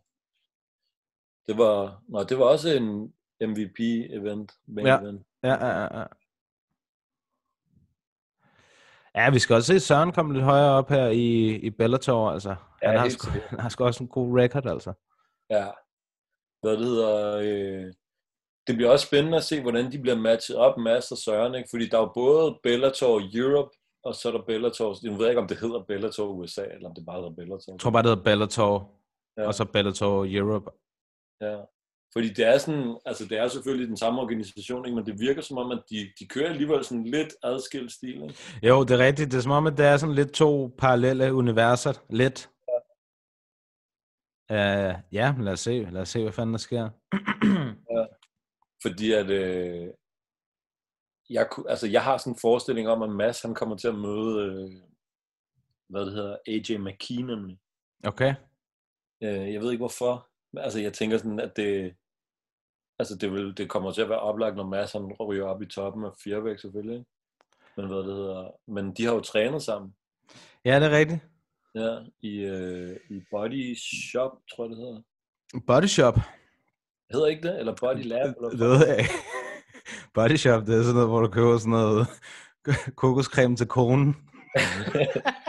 [SPEAKER 8] Det var, nej, det var også en MVP-event.
[SPEAKER 7] Ja.
[SPEAKER 8] Ja. Event.
[SPEAKER 7] Ja, ja, ja, ja. Ja, vi skal også se Søren komme lidt højere op her i, i Bellator, altså. Ja, han, har
[SPEAKER 8] helt
[SPEAKER 7] sgu,
[SPEAKER 8] sikkert.
[SPEAKER 7] han har sgu også en god record, altså.
[SPEAKER 8] Ja. Hvad det hedder... Øh, det bliver også spændende at se, hvordan de bliver matchet op, Mads og Søren, ikke? Fordi der er jo både Bellator Europe, og så er der Bellator... Nu ved jeg ikke, om det hedder Bellator USA, eller om det bare hedder Bellator.
[SPEAKER 7] Jeg tror bare, det hedder Bellator, ja.
[SPEAKER 8] Ja.
[SPEAKER 7] og så Bellator Europe.
[SPEAKER 8] Ja. Fordi det er sådan, altså det er selvfølgelig den samme organisation, ikke? men det virker som om, at de, de kører alligevel sådan lidt adskilt stil. Ikke?
[SPEAKER 7] Jo, det er rigtigt. Det er som om, at der er sådan lidt to parallelle universer. Lidt. Ja, uh, ja lad os se. Lad os se, hvad fanden der sker.
[SPEAKER 8] Fordi at, øh, jeg, ku- altså, jeg har sådan en forestilling om, at Mads han kommer til at møde, øh, hvad det hedder, AJ McKee nemlig.
[SPEAKER 7] Okay.
[SPEAKER 8] Øh, jeg ved ikke hvorfor. Men, Altså jeg tænker sådan, at det, altså, det, vil, det kommer til at være oplagt, når Mads han ryger op i toppen af fjervæk selvfølgelig. ikke? Men hvad det hedder, men de har jo trænet sammen.
[SPEAKER 7] Ja, det er rigtigt.
[SPEAKER 8] Ja, i, øh, i Body Shop, tror jeg det hedder.
[SPEAKER 7] Body Shop.
[SPEAKER 8] Hedder ikke det? Eller Body Lab? Eller
[SPEAKER 7] Det ved jeg ikke. Body Shop, det er sådan noget, hvor du køber sådan noget kokoscreme til konen.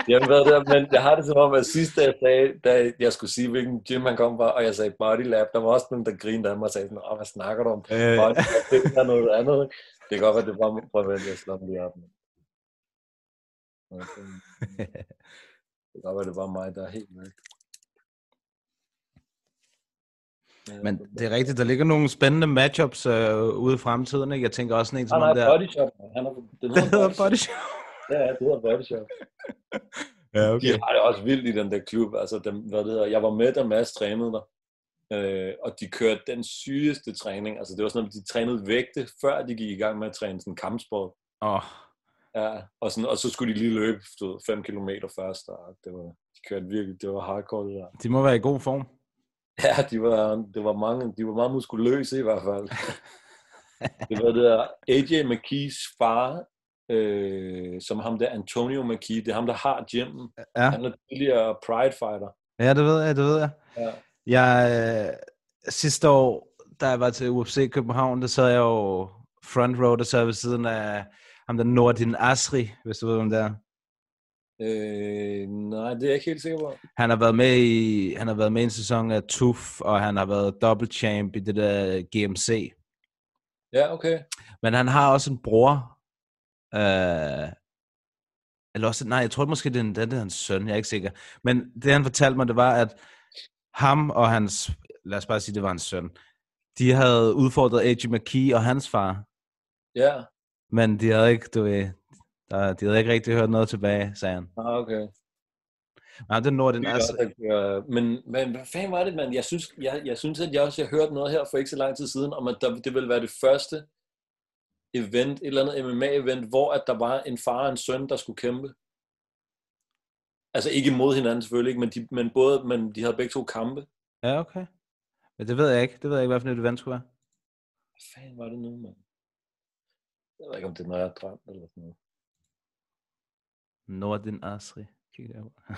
[SPEAKER 8] Jamen, hvad der, men jeg har det som om, at sidst, da jeg, sagde, da jeg skulle sige, hvilken gym han kom fra, og jeg sagde Body Lab, der var også nogen, der grinede af mig og sagde, sådan, "Åh, hvad snakker du om?
[SPEAKER 7] Øh.
[SPEAKER 8] Body Lab, det er noget andet. ikke?" Det kan godt være, det var mig. Prøv at vente, jeg slår den lige op. nu. Okay. Det kan godt være, det var mig, der er helt mørk.
[SPEAKER 7] Men det er rigtigt, der ligger nogle spændende matchups øh, ude i fremtiden. Ikke? Jeg tænker også sådan en
[SPEAKER 8] Nej,
[SPEAKER 7] som
[SPEAKER 8] nej,
[SPEAKER 7] ham der.
[SPEAKER 8] Body Shop. Han er, den
[SPEAKER 7] Det hedder
[SPEAKER 8] hedder Body
[SPEAKER 7] Body Shop.
[SPEAKER 8] Ja, ja, det hedder Body Shop.
[SPEAKER 7] Ja,
[SPEAKER 8] De har det også vildt i den der klub. Altså, dem, hvad det hedder, jeg var med, da Mads trænede der. Øh, og de kørte den sygeste træning. Altså, det var sådan, at de trænede vægte, før de gik i gang med at træne sådan kampsport.
[SPEAKER 7] Åh,
[SPEAKER 8] Ja, og, sådan, og så skulle de lige løbe 5 km først. Og det var, de kørte virkelig, det var hardcore det der.
[SPEAKER 7] de må være i god form.
[SPEAKER 8] Ja, de var, det var mange, de var meget muskuløse i hvert fald. det var det der AJ McKees far, øh, som ham der Antonio McKee, det er ham, der har gymmen.
[SPEAKER 7] Ja.
[SPEAKER 8] Han er tidligere Pride Fighter.
[SPEAKER 7] Ja, det ved jeg, det ved jeg.
[SPEAKER 8] Ja.
[SPEAKER 7] Jeg, øh, sidste år, da jeg var til UFC København, der sad jeg jo front row, der sad jeg ved siden af ham der Nordin Asri, hvis du ved, hvem det er.
[SPEAKER 8] Øh, nej, det er jeg ikke helt sikker på.
[SPEAKER 7] Han har været med i, han har været med i en sæson af TUF, og han har været double champ i det der GMC.
[SPEAKER 8] Ja, okay.
[SPEAKER 7] Men han har også en bror, øh, Eller også, nej, jeg tror måske, det er, en- det er hans søn, jeg er ikke sikker. Men det, han fortalte mig, det var, at ham og hans, lad os bare sige, det var hans søn, de havde udfordret A.G. McKee og hans far,
[SPEAKER 8] Ja,
[SPEAKER 7] men de havde ikke, du ved, der, de havde ikke rigtig hørt noget tilbage, sagde han.
[SPEAKER 8] ah, okay.
[SPEAKER 7] Nej, den når den
[SPEAKER 8] Det er
[SPEAKER 7] altså.
[SPEAKER 8] godt, at, øh, men, men hvad fanden var det, mand? Jeg synes, jeg, jeg synes, at jeg også har hørt noget her for ikke så lang tid siden, om at der, det ville være det første event, et eller andet MMA-event, hvor at der var en far og en søn, der skulle kæmpe. Altså ikke imod hinanden selvfølgelig, ikke, men, de, men, både, men de havde begge to kampe.
[SPEAKER 7] Ja, okay. Men det ved jeg ikke. Det ved jeg ikke, hvad for et event skulle være.
[SPEAKER 8] Hvad fanden var det nu, mand? Jeg ved ikke, om det er noget, jeg har drømt eller sådan noget.
[SPEAKER 7] Nordin Asri. Kig derovre.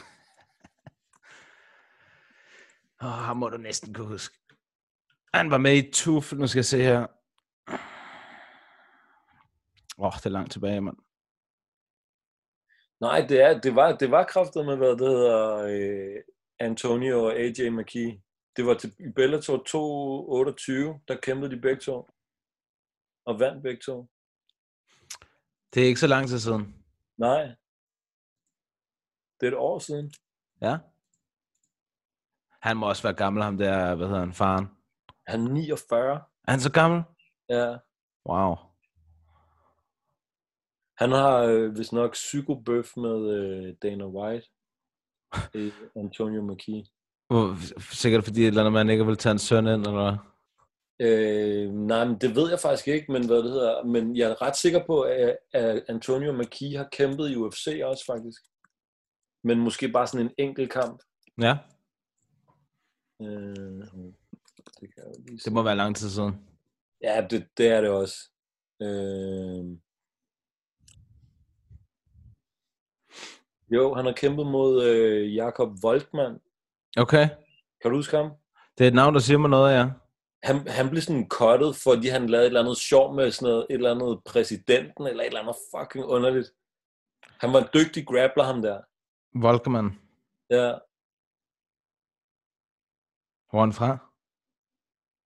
[SPEAKER 7] Åh, oh, ham må du næsten kunne huske. Han var med i Tuf. Nu skal jeg se her. Åh, oh, det er langt tilbage, mand.
[SPEAKER 8] Nej, det, er, det var, det var kraftet med, hvad det hedder, øh, Antonio og AJ McKee. Det var til i Bellator 228, der kæmpede de begge to. Og vandt begge to.
[SPEAKER 7] Det er ikke så lang tid siden.
[SPEAKER 8] Nej. Det er et år siden.
[SPEAKER 7] Ja? Han må også være gammel, ham der, hvad hedder han, faren.
[SPEAKER 8] Han er 49.
[SPEAKER 7] Er han så gammel?
[SPEAKER 8] Ja.
[SPEAKER 7] Wow.
[SPEAKER 8] Han har øh, vist nok psykobøf med øh, Dana White. Øh, Antonio McKee.
[SPEAKER 7] Hvor- Sikkert fordi, et eller andet, man ikke vil tage en søn ind, eller hvad?
[SPEAKER 8] Øh, nej, men det ved jeg faktisk ikke, men hvad det hedder. Men jeg er ret sikker på, at, at Antonio McKee har kæmpet i UFC også faktisk. Men måske bare sådan en enkelt kamp.
[SPEAKER 7] Ja,
[SPEAKER 8] Øh, det kan jeg jo lige se.
[SPEAKER 7] det må være lang tid siden.
[SPEAKER 8] Ja, det, det er det også. Øh, jo, han har kæmpet mod øh, Jakob Voltmann.
[SPEAKER 7] Okay.
[SPEAKER 8] Kan du huske ham?
[SPEAKER 7] Det er et navn, der siger mig noget, ja.
[SPEAKER 8] han, han blev sådan kottet, fordi han lavede et eller andet sjov med sådan noget, et eller andet præsidenten, eller et eller andet fucking underligt. Han var en dygtig grappler, ham der.
[SPEAKER 7] Volkermann.
[SPEAKER 8] Ja,
[SPEAKER 7] Hvor er han fra?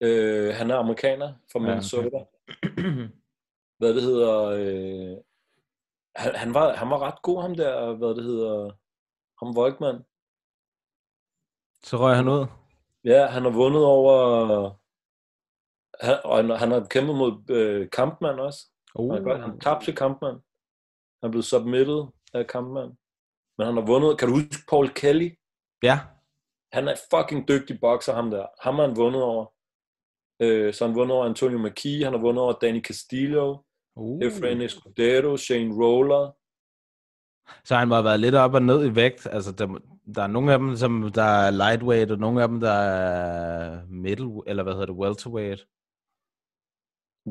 [SPEAKER 8] øh, han er amerikaner fra
[SPEAKER 7] Ja, okay.
[SPEAKER 8] Minnesota. Hvad det hedder... Øh, han, han, var, han var ret god, ham der, hvad det hedder... Ham Volkmann.
[SPEAKER 7] Så røg han ud.
[SPEAKER 8] Ja, han har vundet over... Han, og han, han har kæmpet mod øh, Kampmann også.
[SPEAKER 7] Oh.
[SPEAKER 8] Han, har godt- han tabte til Kampmann. Han blev submitted af Kampmann. Men han har vundet. Kan du huske Paul Kelly?
[SPEAKER 7] Ja.
[SPEAKER 8] Han er fucking dygtig bokser, ham der. Ham har han vundet over. Øh, så han har vundet over Antonio McKee, han har vundet over Danny Castillo, mm.
[SPEAKER 7] Uh.
[SPEAKER 8] Efrain Escudero, Shane Roller.
[SPEAKER 7] Så han må have været lidt op og ned i vægt. Altså, der, må- der er nogle af dem, som der er lightweight, og nogle af dem, der er middle, eller hvad hedder det, welterweight.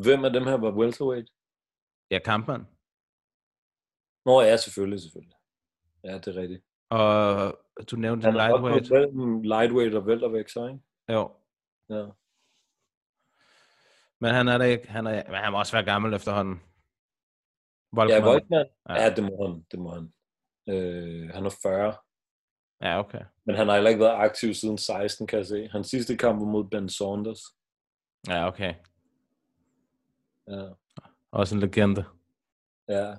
[SPEAKER 8] Hvem af dem her var welterweight?
[SPEAKER 7] Ja, kampmand.
[SPEAKER 8] Nå ja, selvfølgelig, selvfølgelig. Ja, det er rigtigt.
[SPEAKER 7] Og du nævnte
[SPEAKER 8] Han
[SPEAKER 7] han
[SPEAKER 8] er også
[SPEAKER 7] lightweight.
[SPEAKER 8] gået mellem lightweight og welterweight, så ikke?
[SPEAKER 7] Jo.
[SPEAKER 8] Ja.
[SPEAKER 7] Men han er da ikke, han er, men han må også være gammel efterhånden.
[SPEAKER 8] Ja,
[SPEAKER 7] Volkmann.
[SPEAKER 8] Volkmann.
[SPEAKER 7] Ja.
[SPEAKER 8] Ja. ja, det må han. Det må han. Øh, han er 40.
[SPEAKER 7] ja, okay.
[SPEAKER 8] Men han har heller ikke været aktiv siden 16, kan jeg se. Hans sidste kamp var mod Ben Saunders.
[SPEAKER 7] Ja, okay.
[SPEAKER 8] Ja.
[SPEAKER 7] Også en legende.
[SPEAKER 8] ja.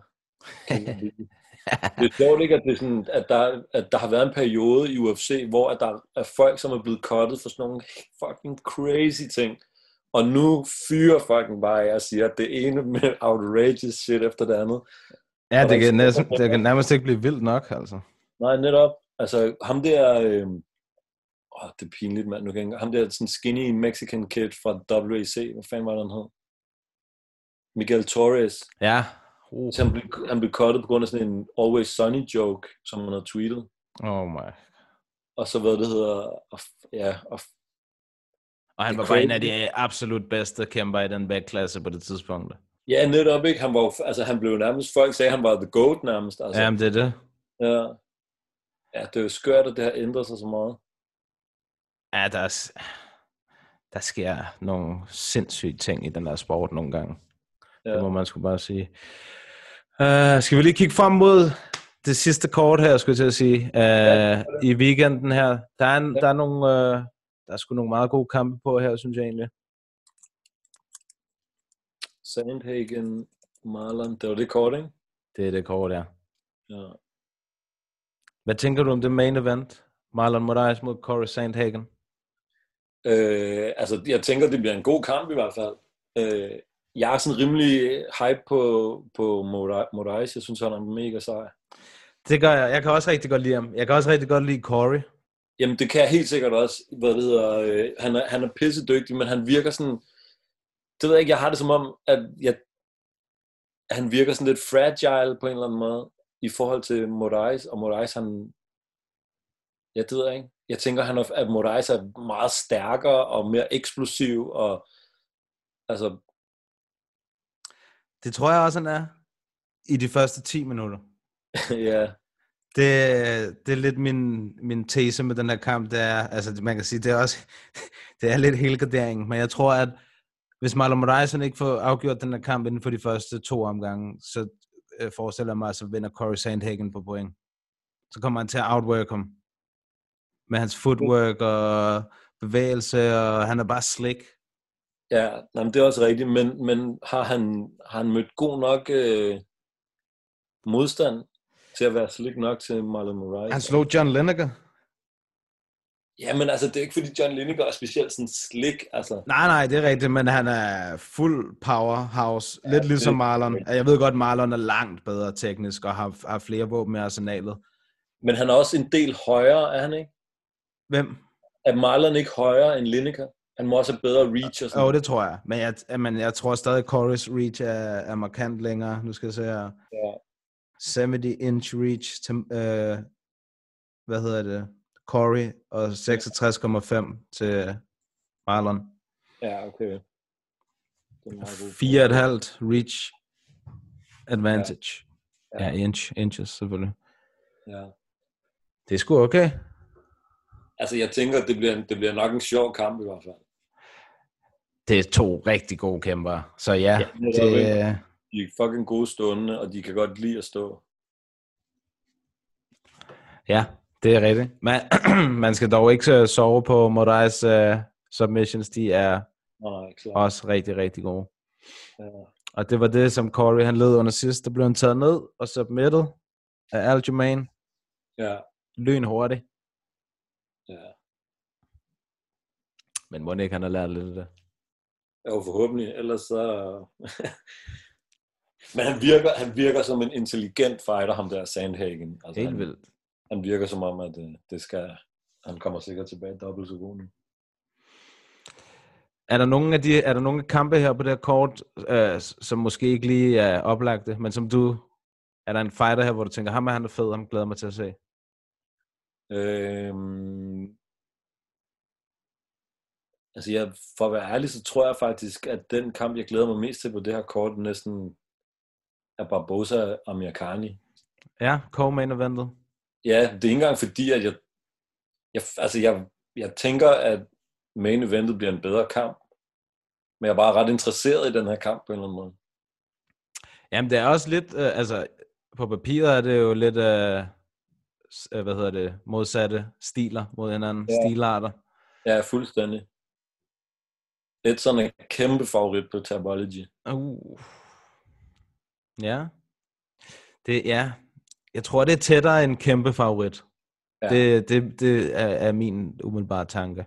[SPEAKER 8] det er sjovt ikke, at, det er sådan, at, der, at der har været en periode i UFC, hvor at der er folk, som er blevet kottet for sådan nogle fucking crazy ting. Og nu fyrer fucking bare af og siger, at det ene med outrageous shit efter det andet.
[SPEAKER 7] Ja,
[SPEAKER 8] Og
[SPEAKER 7] det
[SPEAKER 8] der-
[SPEAKER 7] kan, næsten, det kan nærmest ikke blive vildt nok, altså.
[SPEAKER 8] Nej, netop. Altså, ham der... Øh... Oh, det er pinligt, mand. Nu kan jeg... ikke engang- Ham der sådan skinny Mexican kid fra WEC. Hvad fanden var det, han hed? Miguel Torres.
[SPEAKER 7] Ja. Uh.
[SPEAKER 8] Så Han blev, han blev cuttet på grund af sådan en Always Sunny joke, som han havde tweetet.
[SPEAKER 7] Oh my
[SPEAKER 8] Og så hvad det hedder... Og, f- ja, og, f-
[SPEAKER 7] Og han
[SPEAKER 8] Det
[SPEAKER 7] var
[SPEAKER 8] er
[SPEAKER 7] bare en af
[SPEAKER 8] crazy.
[SPEAKER 7] de absolut bedste kæmper i den vægtklasse på det tidspunkt.
[SPEAKER 8] ja netop ikke. Han, var, jo- altså, han blev nærmest... Folk sagde, han var the goat nærmest. Altså.
[SPEAKER 7] Altså, Jamen, det er det.
[SPEAKER 8] ja. ja, det er jo skørt, at det har ændret sig så meget.
[SPEAKER 7] Ja, der, er, s- der sker nogle sindssyge ting i den der sport nogle gange. Ja.
[SPEAKER 8] Ja.
[SPEAKER 7] Det må man sgu bare sige. Uh, skal vi lige kigge frem mod det sidste kort her, skulle jeg til at sige. Uh,
[SPEAKER 8] Ja,
[SPEAKER 7] ja, I weekenden her. Der er, en,
[SPEAKER 8] Ja.
[SPEAKER 7] der er nogle... Uh, der er sgu nogle meget gode kampe på her, synes jeg egentlig.
[SPEAKER 8] Sandhagen, Marlon. Det var det kort, ikke?
[SPEAKER 7] Det er det kort, der.
[SPEAKER 8] Ja.
[SPEAKER 7] Hvad tænker du om det main event? Marlon Moraes mod Corey Sandhagen.
[SPEAKER 8] Øh, altså, jeg tænker, det bliver en god kamp i hvert fald. Øh, jeg er sådan rimelig hype på, på Mora- Moraes. Jeg synes, han er mega sej.
[SPEAKER 7] Det gør jeg. Jeg kan også rigtig godt lide ham. Jeg kan også rigtig godt lide Corey.
[SPEAKER 8] Jamen, det kan jeg helt sikkert også. Hvad det hedder, øh, han, er, han er pissedygtig, men han virker sådan... Det ved jeg ikke, jeg har det som om, at jeg, han virker sådan lidt fragile på en eller anden måde i forhold til Moraes, og Moraes, han... Ja, det ved jeg ikke. Jeg tænker, han er, at Moraes er meget stærkere og mere eksplosiv, og altså,
[SPEAKER 7] Det tror jeg også, han er. I de første 10 minutter.
[SPEAKER 8] ja,
[SPEAKER 7] Det, det er lidt min, min tese med den her kamp, det er, altså det- man kan sige, det er også, det er lidt helgardering, men jeg tror, at hvis Marlon Moraes han ikke får afgjort den her kamp inden for de første to omgange, så øh, forestiller jeg mig, at så vinder Corey Sandhagen på point. Så kommer han til at outwork ham. Med hans footwork og bevægelse, og han er bare slick.
[SPEAKER 8] ja nej, men det er også rigtigt, men, men har, han, har han mødt god nok øh, modstand til at være slik nok til Marlon Moraes?
[SPEAKER 7] Han slog John Lineker.
[SPEAKER 8] Ja, men altså, det er ikke fordi John Lineker er specielt sådan slik, altså.
[SPEAKER 7] Nej, nej, det er rigtigt, men han er fuld powerhouse, ja, lidt
[SPEAKER 8] det-
[SPEAKER 7] ligesom Marlon. Jeg ved godt, Marlon er langt bedre teknisk og har, har flere våben i arsenalet.
[SPEAKER 8] Men han er også en del højere, er han ikke?
[SPEAKER 7] Hvem?
[SPEAKER 8] Er Marlon ikke højere end Lineker? Han må også have bedre reach og sådan
[SPEAKER 7] Jo, oh, det tror jeg. Men jeg, men jeg tror stadig, at Corey's reach er, er markant længere. Nu skal jeg se her.
[SPEAKER 8] Ja.
[SPEAKER 7] 70-inch reach til, øh, hvad hedder det? Corey, og 66,5 til Marlon.
[SPEAKER 8] Ja, okay. Det er meget godt.
[SPEAKER 7] 4,5 reach advantage. Ja,
[SPEAKER 8] Ja.
[SPEAKER 7] ja inch, inches selvfølgelig.
[SPEAKER 8] Ja.
[SPEAKER 7] Det er sgu okay.
[SPEAKER 8] Altså, jeg tænker, det bliver, det bliver nok en sjov kamp i hvert fald.
[SPEAKER 7] Det er to rigtig gode kæmper. Så ja,
[SPEAKER 8] Ja, det er
[SPEAKER 7] det, øh,
[SPEAKER 8] De er fucking gode stående, og de kan godt lide at stå.
[SPEAKER 7] ja, det er rigtigt. Man, man skal dog ikke øh, sove på Morais uh, submissions. De er
[SPEAKER 8] Nå, nej, klart.
[SPEAKER 7] også rigtig, rigtig gode.
[SPEAKER 8] Ja.
[SPEAKER 7] Og det var det, som Corey han led under sidst. Der blev han taget ned og submitted af Aljamain.
[SPEAKER 8] Ja,
[SPEAKER 7] Lyn hurtigt.
[SPEAKER 8] ja.
[SPEAKER 7] Men må ikke, han har lært lidt af det.
[SPEAKER 8] Jo, forhåbentlig. Ellers så... Men han virker, han virker som en intelligent fighter, ham der Sandhagen. Altså,
[SPEAKER 7] Helt
[SPEAKER 8] han-
[SPEAKER 7] vildt.
[SPEAKER 8] han virker som om, at øh, det skal, han kommer sikkert tilbage dobbelt så god nu.
[SPEAKER 7] Er der nogen af de er der nogen af kampe her på det her kort, øh, som måske ikke lige er oplagte, men som du... Er der en fighter her, hvor du tænker, ham er han er fed, ham glæder jeg mig til at se?
[SPEAKER 8] Øhm, altså jeg, for at være ærlig, så tror jeg faktisk, at den kamp, jeg glæder mig mest til på det her kort, næsten er Barbosa og Mirakani.
[SPEAKER 7] Ja, co-main eventet.
[SPEAKER 8] Ja, det er ikke engang fordi, at jeg, jeg, altså jeg, jeg tænker, at main eventet bliver en bedre kamp. Men jeg er bare ret interesseret i den her kamp på en eller anden måde.
[SPEAKER 7] Jamen, det er også lidt, øh, altså, på papiret er det jo lidt, øh, s- øh, hvad hedder det, modsatte stiler mod hinanden,
[SPEAKER 8] Ja.
[SPEAKER 7] ja. stilarter.
[SPEAKER 8] Ja, fuldstændig. Lidt sådan en kæmpe favorit på Tabology.
[SPEAKER 7] Uh. Ja. Det, ja. Jeg tror, det er tættere en kæmpe favorit. Ja.
[SPEAKER 8] Ja.
[SPEAKER 7] Det, det, det er, er min umiddelbare tanke.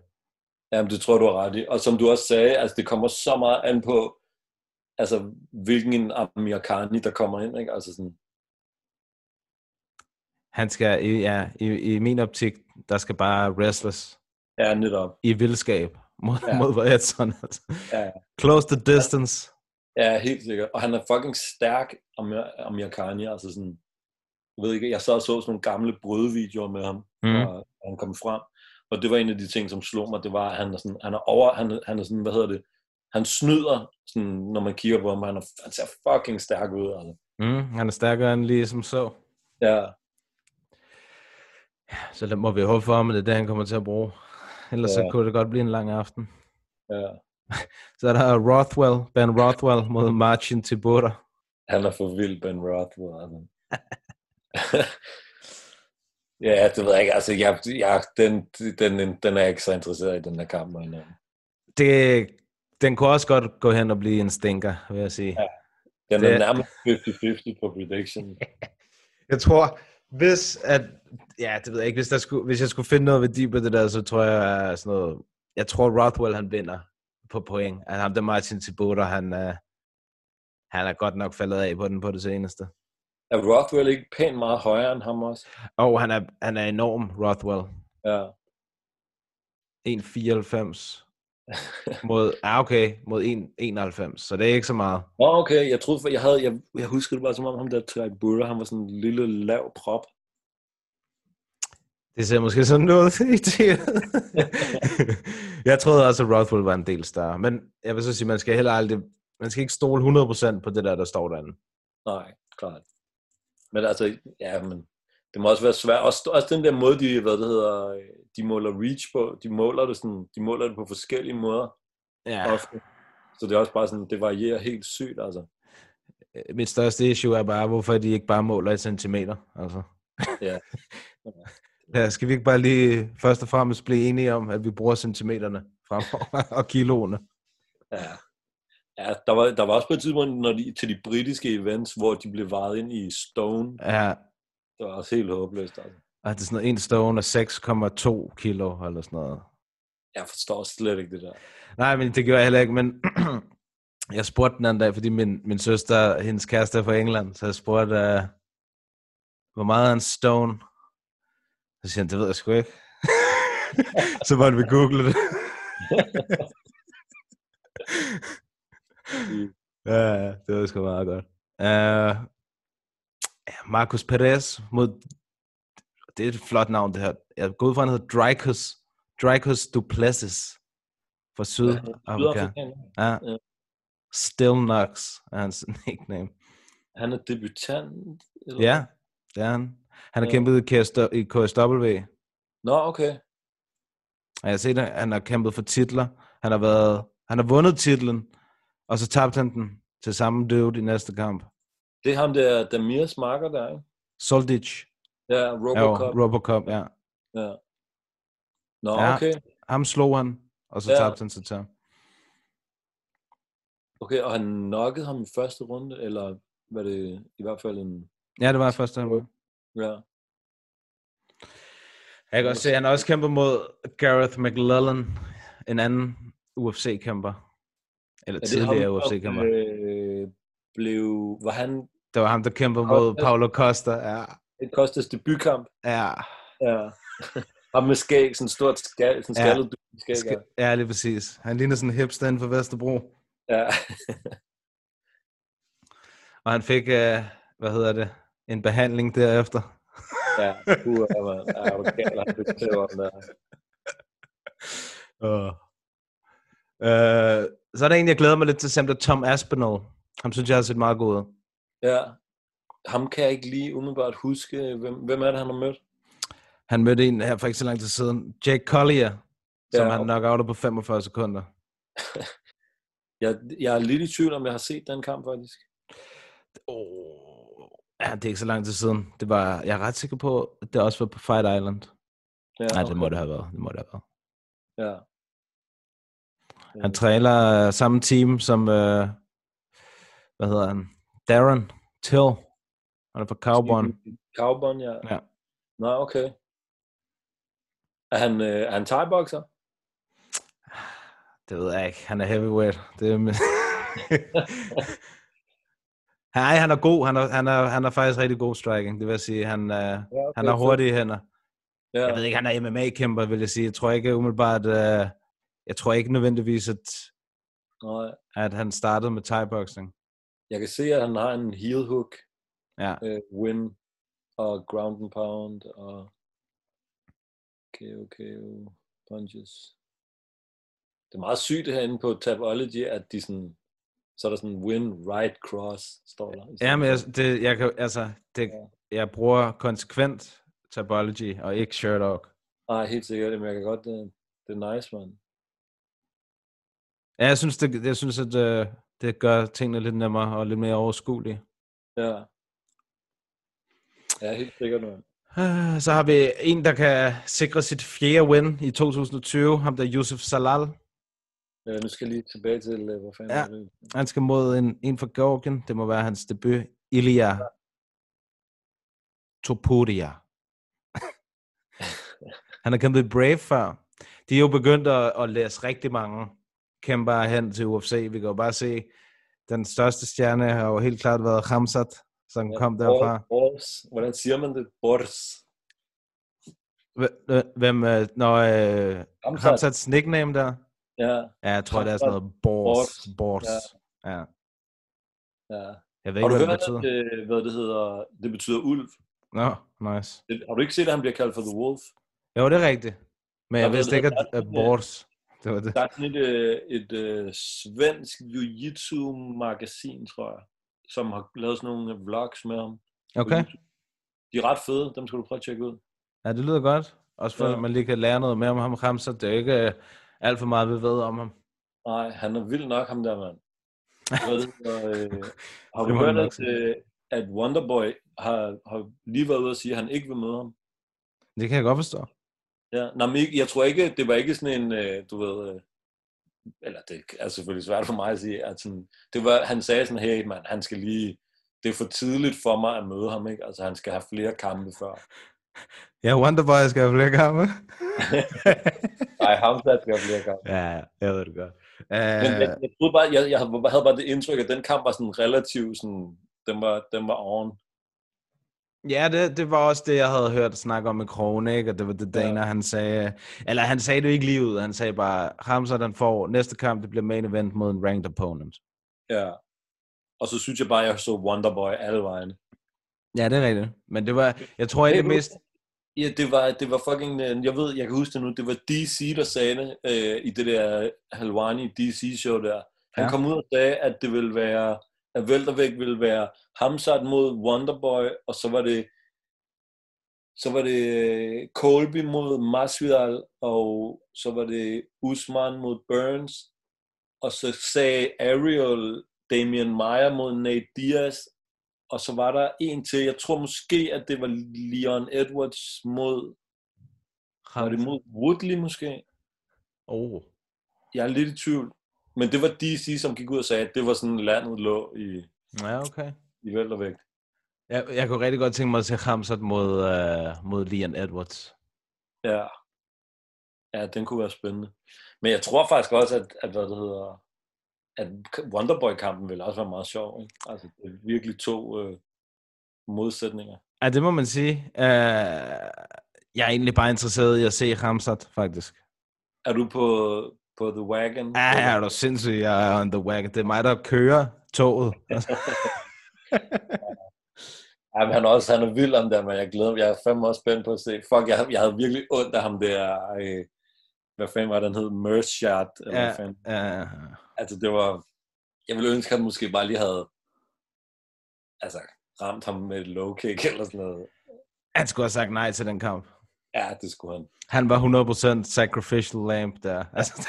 [SPEAKER 8] Jamen, det tror du har ret i. Og som du også sagde, altså, det kommer så meget an på, altså, hvilken en Amir Khani, der kommer ind. Ikke? Altså, sådan,
[SPEAKER 7] Han skal, i- ja, i, i min optik, der skal bare wrestles
[SPEAKER 8] ja, netop.
[SPEAKER 7] i vildskab mod,
[SPEAKER 8] Ja.
[SPEAKER 7] ja. mod Edson. Altså.
[SPEAKER 8] Ja.
[SPEAKER 7] Close the distance.
[SPEAKER 8] Ja, helt sikkert. Og han er fucking stærk, Amir, Amir Khani. Altså, sådan, jeg ved ikke, jeg sad og så sådan nogle gamle brødvideoer med ham,
[SPEAKER 7] Mm.
[SPEAKER 8] mm. og han kom frem. Og det var en af de ting, som slog mig, det var, at han er sådan, han er over, han, er- han er sådan, hvad hedder det, han snyder, sådan, når man kigger på ham, han, er, han ser fucking stærk ud, altså.
[SPEAKER 7] Mm, han er stærkere end lige som så.
[SPEAKER 8] Ja,
[SPEAKER 7] Så det må vi håbe for ham, at det er det, han kommer til at bruge. Ellers ja.
[SPEAKER 8] Ja.
[SPEAKER 7] så kunne det godt blive en lang aften.
[SPEAKER 8] ja.
[SPEAKER 7] Så er der Rothwell, Ben Rothwell mod Martin Tibura.
[SPEAKER 8] Han er for vild, Ben Rothwell. Altså. ja, det ved jeg ikke. Altså, jeg, jeg, den, den, den er jeg ikke så interesseret i, den der kamp. Men, øh,
[SPEAKER 7] Det, den kunne også godt gå hen og blive en stinker, vil jeg sige.
[SPEAKER 8] den
[SPEAKER 7] Det-
[SPEAKER 8] er nærmest 50-50 på prediction.
[SPEAKER 7] Jeg tror, Hvis at, ja, det ved jeg ikke, hvis, der skulle, hvis jeg skulle finde noget værdi på det der, så tror jeg er sådan noget, jeg tror Rothwell han vinder på point. At ham der Martin Thibodeau, han, øh, han er godt nok faldet af på den på det seneste.
[SPEAKER 8] Er Rothwell ikke pænt meget højere end ham også?
[SPEAKER 7] Og han er, han er enorm, Rothwell.
[SPEAKER 8] Ja.
[SPEAKER 7] 1,94 mod, ah, okay, mod 1,91, så det er ikke så meget.
[SPEAKER 8] Nå, okay, jeg troede, for jeg, havde, jeg, jeg husker det bare som om ham der Trey Burra, han var sådan en lille lav prop.
[SPEAKER 7] Det ser måske sådan noget i det. jeg troede også, at Rothwell var en del større. Men jeg vil så sige, man skal heller aldrig... Man skal ikke stole 100% på det der, der står derinde.
[SPEAKER 8] Nej, klart. Men altså, ja, men det må også være svært. Også, også den der måde, de, hvad det hedder, øh, de måler reach på, de måler det, sådan, de måler det på forskellige måder. Ja. Ofte. Så det er også bare sådan, det varierer helt sygt, altså.
[SPEAKER 7] Øh, Mit største issue er bare, hvorfor de ikke bare måler i centimeter. Altså.
[SPEAKER 8] Ja.
[SPEAKER 7] ja. Skal vi ikke bare lige først og fremmest blive enige om, at vi bruger centimeterne fremover og kiloene?
[SPEAKER 8] Ja. Ja, der var, der var også på et tidspunkt når de, til de britiske events, hvor de blev varet ind i stone.
[SPEAKER 7] Ja,
[SPEAKER 8] Det var også helt håbløst. Altså.
[SPEAKER 7] og det er sådan noget, en stone er 6,2 kilo eller sådan noget.
[SPEAKER 8] Jeg forstår slet ikke det der.
[SPEAKER 7] Nej, men det gjorde jeg heller ikke, men jeg spurgte den anden dag, fordi min, min søster, hendes kæreste er fra England, så jeg spurgte, uh, hvor meget er en stone? Så siger han, det ved jeg sgu ikke. så måtte vi google det. ja, ja, det var sgu meget godt. Uh, Marcus Perez mod, det er et flot navn det her, jeg går ud fra, han hedder Dreykus, Dreykus Duplessis fra Sydafrika.
[SPEAKER 8] Sydafrikaner.
[SPEAKER 7] Ja.
[SPEAKER 8] Ja.
[SPEAKER 7] Still Knox er hans nickname.
[SPEAKER 8] Han er debutant? Eller?
[SPEAKER 7] Ja, det er han. Han har
[SPEAKER 8] Ja.
[SPEAKER 7] kæmpet i KSW, i KSW,
[SPEAKER 8] Nå, okay.
[SPEAKER 7] og jeg har set, at han har kæmpet for titler. Han har, været, han har vundet titlen, og så tabte han den til samme dude i næste kamp.
[SPEAKER 8] Det er ham der, Damirs marker der, ikke?
[SPEAKER 7] Soldic.
[SPEAKER 8] Ja, Robocop.
[SPEAKER 7] Ja, Robocop, ja.
[SPEAKER 8] Ja. Nå,
[SPEAKER 7] Ja.
[SPEAKER 8] okay.
[SPEAKER 7] Ham slog han, og så
[SPEAKER 8] Ja.
[SPEAKER 7] ja. tabte han til Tam.
[SPEAKER 8] Okay, og han knockede ham i første runde, eller var det i hvert fald en...
[SPEAKER 7] Ja, det var første han var.
[SPEAKER 8] Ja,
[SPEAKER 7] Jeg kan også se, at han har også kæmpet mod Gareth McLellan, en anden UFC-kæmper. Eller
[SPEAKER 8] Er det
[SPEAKER 7] tidligere
[SPEAKER 8] ham, der øh,
[SPEAKER 7] UFC-kæmper.
[SPEAKER 8] blev- Blev, var han
[SPEAKER 7] Det var ham, der kæmpede
[SPEAKER 8] Costa.
[SPEAKER 7] mod Paulo Costa. Ja,
[SPEAKER 8] et Kostas debutkamp?
[SPEAKER 7] ja.
[SPEAKER 8] Ja. Og med skæg, sådan et stort skal, sådan
[SPEAKER 7] Ja.
[SPEAKER 8] skaldet du med skæg.
[SPEAKER 7] Skal, ja, lige præcis. Han ligner sådan en hipster inden for Vesterbro.
[SPEAKER 8] Ja.
[SPEAKER 7] Og han fik, øh, hvad hedder det, en behandling derefter.
[SPEAKER 8] ja, uh, man. Ja, hvor galt han beskriver den der.
[SPEAKER 7] Uh. Øh, så er der en, jeg glæder mig lidt til, simpelthen Tom Aspinall. Ham synes jeg har set meget god ud.
[SPEAKER 8] Ja. Ham kan jeg ikke lige umiddelbart huske. Hvem, hvem er det, han har mødt?
[SPEAKER 7] Han mødte en her for ikke så lang tid siden, Jake Collier, som
[SPEAKER 8] Ja.
[SPEAKER 7] han nok outer på 45 sekunder.
[SPEAKER 8] Jeg, jeg er lidt i tvivl om, jeg har set den kamp, faktisk.
[SPEAKER 7] Oh. Ja, det er ikke så lang tid siden. Det var, jeg er ret sikker på, at det også var på Fight Island.
[SPEAKER 8] Ja,
[SPEAKER 7] Nej, det
[SPEAKER 8] okay.
[SPEAKER 7] må det have været. Det må det have været.
[SPEAKER 8] Ja.
[SPEAKER 7] Han træner øh, samme team som, øh, hvad hedder han? Darren Till. Han er fra Cowboy.
[SPEAKER 8] Cowbon, ja.
[SPEAKER 7] Ja.
[SPEAKER 8] Nå, okay. Er han, øh, er han thai-bokser?
[SPEAKER 7] Det ved jeg ikke. Han er heavyweight. Det er... Nej, han er god. Han er, han, er, han er faktisk rigtig god striking. Det vil jeg sige, han, øh,
[SPEAKER 8] Ja, okay,
[SPEAKER 7] han har
[SPEAKER 8] så-
[SPEAKER 7] hurtige hænder.
[SPEAKER 8] Ja.
[SPEAKER 7] Jeg ved ikke, han er MMA-kæmper, vil jeg sige. Jeg tror ikke umiddelbart, øh, jeg tror ikke nødvendigvis, at,
[SPEAKER 8] Nej.
[SPEAKER 7] at han startede med thai-boxing.
[SPEAKER 8] Jeg kan se, at han har en heel hook,
[SPEAKER 7] Ja.
[SPEAKER 8] øh, win og ground and pound og KO, KO, punches. Det er meget sygt herinde på Tapology, at de sådan, så er der sådan win, right, cross, står der.
[SPEAKER 7] Ja, men jeg, det, jeg kan, altså, det, jeg bruger konsekvent Tabology og ikke Sherlock.
[SPEAKER 8] Nej, Ah, helt sikkert, men jeg kan godt, det, det er nice, man.
[SPEAKER 7] Ja, jeg synes, det, jeg synes at øh, det gør tingene lidt nemmere og lidt mere overskuelige.
[SPEAKER 8] Ja. Ja, helt sikkert, man.
[SPEAKER 7] Øh, Så har vi en, der kan sikre sit fjerde win i 2020, ham der Yusuf Salal.
[SPEAKER 8] Øh, nu skal jeg lige tilbage til, øh, hvor fanden
[SPEAKER 7] Ja.
[SPEAKER 8] er det?
[SPEAKER 7] Han skal mod en, en fra Georgien. Det må være hans debut, Ilya Topodia. han har kæmpet i Brave før. De er jo begyndt at, at læse rigtig mange kæmpere hen til UFC. Vi kan jo bare se, den største stjerne har jo helt klart været Hamzat, som ja, kom derfra.
[SPEAKER 8] Bors. Hvordan siger man det? Bors.
[SPEAKER 7] Hv- Hvem, øh, når øh,
[SPEAKER 8] Hamzat.
[SPEAKER 7] Hamzats nickname der?
[SPEAKER 8] Ja,
[SPEAKER 7] Ja, jeg tror, det er sådan noget
[SPEAKER 8] Bors.
[SPEAKER 7] Bors. Bors. Ja. ja.
[SPEAKER 8] ja.
[SPEAKER 7] Jeg ved
[SPEAKER 8] Har
[SPEAKER 7] ikke,
[SPEAKER 8] du
[SPEAKER 7] hvad det
[SPEAKER 8] hørt,
[SPEAKER 7] betyder.
[SPEAKER 8] at, øh, hvad det hedder? Det betyder ulv.
[SPEAKER 7] Nå, nice.
[SPEAKER 8] Det, har du ikke set, at han bliver kaldt for The Wolf?
[SPEAKER 7] Jo, det er rigtigt. Men jeg
[SPEAKER 8] ved
[SPEAKER 7] vidste
[SPEAKER 8] du,
[SPEAKER 7] ikke,
[SPEAKER 8] der
[SPEAKER 7] at,
[SPEAKER 8] er
[SPEAKER 7] at
[SPEAKER 8] sådan, øh,
[SPEAKER 7] Bors... Det var det.
[SPEAKER 8] Der er sådan et, øh, et øh, svensk jiu-jitsu-magasin, tror jeg, som har lavet sådan nogle vlogs med ham. på
[SPEAKER 7] Okay.
[SPEAKER 8] YouTube. De er ret fede, dem skal du prøve at tjekke ud.
[SPEAKER 7] Ja, det lyder godt. Også for,
[SPEAKER 8] Ja.
[SPEAKER 7] at man lige kan lære noget mere om ham. Hamza, det er jo ikke øh, alt for meget, vi ved om ham.
[SPEAKER 8] Nej, han er vild nok, ham der mand. Hvad er det, for, øh, har
[SPEAKER 7] Det
[SPEAKER 8] du
[SPEAKER 7] må han
[SPEAKER 8] hørt,
[SPEAKER 7] nok
[SPEAKER 8] at, øh, at Wonderboy har, har lige været ude at sige, at han ikke vil møde ham?
[SPEAKER 7] Det kan jeg godt forstå.
[SPEAKER 8] Ja, nej, men ikke- jeg tror ikke, det var ikke sådan en, øh, du ved, øh, eller det er selvfølgelig svært for mig at sige, at sådan, det var, han sagde sådan, hey mand, han skal lige, det er for tidligt for mig at møde ham, ikke? Altså, han skal have flere kampe før.
[SPEAKER 7] Ja, Wonderboy skal have flere kampe.
[SPEAKER 8] Nej, ham der skal have flere kampe.
[SPEAKER 7] ja, ja, jeg ved det godt.
[SPEAKER 8] Men jeg,
[SPEAKER 7] Uh,
[SPEAKER 8] jeg, troede bare, jeg, jeg havde bare det indtryk, at den kamp var sådan relativt sådan, den var, den var oven.
[SPEAKER 7] Øh, ja, det, det var også det, jeg havde hørt snakke om i krogen, ikke? Og det var det
[SPEAKER 8] Ja.
[SPEAKER 7] Dana, han sagde... Eller han sagde det jo ikke lige ud. Han sagde bare, Hamza, den får næste kamp, det bliver main event mod en ranked opponent.
[SPEAKER 8] Ja. Og så synes jeg bare, at jeg så Wonderboy alle vejen.
[SPEAKER 7] Ja, det er rigtigt. Men det var... Jeg tror
[SPEAKER 8] Hey,
[SPEAKER 7] ikke det
[SPEAKER 8] du-
[SPEAKER 7] mest...
[SPEAKER 8] Ja, det var, det var fucking, øh, jeg ved, jeg kan huske det nu, det var DC, der sagde det øh, i det der Halwani DC-show der. Han
[SPEAKER 7] Ja.
[SPEAKER 8] ja. kom ud og sagde, at det ville være, at Veltervæk ville være Hamzat mod Wonderboy, og så var det, så var det øh, Colby mod Masvidal, og så var det Usman mod Burns, og så sagde Ariel Damian Meyer mod Nate Diaz, og så var der en til, jeg tror måske, at det var Leon Edwards mod, var det mod Woodley måske?
[SPEAKER 7] Oh.
[SPEAKER 8] Jeg er lidt i tvivl. Men det var DC, som gik ud og sagde, at det var sådan, landet lå i,
[SPEAKER 7] Ja, okay.
[SPEAKER 8] i væltervægt.
[SPEAKER 7] Jeg, jeg kunne rigtig godt tænke mig at se Hamzat mod, uh, mod Leon Edwards.
[SPEAKER 8] Ja. Ja, den kunne være spændende. Men jeg tror faktisk også, at, at hvad det hedder, at Wonderboy-kampen ville også være meget sjov. Ikke? Altså, det er virkelig to øh, modsætninger.
[SPEAKER 7] Ja, det må man sige. Uh, jeg er egentlig bare interesseret i at se Hamzat, faktisk.
[SPEAKER 8] Er du på, på The Wagon?
[SPEAKER 7] Ja, ja, er du sindssyg, jeg er on the wagon. Det er mig, der kører toget. Altså,
[SPEAKER 8] Ja, men han er også han er vild om det, men jeg glæder mig. Jeg er fandme også spændt på at se. Fuck, jeg, jeg havde virkelig ondt af ham der. Øh, hvad fanden var den hed? Merchat? Eller
[SPEAKER 7] Ja.
[SPEAKER 8] hvad fanden?
[SPEAKER 7] uh,
[SPEAKER 8] Altså, det var... Jeg ville ønske, at han måske bare lige havde altså, ramt ham med et low kick eller sådan noget.
[SPEAKER 7] han skulle have sagt nej til den kamp.
[SPEAKER 8] Ja, det skulle han.
[SPEAKER 7] Han var 100% sacrificial lamb der. Altså,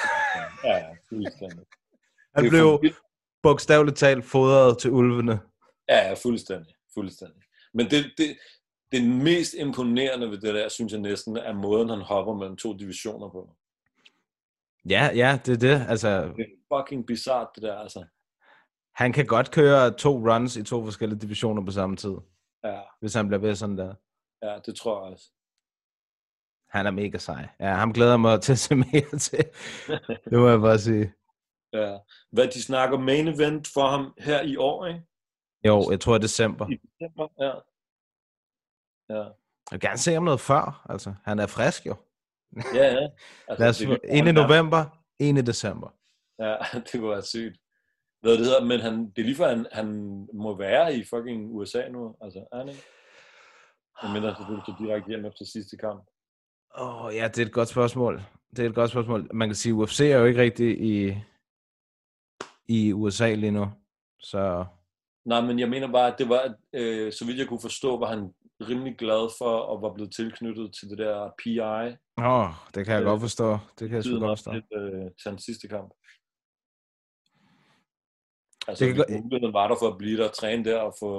[SPEAKER 8] Ja, ja, fuldstændig.
[SPEAKER 7] han
[SPEAKER 8] Det er
[SPEAKER 7] blev
[SPEAKER 8] for vildt.
[SPEAKER 7] bogstaveligt talt fodret til ulvene.
[SPEAKER 8] Ja, ja, fuldstændig. Fuldstændig. Men det, det, det mest imponerende ved det der, synes jeg næsten, er måden, han hopper mellem to divisioner på.
[SPEAKER 7] Ja, ja, det er det. Altså,
[SPEAKER 8] Det er fucking bizart, det der, altså.
[SPEAKER 7] han kan godt køre to runs i to forskellige divisioner på samme tid,
[SPEAKER 8] Ja,
[SPEAKER 7] hvis han bliver ved sådan der.
[SPEAKER 8] ja det tror jeg også.
[SPEAKER 7] Han er mega sej. Ja, ham glæder jeg mig til at se mere til. Det må jeg bare sige.
[SPEAKER 8] Ja. Hvad de snakker main event for ham her i år, ikke?
[SPEAKER 7] Jo, jeg tror i december.
[SPEAKER 8] I december, ja. Ja,
[SPEAKER 7] Jeg vil gerne se ham noget før. Altså, han er frisk jo.
[SPEAKER 8] ja. ja. Altså,
[SPEAKER 7] Lad os,
[SPEAKER 8] det kunne
[SPEAKER 7] en i
[SPEAKER 8] være-
[SPEAKER 7] november, en i december.
[SPEAKER 8] Ja, det kunne være sygt. Hvad det hedder, men han, det er lige før, han, han må være i fucking USA nu, altså, er han ikke? Jeg mener, selvfølgelig så direkte hjem efter sidste kamp.
[SPEAKER 7] Åh, oh, ja, det er et godt spørgsmål. Det er et godt spørgsmål. Man kan sige, at UFC er jo ikke rigtig i, i USA lige nu. Så
[SPEAKER 8] Nej, men jeg mener bare, at det var, øh, så vidt jeg kunne forstå, var han rimelig glad for, og var blevet tilknyttet til det der PI,
[SPEAKER 7] Åh, oh, det kan jeg
[SPEAKER 8] Øh,
[SPEAKER 7] godt forstå. Det kan jeg sgu
[SPEAKER 8] tiden
[SPEAKER 7] godt
[SPEAKER 8] også
[SPEAKER 7] forstå.
[SPEAKER 8] lidt øh, til hans sidste kamp. Altså,
[SPEAKER 7] Det kan
[SPEAKER 8] det
[SPEAKER 7] godt-
[SPEAKER 8] muligheden var der for at blive der og træne der og få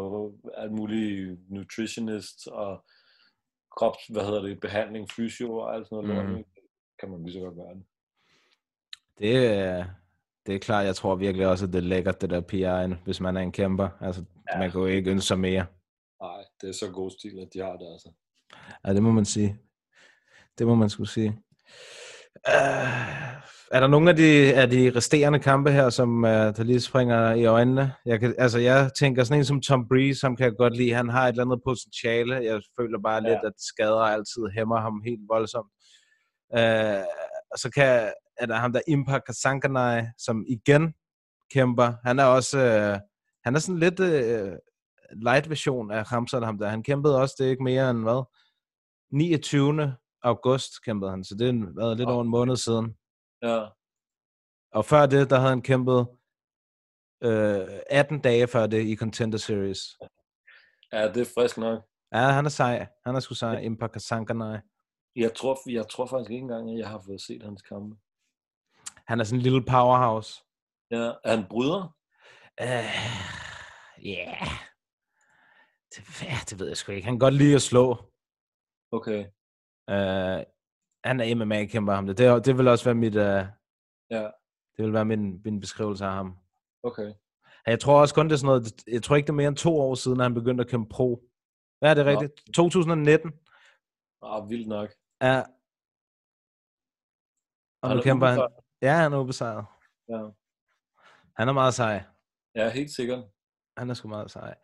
[SPEAKER 8] alt muligt nutritionist og krops, hvad hedder det, behandling, fysio og alt sådan noget.
[SPEAKER 7] Mhm.
[SPEAKER 8] Mm. Lort, ikke? kan man lige så godt gøre det.
[SPEAKER 7] Det, er- det er klart, jeg tror virkelig også, at det er lækkert, det der PI'en, hvis man er en kæmper. Altså, ja. man kan jo ikke ønske sig mere.
[SPEAKER 8] Nej, det er så god stil, at de har det altså.
[SPEAKER 7] Ja, det må man sige. Det må man skulle sige. Uh, er der nogle af de, af de resterende kampe her, som uh, der lige springer i øjnene? Jeg, kan, altså, jeg tænker sådan en som Tom Breeze, som kan jeg godt lide. Han har et eller andet potentiale. Jeg føler bare ja. lidt, at skader altid hæmmer ham helt voldsomt. Uh, og så kan, er der ham der Impa Kasankanai, som igen kæmper. Han er også uh, han er sådan lidt uh, light version af Hamzat ham der. Han kæmpede også, det er ikke mere end hvad? 29. august kæmpede han, så det har været lidt
[SPEAKER 8] Nå.
[SPEAKER 7] over en måned siden.
[SPEAKER 8] Ja.
[SPEAKER 7] Og før det, der havde han kæmpet øh, 18 dage før det i Contender Series.
[SPEAKER 8] ja, det er frisk nok.
[SPEAKER 7] Ja, han er sej. Han er sgu sej. Impa Kasankanai.
[SPEAKER 8] Jeg tror, jeg tror faktisk ikke engang, at jeg har fået set hans kampe.
[SPEAKER 7] Han er sådan en lille powerhouse.
[SPEAKER 8] Ja, er han bryder?
[SPEAKER 7] Øh, Ja. Uh, yeah. det, ja, det ved jeg sgu ikke. Han kan godt lide at slå.
[SPEAKER 8] Okay,
[SPEAKER 7] Uh, han er MMA-kæmper, ham. der. Det, er- det vil også være mit... Uh,
[SPEAKER 8] Ja.
[SPEAKER 7] Det vil være min, min beskrivelse af ham.
[SPEAKER 8] okay.
[SPEAKER 7] Jeg tror også kun, det er sådan noget... Jeg tror ikke, det er mere end to år siden, at han begyndte at kæmpe pro. Ja, det er
[SPEAKER 8] Nå.
[SPEAKER 7] rigtigt. 2019.
[SPEAKER 8] Ah, vildt nok.
[SPEAKER 7] Ja. Og
[SPEAKER 8] Han
[SPEAKER 7] nu
[SPEAKER 8] er
[SPEAKER 7] kæmper han.
[SPEAKER 8] ubesejret.
[SPEAKER 7] Ja, han er ubesejret.
[SPEAKER 8] Ja.
[SPEAKER 7] Han er meget sej.
[SPEAKER 8] ja, helt sikkert.
[SPEAKER 7] Han er sgu meget sej.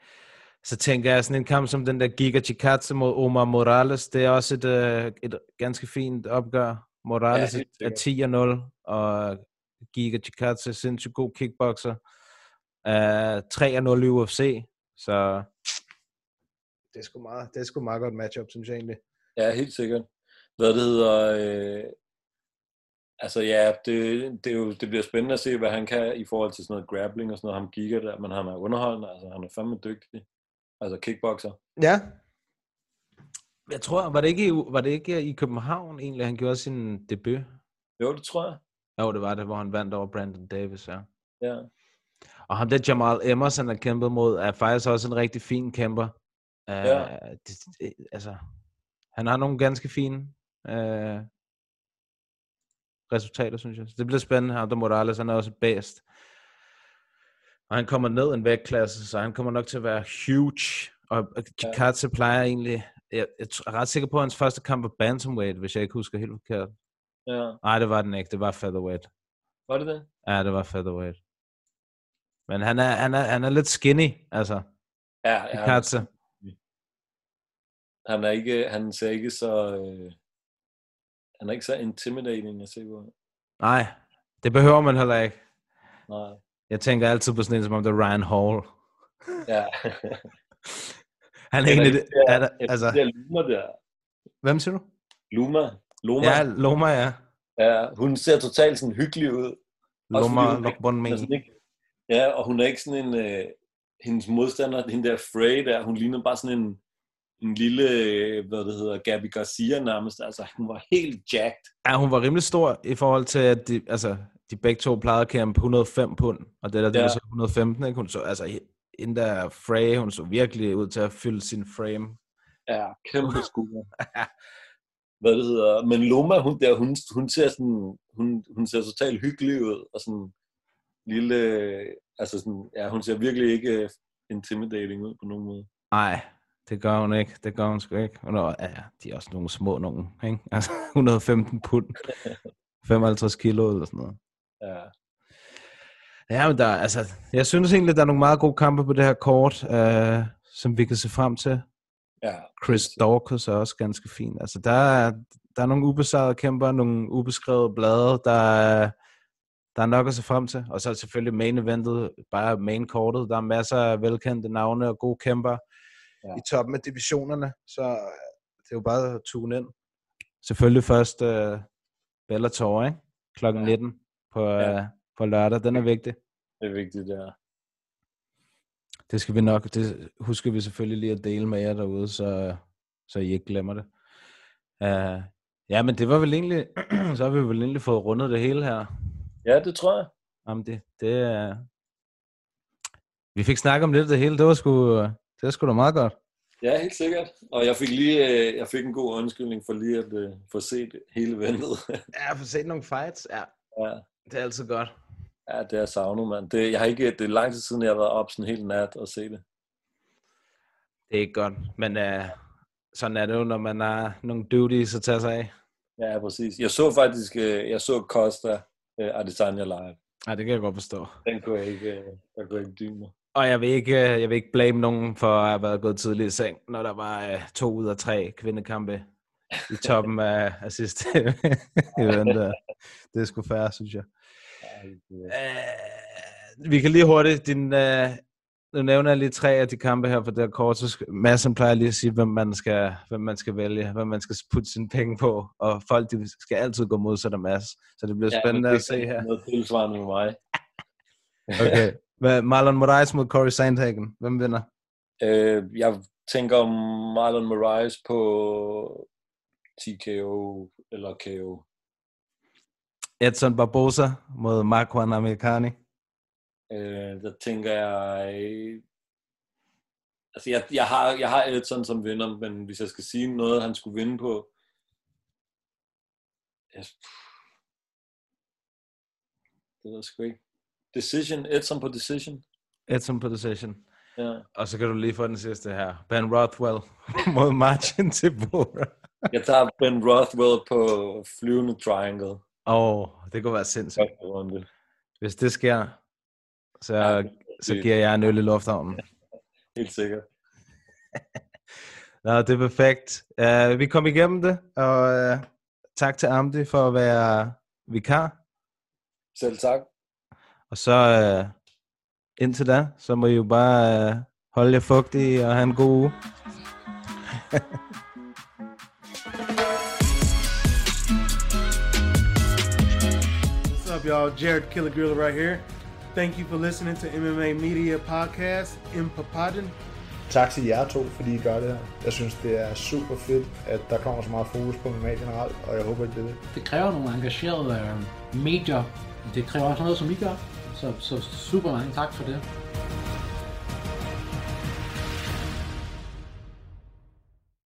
[SPEAKER 7] Så tænker jeg, sådan en kamp som den der Giga Chikatse mod Omar Morales, det er også et, øh, et ganske fint opgør. Morales
[SPEAKER 8] Ja, helt
[SPEAKER 7] ja, er 10-0, og Giga Chikatse er sindssygt god kickboxer. Uh, 3-0 i UFC, så... Det er sgu meget, det er sgu meget godt matchup, synes jeg egentlig.
[SPEAKER 8] Ja, helt sikkert. Hvad det hedder... Øh... Altså ja, det, det, er jo, det bliver spændende at se, hvad han kan i forhold til sådan noget grappling og sådan noget. Ham giga der, men han er underholdende. Altså han er fandme dygtig. Altså kickboxer.
[SPEAKER 7] Ja. Jeg tror, var det ikke, i- var det ikke i København egentlig, han gjorde sin debut?
[SPEAKER 8] Jo, det tror jeg.
[SPEAKER 7] Jo, det var det, hvor han vandt over Brandon Davis, ja.
[SPEAKER 8] Ja.
[SPEAKER 7] Og ham der Jamal Emerson, der kæmpede mod, er faktisk også en rigtig fin kæmper. Uh,
[SPEAKER 8] Ja.
[SPEAKER 7] det, det, altså, han har nogle ganske fine uh, resultater, synes jeg. Så det bliver spændende. Ham der Morales, han er også bedst. Og han kommer ned en vægtklasse, så han kommer nok til at være huge. Og Chikatse ja. plejer egentlig... Jeg, jeg tr- er ret sikker på, at hans første kamp var bantamweight, hvis jeg ikke husker helt forkert.
[SPEAKER 8] ja.
[SPEAKER 7] Nej, det var den ikke. Det var featherweight.
[SPEAKER 8] Var det det?
[SPEAKER 7] Ja, det var featherweight. Men han er, han er, han er lidt skinny, altså.
[SPEAKER 8] Ja, ja.
[SPEAKER 7] Ja. Katze.
[SPEAKER 8] Han er ikke, han ser ikke så, øh, han er ikke så intimidating at se på.
[SPEAKER 7] Nej, det behøver man heller ikke.
[SPEAKER 8] Nej,
[SPEAKER 7] Jeg tænker altid på sådan en som om det er Ryan Hall.
[SPEAKER 8] ja.
[SPEAKER 7] Han er
[SPEAKER 8] Eller
[SPEAKER 7] egentlig...
[SPEAKER 8] de der-
[SPEAKER 7] er der,
[SPEAKER 8] eller
[SPEAKER 7] altså,
[SPEAKER 8] de der Luma der,
[SPEAKER 7] hvem siger du?
[SPEAKER 8] Luma, Luma,
[SPEAKER 7] Ja,
[SPEAKER 8] ja.
[SPEAKER 7] Loma, ja.
[SPEAKER 8] Ja, hun ser totalt sådan hyggelig ud. Også
[SPEAKER 7] Loma
[SPEAKER 8] fordi hun Altså, ikke-
[SPEAKER 7] Lokbon
[SPEAKER 8] Hun
[SPEAKER 7] Me.
[SPEAKER 8] er sådan ikke, ja, og hun er ikke sådan en, øh, hendes modstander, hende der Frey der, hun ligner bare sådan en, en lille, øh, hvad det hedder, Gabi Garcia nærmest. Altså, hun var helt jacked.
[SPEAKER 7] Ja, hun var rimelig stor i forhold til, at de, altså, de begge to plejede at kæmpe 105 pund, og det der, det
[SPEAKER 8] Ja.
[SPEAKER 7] var så 115, ikke? Hun så, altså, hende der Frey, hun så virkelig ud til at fylde sin frame.
[SPEAKER 8] Ja, kæmpe skulder. Hvad det hedder. Men Loma, hun, der, hun, hun ser sådan, hun, hun ser totalt hyggelig ud, og sådan lille, øh, altså sådan, ja, hun ser virkelig ikke øh, intimidating ud på nogen måde.
[SPEAKER 7] Nej, det gør hun ikke. Det gør hun sgu ikke. Hun er, ja, de er også nogle små nogen, ikke? Altså 115 pund, 55 kilo eller sådan noget.
[SPEAKER 8] Ja,
[SPEAKER 7] Ja, men der, er- altså, jeg synes egentlig, der er nogle meget gode kampe på det her kort, øh, som vi kan se frem til.
[SPEAKER 8] ja,
[SPEAKER 7] Chris Dawkins er også ganske fin. Altså, der er, der er nogle ubesejrede kæmper, nogle ubeskrevede blade, der er, der er nok at se frem til. Og så er selvfølgelig main eventet, bare main kortet. Der er masser af velkendte navne og gode kæmper
[SPEAKER 8] Ja.
[SPEAKER 7] ja. i toppen af divisionerne, så øh, det er jo bare at tune ind. Selvfølgelig først uh, Bellator, ikke? Klokken
[SPEAKER 8] Ja.
[SPEAKER 7] ja. 19 på,
[SPEAKER 8] Ja.
[SPEAKER 7] ja. uh, på lørdag. Den er vigtig.
[SPEAKER 8] det er vigtigt, ja.
[SPEAKER 7] Det skal vi nok, det husker vi selvfølgelig lige at dele med jer derude, så, så I ikke glemmer det. Uh, ja, men det var vel egentlig, så har vi vel egentlig fået rundet det hele her.
[SPEAKER 8] Ja, det tror jeg.
[SPEAKER 7] Om det, det er, vi fik snakket om lidt af det hele, det var sgu, det var sgu da meget godt.
[SPEAKER 8] Ja, helt sikkert. Og jeg fik lige, øh, jeg fik en god undskyldning for lige at øh, få set hele ventet.
[SPEAKER 7] Ja, for set nogle fights, ja,
[SPEAKER 8] ja.
[SPEAKER 7] det er altid godt.
[SPEAKER 8] ja, det er savnet, mand. Det, jeg har ikke, det er lang tid siden, jeg har været op sådan helt nat og se det.
[SPEAKER 7] Det er ikke godt, men øh, sådan er det jo, når man har nogle duties at tage sig af.
[SPEAKER 8] Ja, præcis. Jeg så faktisk, øh, jeg så Costa øh, Adesanya live.
[SPEAKER 7] Nej, det kan jeg godt forstå.
[SPEAKER 8] Den kunne jeg ikke, øh, der kunne jeg ikke dybe mig.
[SPEAKER 7] Og jeg vil ikke, øh, jeg vil ikke blame nogen for at have været gået tidligt i seng, når der var øh, to ud af tre kvindekampe i toppen af, af sidste event. der. Det er sgu færre, synes jeg. Øh, vi kan lige hurtigt, din, øh, nu nævner jeg lige tre af de kampe her, for det er kort, så sk- Madsen plejer lige at sige, hvem man, skal, hvem man skal vælge, hvem man skal putte sine penge på, og folk de skal altid gå modsat af Mads, så det bliver ja, spændende
[SPEAKER 8] men
[SPEAKER 7] at se her.
[SPEAKER 8] Noget tilsvarende med mig.
[SPEAKER 7] Okay. Hvad, Marlon Moraes mod Corey Sandhagen, hvem vinder?
[SPEAKER 8] Øh, jeg tænker om Marlon Moraes på TKO eller KO.
[SPEAKER 7] Edson Barbosa mod Marquand Americani.
[SPEAKER 8] Øh, der tænker jeg... øh, Altså, jeg, jeg, har, jeg har Edson som vinder, men hvis jeg skal sige noget, han skulle vinde på... Jeg, det ved jeg sgu ikke. Decision. Edson på decision.
[SPEAKER 7] Edson på decision.
[SPEAKER 8] Ja.
[SPEAKER 7] Og så kan du lige få den sidste her. Ben Rothwell mod Martin Tibora.
[SPEAKER 8] Jeg tager Ben Rothwell på flyvende triangle.
[SPEAKER 7] Åh, oh, det kunne være sindssygt.
[SPEAKER 8] Første runde.
[SPEAKER 7] Hvis det sker,
[SPEAKER 8] Ja,
[SPEAKER 7] så,
[SPEAKER 8] det
[SPEAKER 7] så
[SPEAKER 8] sygt.
[SPEAKER 7] giver jeg en øl i lufthavnen.
[SPEAKER 8] Helt sikkert.
[SPEAKER 7] Nå, det er perfekt. Uh, vi kom igennem det, og uh, tak til Amdi for at være vikar.
[SPEAKER 8] Selv tak.
[SPEAKER 7] Og så uh, indtil da, så må I jo bare uh, holde jer fugtige og have en god uge.
[SPEAKER 1] What's up, y'all? Jared Killigreeler right here. Thank you for listening to MMA Media Podcast in Papadon.
[SPEAKER 2] Tak til jer to, fordi I gør det her. Jeg synes, det er super fedt, at der kommer så meget fokus på MMA generelt, og jeg håber, I bliver det.
[SPEAKER 6] det kræver nogle engagerede øh, medier. Det kræver også noget, som I gør. Så, så super mange tak for det.